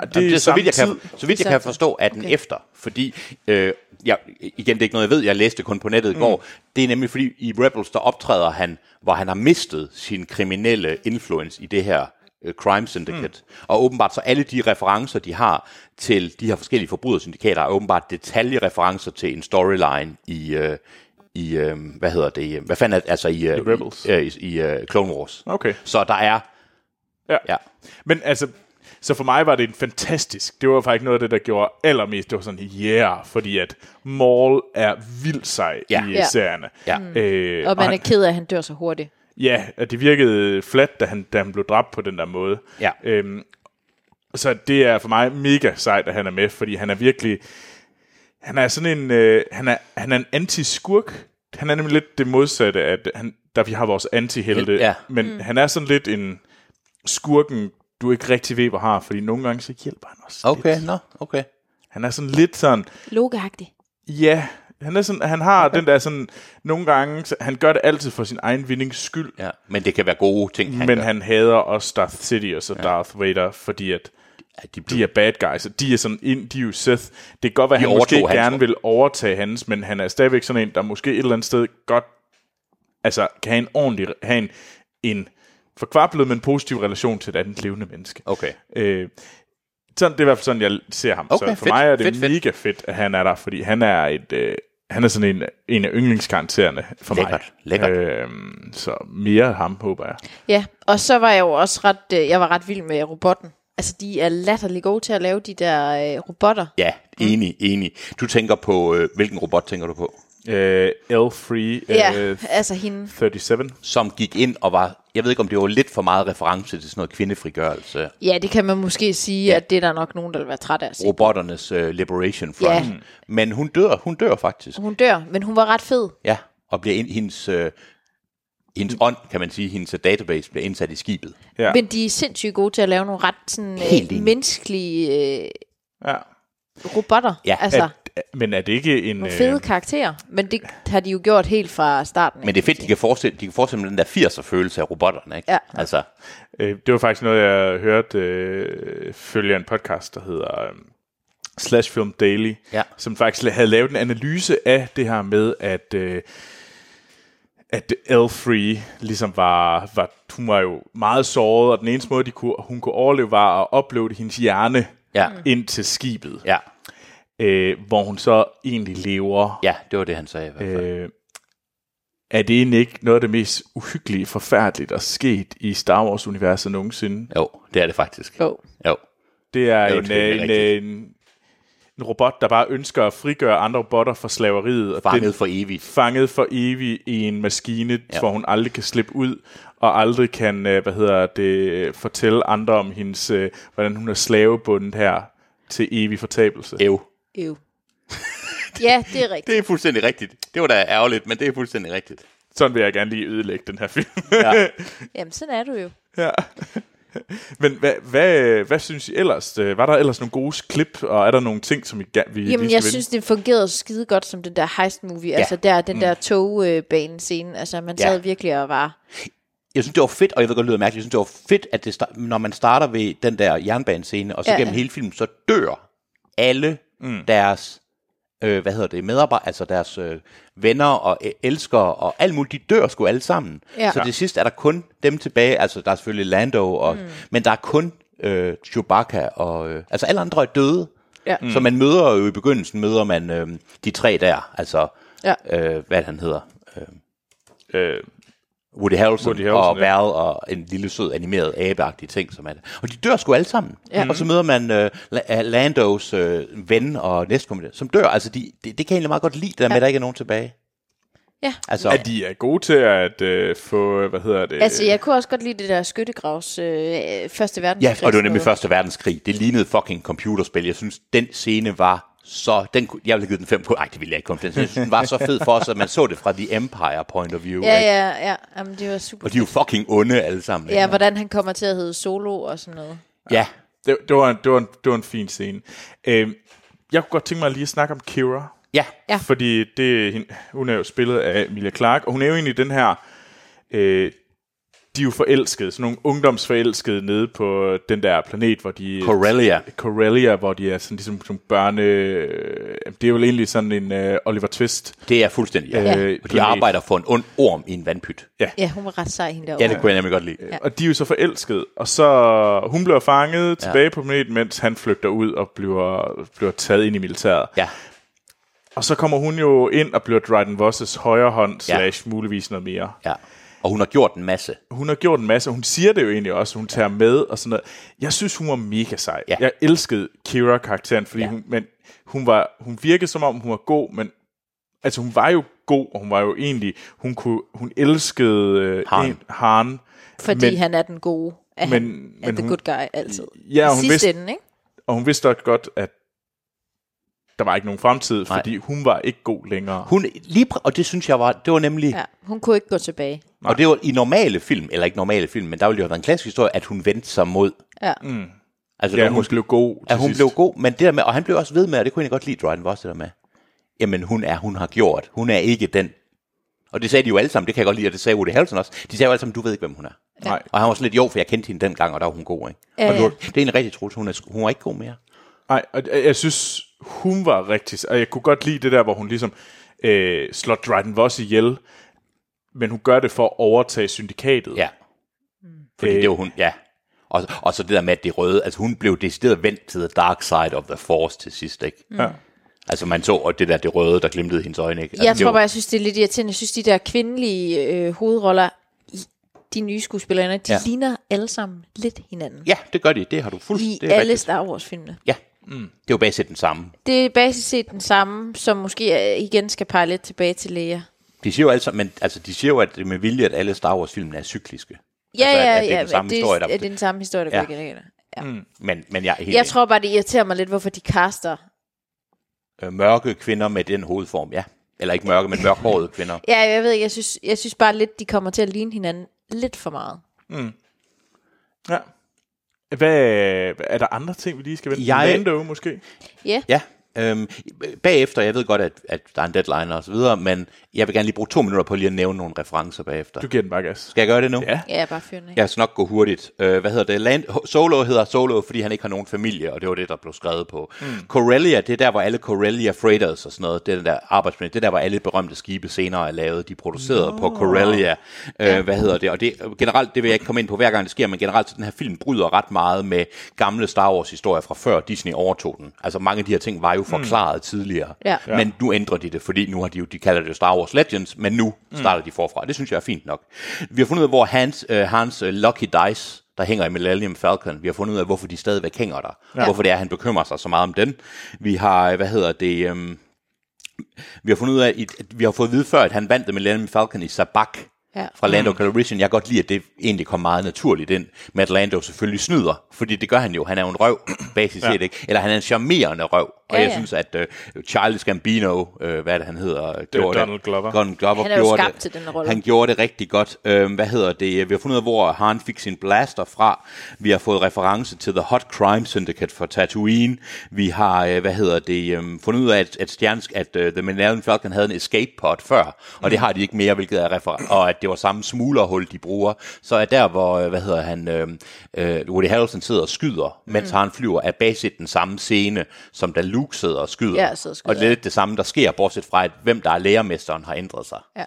Speaker 1: det,
Speaker 3: Jamen, det er så
Speaker 1: samme
Speaker 3: vidt jeg kan,
Speaker 1: tid.
Speaker 3: så vidt jeg kan forstå, at den Mm. okay. efter, fordi, øh, jeg, igen, det er ikke noget, jeg ved, jeg læste kun på nettet i går, det er nemlig fordi, i Rebels, der optræder han, hvor han har mistet sin kriminelle influence i det her øh, crime syndicate. Mm. Og åbenbart så alle de referencer, de har til de her forskellige forbrydersyndikater, er åbenbart detaljereferencer til en storyline i, øh, i øh, hvad hedder det, øh, hvad fanden er det, altså i, øh,
Speaker 1: Rebels.
Speaker 3: i, øh, i, i øh, Clone Wars.
Speaker 1: Okay.
Speaker 3: Så der er,
Speaker 1: Ja.
Speaker 3: ja,
Speaker 1: Men altså, så for mig var det en fantastisk, det var faktisk noget af det, der gjorde allermest, det var sådan, yeah, fordi at Maul er vildt sej ja. i
Speaker 3: Ja.
Speaker 2: Ja. Mm.
Speaker 1: ja. serierne.
Speaker 3: Ja.
Speaker 1: Øh,
Speaker 2: Og man
Speaker 1: han,
Speaker 2: er ked af, at han dør så hurtigt.
Speaker 1: ja, at det virkede flat, da han, da han blev dræbt på den der måde.
Speaker 3: Ja.
Speaker 1: Øhm, så det er for mig mega sejt, at han er med, fordi han er virkelig, han er sådan en, øh, han, er, han er en anti-skurk. Han er nemlig lidt det modsatte, at han, der vi har vores anti-helte,
Speaker 3: Ja.
Speaker 1: men mm. han er sådan lidt en skurken, du ikke rigtig ved, hvor har, fordi nogle gange så hjælper han også
Speaker 3: okay,
Speaker 1: lidt.
Speaker 3: nå, okay.
Speaker 1: Han er sådan lidt sådan,
Speaker 2: Logeagtigt.
Speaker 1: ja, han, er sådan, han har okay. den der sådan, nogle gange, så- han gør det altid for sin egen vindings skyld,
Speaker 3: Ja, men det kan være gode ting, han
Speaker 1: men
Speaker 3: gør.
Speaker 1: han hader også Darth Sidious og Darth Vader, fordi at
Speaker 3: Ja, de blev
Speaker 1: de er bad guys, og de er sådan ind, de er jo Seth. Det kan godt være, at han måske
Speaker 3: overtog hans
Speaker 1: gerne
Speaker 3: rolle.
Speaker 1: vil overtage hans, men han er stadigvæk sådan en, der måske et eller andet sted godt, altså kan have en ordentlig, have en, en forkvablet, men positiv relation til et andet levende menneske.
Speaker 3: Okay.
Speaker 1: Øh, sådan, det er i hvert fald sådan, jeg ser ham.
Speaker 3: Okay,
Speaker 1: så for
Speaker 3: fedt,
Speaker 1: mig er det
Speaker 3: fedt, fedt.
Speaker 1: mega fedt, at han er der, fordi han er et... Øh, han er sådan en, en af yndlingskaraktererne for
Speaker 3: Lækkert,
Speaker 1: mig.
Speaker 3: lækkert.
Speaker 1: Øhm, så mere af ham, håber jeg.
Speaker 2: Ja, og så var jeg jo også ret, øh, jeg var ret vild med robotten. Altså, de er latterlig gode til at lave de der øh, robotter.
Speaker 3: Ja,
Speaker 1: mm.
Speaker 3: enig, enig. Du tænker på, øh, hvilken robot tænker du på?
Speaker 1: Øh, L3 øh,
Speaker 2: Ja, altså hende.
Speaker 1: 37.
Speaker 3: Som gik ind og var, jeg ved ikke om det var lidt for meget reference til sådan noget kvindefrigørelse.
Speaker 2: Ja, det kan man måske sige,
Speaker 3: Ja.
Speaker 2: ja. at det er der nok nogen, der vil være træt af at se.
Speaker 3: Robotternes øh, Liberation Front.
Speaker 2: Ja.
Speaker 3: Men hun dør, hun dør faktisk.
Speaker 2: Hun dør, men hun var ret fed.
Speaker 3: Ja, og bliver ind, hendes, øh, hendes ånd, kan man sige, hendes øh, database bliver indsat i skibet.
Speaker 1: Ja.
Speaker 2: Ja. Men de er sindssygt gode til at lave nogle ret sådan,
Speaker 3: Helt enig.
Speaker 2: øh, menneskelige øh,
Speaker 1: Ja.
Speaker 2: robotter.
Speaker 3: Ja, øh,
Speaker 2: altså,
Speaker 1: Er, er- men er det ikke en...
Speaker 2: nogle fede karakterer. Men det har de jo gjort helt fra starten.
Speaker 3: Men det er fedt, de kan forestille, de kan forestille med den der 80'er følelse af robotterne, ikke?
Speaker 2: Ja.
Speaker 3: Altså,
Speaker 1: Øh, det var faktisk noget, jeg hørte øh, følger en podcast, der hedder øh, Slash Film Daily,
Speaker 3: Ja.
Speaker 1: som faktisk havde lavet en analyse af det her med, at øh, at L3 ligesom var, var, hun var jo meget såret, og den eneste måde, de kunne, hun kunne overleve, var at uploade hendes hjerne
Speaker 3: Ja.
Speaker 1: ind til skibet,
Speaker 3: ja,
Speaker 1: øh, hvor hun så egentlig lever.
Speaker 3: ja, det var det, han sagde i hvert fald.
Speaker 1: Øh, er det egentlig ikke noget af det mest uhyggelige, forfærdeligt, der er sket i Star Wars-universet nogensinde?
Speaker 3: Jo, det er det faktisk.
Speaker 2: Jo.
Speaker 3: Jo.
Speaker 1: Det er
Speaker 3: Jo,
Speaker 1: en,
Speaker 3: det er
Speaker 1: øh, en,
Speaker 3: rigtigt.
Speaker 1: øh, en, en robot, der bare ønsker at frigøre andre robotter fra slaveriet. Og
Speaker 3: Fanget
Speaker 1: den-
Speaker 3: for evigt.
Speaker 1: Fanget for evigt i en maskine,
Speaker 3: Ja.
Speaker 1: ja. hvor hun aldrig kan slippe ud, og aldrig kan, øh, hvad hedder det, fortælle andre om hendes, øh, hvordan hun er slavebundet her til evig fortabelse.
Speaker 3: Ev.
Speaker 2: Ew. ja, det er rigtigt.
Speaker 3: Det er fuldstændig rigtigt. Det var da ærgerligt, men det er fuldstændig rigtigt.
Speaker 1: Sådan vil jeg gerne lige ødelægge den her film.
Speaker 2: Jamen, sådan er du jo.
Speaker 1: Men hvad, hvad, hvad synes I ellers? Øh, Var der ellers nogle gode klip, og er der nogle ting, som I, ga- vi
Speaker 2: Jamen,
Speaker 1: lige
Speaker 2: jeg
Speaker 1: skal
Speaker 2: synes, det fungerede skide godt som den der heist movie. Ja. Altså, der, den der togbane scene. Altså, man
Speaker 3: Ja.
Speaker 2: sad virkelig og var...
Speaker 3: Jeg synes, det var fedt, og jeg ved godt, det lyder mærkeligt, jeg synes, det var fedt, at det start, når man starter ved den der jernbanescene, og så ja,
Speaker 2: Ja,
Speaker 3: gennem
Speaker 2: ja.
Speaker 3: hele filmen, så dør alle mm. deres, øh, hvad hedder det, medarbejdere, altså deres øh, venner og øh, elskere og alt muligt, de dør sgu alle sammen.
Speaker 2: Ja.
Speaker 3: Så
Speaker 2: Ja.
Speaker 3: til sidst er der kun dem tilbage, altså der er selvfølgelig Lando, og, mm. men der er kun øh, Chewbacca, og øh, altså alle andre er døde.
Speaker 2: Ja.
Speaker 3: Så man møder jo i begyndelsen, møder man øh, de tre der, altså,
Speaker 2: Ja.
Speaker 3: øh, hvad han hedder, øh,
Speaker 1: Øh,
Speaker 3: Woody Harrelson, Woody
Speaker 1: Woody
Speaker 3: Harrelson
Speaker 1: Harrelson,
Speaker 3: og
Speaker 1: ja.
Speaker 3: Val og en lille sød animeret abeagtig ting, som er det. Og de dør sgu alle sammen. Ja. Og så møder man øh, La- Landos øh, ven og næstkommende, som dør. Altså, de, det, det kan jeg egentlig meget godt lide, det der ja. med, at der ikke er nogen tilbage.
Speaker 2: Ja.
Speaker 3: Altså,
Speaker 1: at de er gode til at øh, få, øh, hvad hedder det?
Speaker 2: Altså, jeg kunne også godt lide det der skyttegravs øh, første verdenskrig.
Speaker 3: ja, og det var nemlig
Speaker 2: noget.
Speaker 3: Første Verdenskrig. Det lignede fucking computerspil. Jeg synes, den scene var så... Den, kunne- jeg ville have givet den fem på. Ej, det ville jeg ikke komme til. Jeg synes, den var så fed for os, at man så det fra The Empire point of view.
Speaker 2: Ja,
Speaker 3: ikke?
Speaker 2: ja, ja. Jamen, det var super
Speaker 3: Og de er jo fucking onde alle sammen.
Speaker 2: Ja,
Speaker 3: ikke?
Speaker 2: hvordan han kommer til at hedde Solo og sådan noget.
Speaker 3: ja.
Speaker 1: Det, det, var en, det, var en, det var en fin scene. Øh, jeg kunne godt tænke mig lige at snakke om Kira.
Speaker 3: ja.
Speaker 2: Ja.
Speaker 1: Fordi det, hende- hun er jo spillet af Emilia Clarke, og hun er jo egentlig den her... Øh, de er jo forelskede, sådan nogle ungdomsforelskede nede på den der planet, hvor de...
Speaker 3: Corellia.
Speaker 1: Corellia, hvor de er sådan ligesom som børne... øh, Det er jo egentlig sådan en øh, Oliver Twist.
Speaker 3: Det er fuldstændig. Ja.
Speaker 1: Øh,
Speaker 3: Og de
Speaker 1: planet.
Speaker 3: arbejder for en ond orm i en vandpyt.
Speaker 2: Ja, hun var ret sej, hende
Speaker 3: Ja,
Speaker 2: derovre.
Speaker 3: det kunne jeg nemlig godt lide.
Speaker 1: Ja. Og de er jo så forelskede, og så hun bliver fanget tilbage på planeten, mens han flygter ud og bliver, bliver taget ind i militæret.
Speaker 3: Ja,
Speaker 1: Og så kommer hun jo ind og bliver Dryden Vosses højre hånd,
Speaker 3: Ja.
Speaker 1: slash muligvis noget mere.
Speaker 3: ja. Og hun har gjort en masse.
Speaker 1: Hun har gjort en masse, og hun siger det jo egentlig også, hun tager med og sådan noget. Jeg synes, hun var mega sej.
Speaker 3: Ja.
Speaker 1: Jeg elskede Kira-karakteren, fordi
Speaker 3: Ja.
Speaker 1: ja. hun, men hun, var, hun virkede som om, hun var god, men altså hun var jo god, og hun var jo egentlig, hun, kunne, hun elskede øh,
Speaker 3: Haren.
Speaker 1: en- Haren.
Speaker 2: Fordi
Speaker 1: Men-
Speaker 2: men, han er den gode. Er men, han,
Speaker 1: Men-
Speaker 2: er
Speaker 1: men
Speaker 2: the
Speaker 1: hun-
Speaker 2: good guy altid.
Speaker 1: Ja,
Speaker 2: I
Speaker 1: hun
Speaker 2: sidste
Speaker 1: vidste-
Speaker 2: ende, ikke?
Speaker 1: Og hun vidste også godt, at der var ikke nogen fremtid,
Speaker 3: Nej.
Speaker 1: fordi hun var ikke god længere.
Speaker 3: Hun, lige præ- og det synes jeg var, det var nemlig, ja.
Speaker 2: Ja, hun kunne ikke gå tilbage.
Speaker 3: og det var i normale film, eller ikke normale film, men der ville jo have været en klassisk historie, at hun vendte sig mod.
Speaker 2: Ja.
Speaker 3: Mm. Altså,
Speaker 1: Ja,
Speaker 3: når
Speaker 1: hun blev god til
Speaker 3: at hun
Speaker 1: sidst.
Speaker 3: blev god, men det der med, og han blev også ved med, og det kunne jeg egentlig godt lide, Dryden Voss det der med, jamen hun er, hun har gjort, hun er ikke den Og det sagde de jo alle sammen, det kan jeg godt lide, og det sagde Woody Harrelson også. De sagde jo alle sammen, du ved ikke, hvem hun er.
Speaker 1: Nej.
Speaker 3: Og han var sådan lidt, jo, for jeg kendte hende dengang, og der var hun god, ikke?
Speaker 2: Ja,
Speaker 3: og det, var,
Speaker 2: ja.
Speaker 3: det er egentlig rigtigt, Troels, hun er, sgu- hun er ikke god mere.
Speaker 1: Nej, og jeg- jeg synes, hun var rigtig... Og jeg kunne godt lide det der, hvor hun ligesom øh, slår Dryden Voss ihjel, men hun gør det for at overtage syndikatet.
Speaker 3: Ja. Mm. Fordi
Speaker 1: Øh.
Speaker 3: det var hun, ja. Og, og så det der med, at det røde, altså hun blev decideret vendt til the dark side of the force til sidst, ikke?
Speaker 2: Mm.
Speaker 1: Ja.
Speaker 3: Altså man så, og det der, det røde, der glimtede i hendes øjne, ikke? Altså,
Speaker 2: Jeg
Speaker 3: det
Speaker 2: tror
Speaker 3: var-
Speaker 2: bare, jeg synes, det er lidt irriterende. Jeg synes, de der kvindelige øh, hovedroller, i de nye skuespillere, de
Speaker 3: Ja.
Speaker 2: ja. ligner alle sammen lidt hinanden.
Speaker 3: Ja, det gør de, det har du
Speaker 2: I
Speaker 3: fuldstændig
Speaker 2: alle Star Wars-filmene.
Speaker 3: Ja, mm. det er jo baseret den samme.
Speaker 2: Det er basis set den samme, som måske øh, igen skal pege lidt tilbage til Leia.
Speaker 3: De siger jo altså, men, altså, de siger jo, at det er med vilje, at alle Star Wars-filmene er cykliske.
Speaker 2: Ja,
Speaker 3: altså,
Speaker 2: ja, ja.
Speaker 3: at, at det er den samme
Speaker 2: det,
Speaker 3: historie, der...
Speaker 2: ja, det er den samme historie, der
Speaker 3: Ja.
Speaker 2: ja. går igen. Ja. Mm.
Speaker 3: men, men jeg er helt
Speaker 2: Jeg tror bare, det irriterer mig lidt, hvorfor de kaster.
Speaker 3: enig. Øh, mørke kvinder med den hovedform, ja. Eller ikke mørke, men mørkhårede kvinder.
Speaker 2: Ja, jeg ved ikke, jeg synes, jeg synes bare lidt, de kommer til at ligne hinanden lidt for meget.
Speaker 1: ja. Hvad, er der andre ting, vi lige skal vende?
Speaker 3: Jeg-
Speaker 1: Lando måske?
Speaker 2: Ja,
Speaker 3: Ja, øhm, bagefter, jeg ved godt, at, at der er en deadline og så videre, men jeg vil gerne lige bruge to minutter på lige at nævne nogle referencer bagefter.
Speaker 1: Du giver den bare gas.
Speaker 3: Skal jeg gøre det nu?
Speaker 1: Ja.
Speaker 2: ja bare fyren af.
Speaker 3: Jeg skal nok gå hurtigt. Øh, hvad hedder det? Land Solo hedder Solo, fordi han ikke har nogen familie, og det var det, der blev skrevet på. Mm. Corellia, det er der, hvor alle Corellia Freighters og sådan noget, det er den der arbejdsplads, det er der, hvor alle berømte skibe senere er lavet, de er produceret no. på Corellia. Øh, Hvad hedder det? Og det, generelt, det vil jeg ikke komme ind på hver gang det sker, men generelt, så den her film bryder ret meget med gamle Star Wars-historier fra før Disney overtog den. Altså mange af de her ting var jo forklaret mm. tidligere,
Speaker 2: Ja.
Speaker 3: men men nu ændrer de det, fordi nu har de jo, de kalder det jo Star Wars Legends, men nu starter de forfra. Det synes jeg er fint nok. Vi har fundet ud af, hvor hans, øh, hans øh, Lucky Dice, der hænger i Millennium Falcon, vi har fundet ud af, hvorfor de stadigvæk hænger der. Ja. Hvorfor det er, at han bekymrer sig så meget om den. Vi har, øh, hvad hedder det, øhm, vi har fundet ud af, i- at vi har fået at vide før, at han vandt The Millennium Falcon i Sabak
Speaker 2: Ja. Mm.
Speaker 3: fra Lando Calrissian. Jeg kan godt lide, at det egentlig kom meget naturligt ind, med at Lando selvfølgelig snyder, fordi det gør han jo. Han er jo en røv, basis set, ikke? Eller han er en charmerende røv. Og
Speaker 2: Ja,
Speaker 3: jeg
Speaker 2: ja.
Speaker 3: synes, at øh, Charles Gambino, øh, hvad er det, han hedder? gjorde
Speaker 1: Donald Glover.
Speaker 3: Donald Glover
Speaker 2: Han er jo
Speaker 3: gjorde
Speaker 2: skabt
Speaker 3: det.
Speaker 2: til den rolle.
Speaker 3: Han gjorde det rigtig godt. Øhm, hvad hedder det? Vi har fundet ud af, hvor Han fik sin blaster fra. Vi har fået reference til The Hot Crime Syndicate for Tatooine. Vi har, øh, hvad hedder det, øhm, fundet ud af, at, at, stjernes, at øh, The Millennium Falcon havde en escape pod før, og
Speaker 2: Mm.
Speaker 3: det har de ikke mere, hvilket er refer- og at det var samme smuglerhul, de bruger. Så er der, hvor, øh, hvad hedder han, øh, øh, Woody Harrelson sidder og skyder, mens mm. Han flyver, er basic den samme scene, som da Luke sidder og skyder.
Speaker 2: Ja, sidder og skyder,
Speaker 3: og det er lidt det samme, der sker, bortset fra, at hvem der er lærermesteren har ændret sig.
Speaker 1: Ja.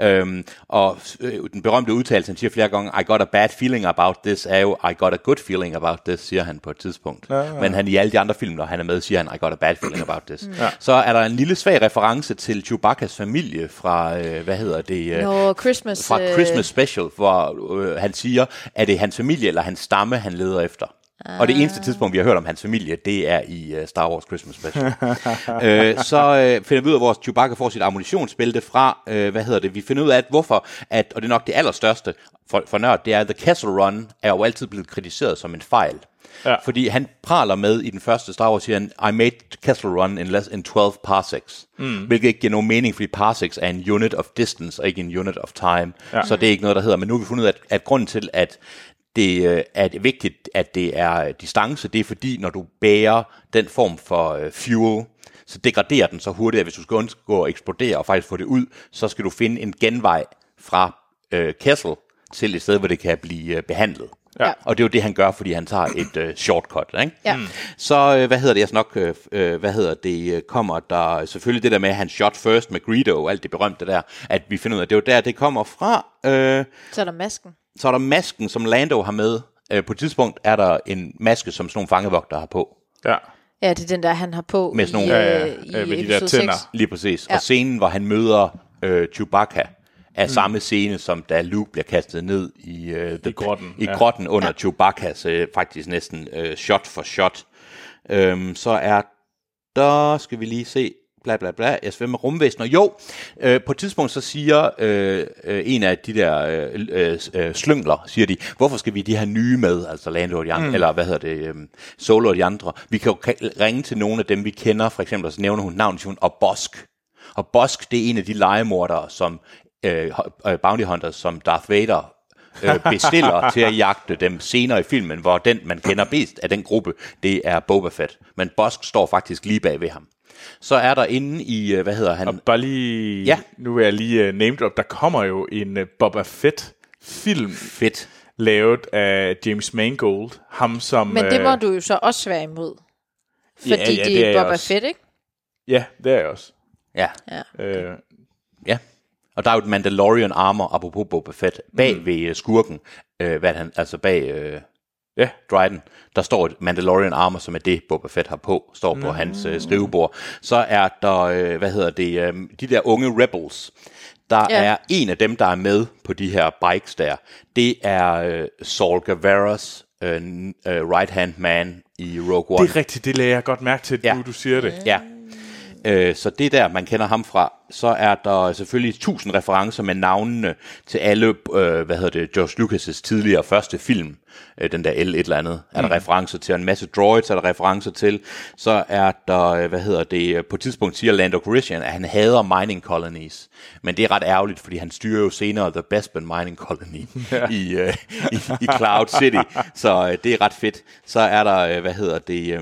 Speaker 3: Øhm, og øh, den berømte udtalelse, han siger flere gange, I got a bad feeling about this, er jo, I got a good feeling about this, siger han på et tidspunkt. Ja, ja. Men han i alle de andre film, når han er med, siger han, I got a bad feeling about this. Ja. Så er der en lille svag reference til Chewbacca's familie fra, øh, hvad hedder det? Øh,
Speaker 2: Nå, Christmas...
Speaker 3: fra
Speaker 2: øh,
Speaker 3: Christmas Special, hvor øh, han siger, at det er hans familie eller hans stamme, han leder efter. Og
Speaker 2: Ah.
Speaker 3: det eneste tidspunkt, vi har hørt om hans familie, det er i uh, Star Wars Christmas Special. øh, så øh, finder vi ud af, hvor Chewbacca får sit ammunitionsbælte fra. Øh, hvad hedder det? Vi finder ud af, at hvorfor, at, og det er nok det allerstørste for, for nørd, det er, at The Castle Run er jo altid blevet kritiseret som en fejl. Ja. Fordi han praler med i den første Star Wars, siger han, I made Castle Run in less than 12 parsecs. Mm. Hvilket ikke giver nogen mening, fordi parsecs er en unit of distance, og ikke en unit of time. Ja. Så det er ikke noget, der hedder. Men nu har vi fundet ud af, at, at grunden til, at det øh, er vigtigt, at det er øh, distance, det er fordi, når du bærer den form for øh, fuel, så degraderer den så hurtigt, at hvis du skal undgå at eksplodere og faktisk få det ud, så skal du finde en genvej fra øh, Kessel til et sted, hvor det kan blive øh, behandlet.
Speaker 2: Ja.
Speaker 3: Og det er jo det, han gør, fordi han tager et øh, shortcut. Ikke?
Speaker 2: Ja. Mm.
Speaker 3: Så øh, hvad hedder det, jeg skal nok, øh, øh, hvad hedder det, øh, kommer der selvfølgelig det der med, at han shot first med Greedo, alt det berømte der, at vi finder ud af, det er jo der, det kommer fra. Øh,
Speaker 2: Så er der masken.
Speaker 3: så er der masken, som Lando har med. Øh, på et tidspunkt er der en maske, som sådan nogle fangevogtere har på.
Speaker 1: Ja.
Speaker 2: Ja, det er den der, han har på
Speaker 3: Med sådan
Speaker 2: i,
Speaker 3: nogle-
Speaker 1: Ja, ja,
Speaker 2: øh,
Speaker 1: ja,
Speaker 2: i
Speaker 1: med de der
Speaker 2: episode
Speaker 1: tænder.
Speaker 2: 6.
Speaker 3: Lige præcis. Ja. Og scenen, hvor han møder øh, Chewbacca, er mm. samme scene, som da Luke bliver kastet ned i, øh, the,
Speaker 1: grotten,
Speaker 3: i
Speaker 1: ja.
Speaker 3: grotten under ja. Chewbaccas øh, faktisk næsten øh, shot for shot. Øhm, så er der, skal vi lige se, bla bla bla, jeg svømmer rumvæsener. Jo, øh, på et tidspunkt så siger øh, øh, en af de der øh, øh, øh, slyngler, siger de, hvorfor skal vi de her nye med, altså Lando og de andre, mm. eller hvad hedder det, øh, Solo og de andre, vi kan jo ka- ringe til nogle af dem, vi kender, for eksempel, og så nævner hun navnet, siger hun, og Bosk. Og Bosk, det er en af de legemordere, som øh, ho- øh, Bounty Hunters, som Darth Vader øh, bestiller til at jagte dem senere i filmen, hvor den, man kender bedst af den gruppe, det er Boba Fett. Men Bosk står faktisk lige bag ved ham. Så er der inde i, øh, hvad hedder han?
Speaker 1: Og bare lige,
Speaker 3: Ja.
Speaker 1: nu vil jeg lige uh, name drop, der kommer jo en uh, Boba Fett film
Speaker 3: Fedt.
Speaker 1: lavet af James Mangold, ham som...
Speaker 2: Men det må
Speaker 1: øh,
Speaker 2: du jo så også være imod. Fordi
Speaker 1: Ja, ja,
Speaker 2: det
Speaker 1: det er jeg
Speaker 2: er Boba
Speaker 1: også.
Speaker 2: Fett, ikke?
Speaker 1: Ja, det er jeg også.
Speaker 3: Ja,
Speaker 2: Ja.
Speaker 1: Øh,
Speaker 3: ja. Og der er jo et Mandalorian armor, apropos Boba Fett, bag mm. ved øh, skurken, øh, hvad er det han, altså bag øh,
Speaker 1: ja,
Speaker 3: Dryden, der står et Mandalorian armor, som er det, Boba Fett har på, står på mm. hans øh, skrivebord. Så er der, øh, hvad hedder det, øh, de der unge rebels. Der
Speaker 2: Ja.
Speaker 3: ja. er en af dem, der er med på de her bikes der. Det er øh, Saul Guevaras øh, n- øh, right-hand man i Rogue One.
Speaker 1: det er rigtigt, det lagde jeg godt mærke til, ja.
Speaker 3: Ja.
Speaker 1: nu du siger det.
Speaker 3: Øhm. Ja. Øh, så det er der, man kender ham fra. Så er der selvfølgelig tusind referencer med navnene til alle, øh, hvad hedder det, George Lucas' tidligere første film, øh, den der L et eller andet, er der referencer til, og en masse droids er der referencer til. Så er der, øh, hvad hedder det, øh, på et tidspunkt siger Lando Calrissian, at han hader mining colonies. Men det er ret ærgerligt, fordi han styrer jo senere The Bespin Mining Colony i, øh, i, i Cloud City. Så øh, det er ret fedt. Så er der, øh, hvad hedder det... Øh,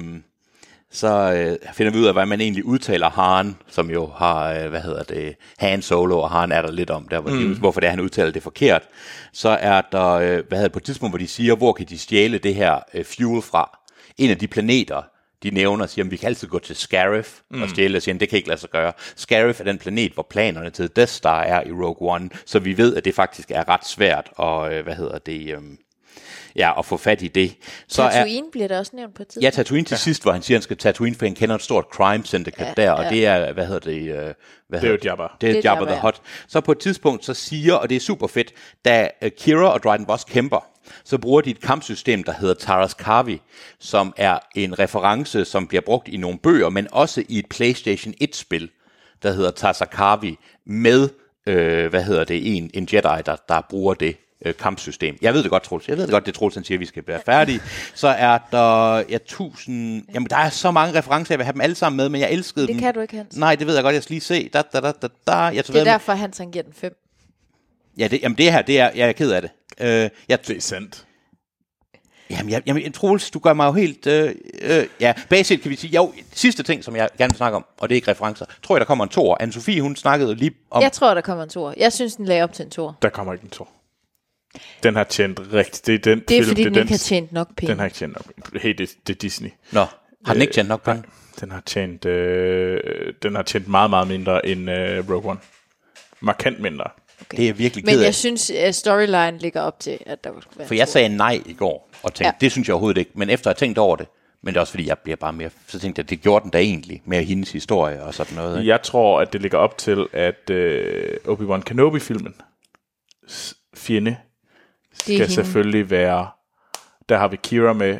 Speaker 3: så øh, finder vi ud af, hvordan man egentlig udtaler Han, som jo har, øh, hvad hedder det, Han Solo, og Han er der lidt om, der, hvor de, hvorfor det er, han udtaler det forkert. Så er der, øh, hvad hedder det, på et tidspunkt, hvor de siger, hvor kan de stjæle det her øh, fuel fra? En af de planeter, de nævner, siger, at vi kan altid gå til Scarif mm. og stjæle, og siger, det kan ikke lade sig gøre. Scarif er den planet, hvor planerne til Death Star er i Rogue One, så vi ved, at det faktisk er ret svært, og øh, hvad hedder det, øh, ja, at få fat i det. Så er,
Speaker 2: Tatooine bliver der også nævnt på et tidspunkt.
Speaker 3: Ja, Tatooine til ja. sidst, hvor han siger, han skal Tatooine, for han kender et stort crime syndicate ja, der, og
Speaker 2: ja.
Speaker 3: ja. det er, hvad hedder det? Øh, hvad
Speaker 1: Det er jo
Speaker 3: hedder
Speaker 1: Jabba.
Speaker 3: Det er
Speaker 2: Det er
Speaker 3: Jabba,
Speaker 2: Jabba,
Speaker 3: the
Speaker 2: ja.
Speaker 3: Hutt. Så på et tidspunkt, så siger, og det er super fedt, da øh, Kira og Dryden Boss kæmper, så bruger de et kampsystem, der hedder Taras Kavi, som er en reference, som bliver brugt i nogle bøger, men også i et PlayStation 1-spil, der hedder Tasakavi, med, øh, hvad hedder det, en, en Jedi, der, der bruger det øh, kampsystem. Jeg ved det godt, Troels. Jeg ved det godt, det Troels, han siger, at vi skal være færdige. Så er der, ja, tusind... Jamen, der er så mange referencer, jeg vil have dem alle sammen med, men jeg elskede
Speaker 2: Det
Speaker 3: dem.
Speaker 2: kan du ikke, Hans.
Speaker 3: Nej, det ved jeg godt, jeg skal lige se. Da, da, da, da, da. Jeg tog
Speaker 2: Det er
Speaker 3: ved, med-
Speaker 2: derfor, han tangerer den 5.
Speaker 3: Ja, det, jamen det her, det er, jeg er ked af det. Øh, jeg,
Speaker 1: Det er sandt.
Speaker 3: jamen, jeg, jamen, Troels, du gør mig jo helt... Øh, øh, ja, basisk kan vi sige, jo, sidste ting, som jeg gerne vil snakke om, og det er ikke referencer. Tror jeg, der kommer en toer. Anne-Sophie, hun snakkede lige om...
Speaker 2: Jeg tror, der kommer en tor. Jeg synes, den lagde op til en tor.
Speaker 1: Der kommer ikke en to. Den har tjent rigtigt. Det er den
Speaker 2: Det er,
Speaker 1: film,
Speaker 2: fordi
Speaker 1: det er
Speaker 2: den ikke har
Speaker 1: dens-
Speaker 2: tjent nok penge.
Speaker 1: Den har ikke tjent nok. Hey, det, det er Disney.
Speaker 3: Nå, har den ikke tjent nok penge?
Speaker 1: Den har tjent, øh, den har tjent meget, meget mindre end øh, Rogue One. Markant mindre.
Speaker 2: Okay.
Speaker 3: Det er jeg virkelig
Speaker 2: Men
Speaker 3: ked af.
Speaker 2: jeg synes, at storyline ligger op til, at der skulle være
Speaker 3: For
Speaker 2: en
Speaker 3: jeg
Speaker 2: toer.
Speaker 3: sagde nej i går, og tænkte,
Speaker 2: Ja.
Speaker 3: ja. det synes jeg overhovedet ikke. Men efter at have tænkt over det, men det er også fordi, jeg bliver bare mere... Så tænkte jeg, det gjorde den da egentlig, med hendes historie og sådan noget. Ikke?
Speaker 1: Jeg tror, at det ligger op til, at øh, Obi-Wan Kenobi-filmen fjende
Speaker 2: Det er
Speaker 1: skal
Speaker 2: hende.
Speaker 1: selvfølgelig være... Der har vi Kira med,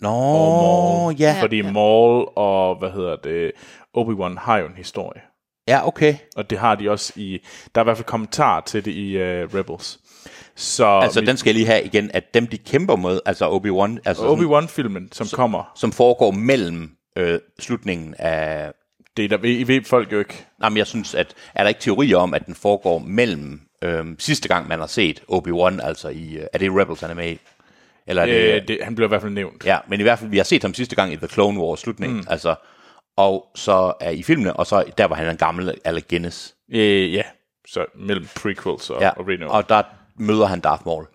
Speaker 3: Nå,
Speaker 1: og Maul.
Speaker 3: ja.
Speaker 1: Fordi Maul og, hvad hedder det, Obi-Wan har jo en historie.
Speaker 3: Ja, okay.
Speaker 1: Og det har de også i... Der er i hvert fald kommentar til det i uh, Rebels. Så
Speaker 3: Altså,
Speaker 1: vi-
Speaker 3: den skal jeg lige have igen, at dem, de kæmper mod, altså Obi-Wan, altså sådan-
Speaker 1: Obi-Wan-filmen, som kommer,
Speaker 3: som foregår mellem øh, slutningen af...
Speaker 1: det er der, I ved folk jo ikke.
Speaker 3: Nej, men jeg synes, at er der ikke teorier om, at den foregår mellem øh, sidste gang, man har set Obi-Wan, altså i... Øh, er det i Rebels, han er med i? Eller er det,
Speaker 1: Øh, det, han blev i hvert fald nævnt.
Speaker 3: Ja, men i hvert fald, vi har set ham sidste gang i The Clone Wars slutningen, mm. altså... Og så er i filmene, og så der, hvor han er en gammel Alec Guinness.
Speaker 1: Øh, ja, så mellem prequels og, ja. og Reno. Og
Speaker 3: og der møder han Darth Maul.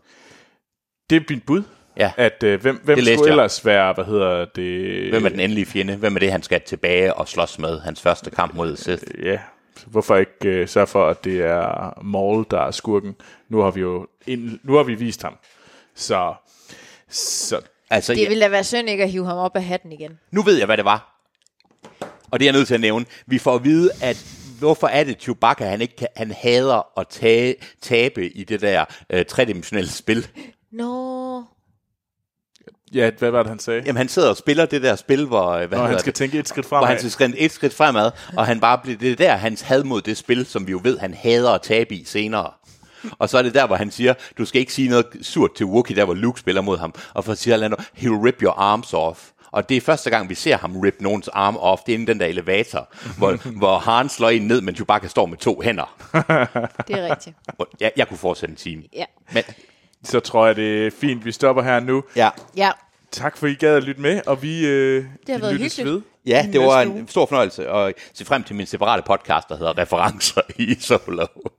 Speaker 1: det er mit bud,
Speaker 3: Ja.
Speaker 1: at øh, hvem, hvem
Speaker 3: Det læste
Speaker 1: skulle
Speaker 3: jeg.
Speaker 1: ellers være, hvad hedder det...
Speaker 3: Hvem er den endelige fjende? Hvem er det, han skal tilbage og slås med? Hans første kamp mod Sith.
Speaker 1: Ja, hvorfor ikke øh, sørge for, at det er Maul, der er skurken? Nu har vi jo ind, nu har vi vist ham. Så, så
Speaker 3: Altså,
Speaker 2: Det ville da være synd ikke at hive ham op af hatten igen.
Speaker 3: Nu ved jeg, hvad det var. Og det er jeg nødt til at nævne. Vi får at vide, at hvorfor er det Chewbacca, han, ikke kan, han hader at tage, tabe i det der øh, tredimensionelle spil.
Speaker 2: Nå,
Speaker 1: ja, hvad var det, han sagde?
Speaker 3: Jamen, han sidder og spiller det der spil, hvor, øh, hvad
Speaker 1: Når han
Speaker 3: hedder
Speaker 1: skal
Speaker 3: det?
Speaker 1: tænke et skridt
Speaker 3: hvor
Speaker 1: fremad.
Speaker 3: han skal skride et skridt fremad, og han bare bliver det er der, hans had mod det spil, som vi jo ved, han hader at tabe i senere. Og så er det der, hvor han siger, du skal ikke sige noget surt til Wookie, der hvor Luke spiller mod ham. Og for siger Lando, he'll rip your arms off. Og det er første gang, vi ser ham rip nogens arm off, det er inden den der elevator, hvor, hvor Han slår en ned, men Chewbacca står med to hænder.
Speaker 2: det er rigtigt.
Speaker 3: Og Jeg, jeg kunne fortsætte en time.
Speaker 2: Ja.
Speaker 3: Men,
Speaker 1: Så tror jeg, det er fint, vi stopper her nu.
Speaker 3: ja.
Speaker 2: Ja,
Speaker 1: Tak for, I gad at lytte med, og vi, øh,
Speaker 2: har
Speaker 1: vi
Speaker 2: været
Speaker 1: lyttes
Speaker 2: hyggeligt.
Speaker 1: ved.
Speaker 3: Ja,
Speaker 1: i
Speaker 3: det var
Speaker 1: næste
Speaker 3: en
Speaker 1: uge.
Speaker 3: stor fornøjelse at se frem til min separate podcast, der hedder Referencer i Solo.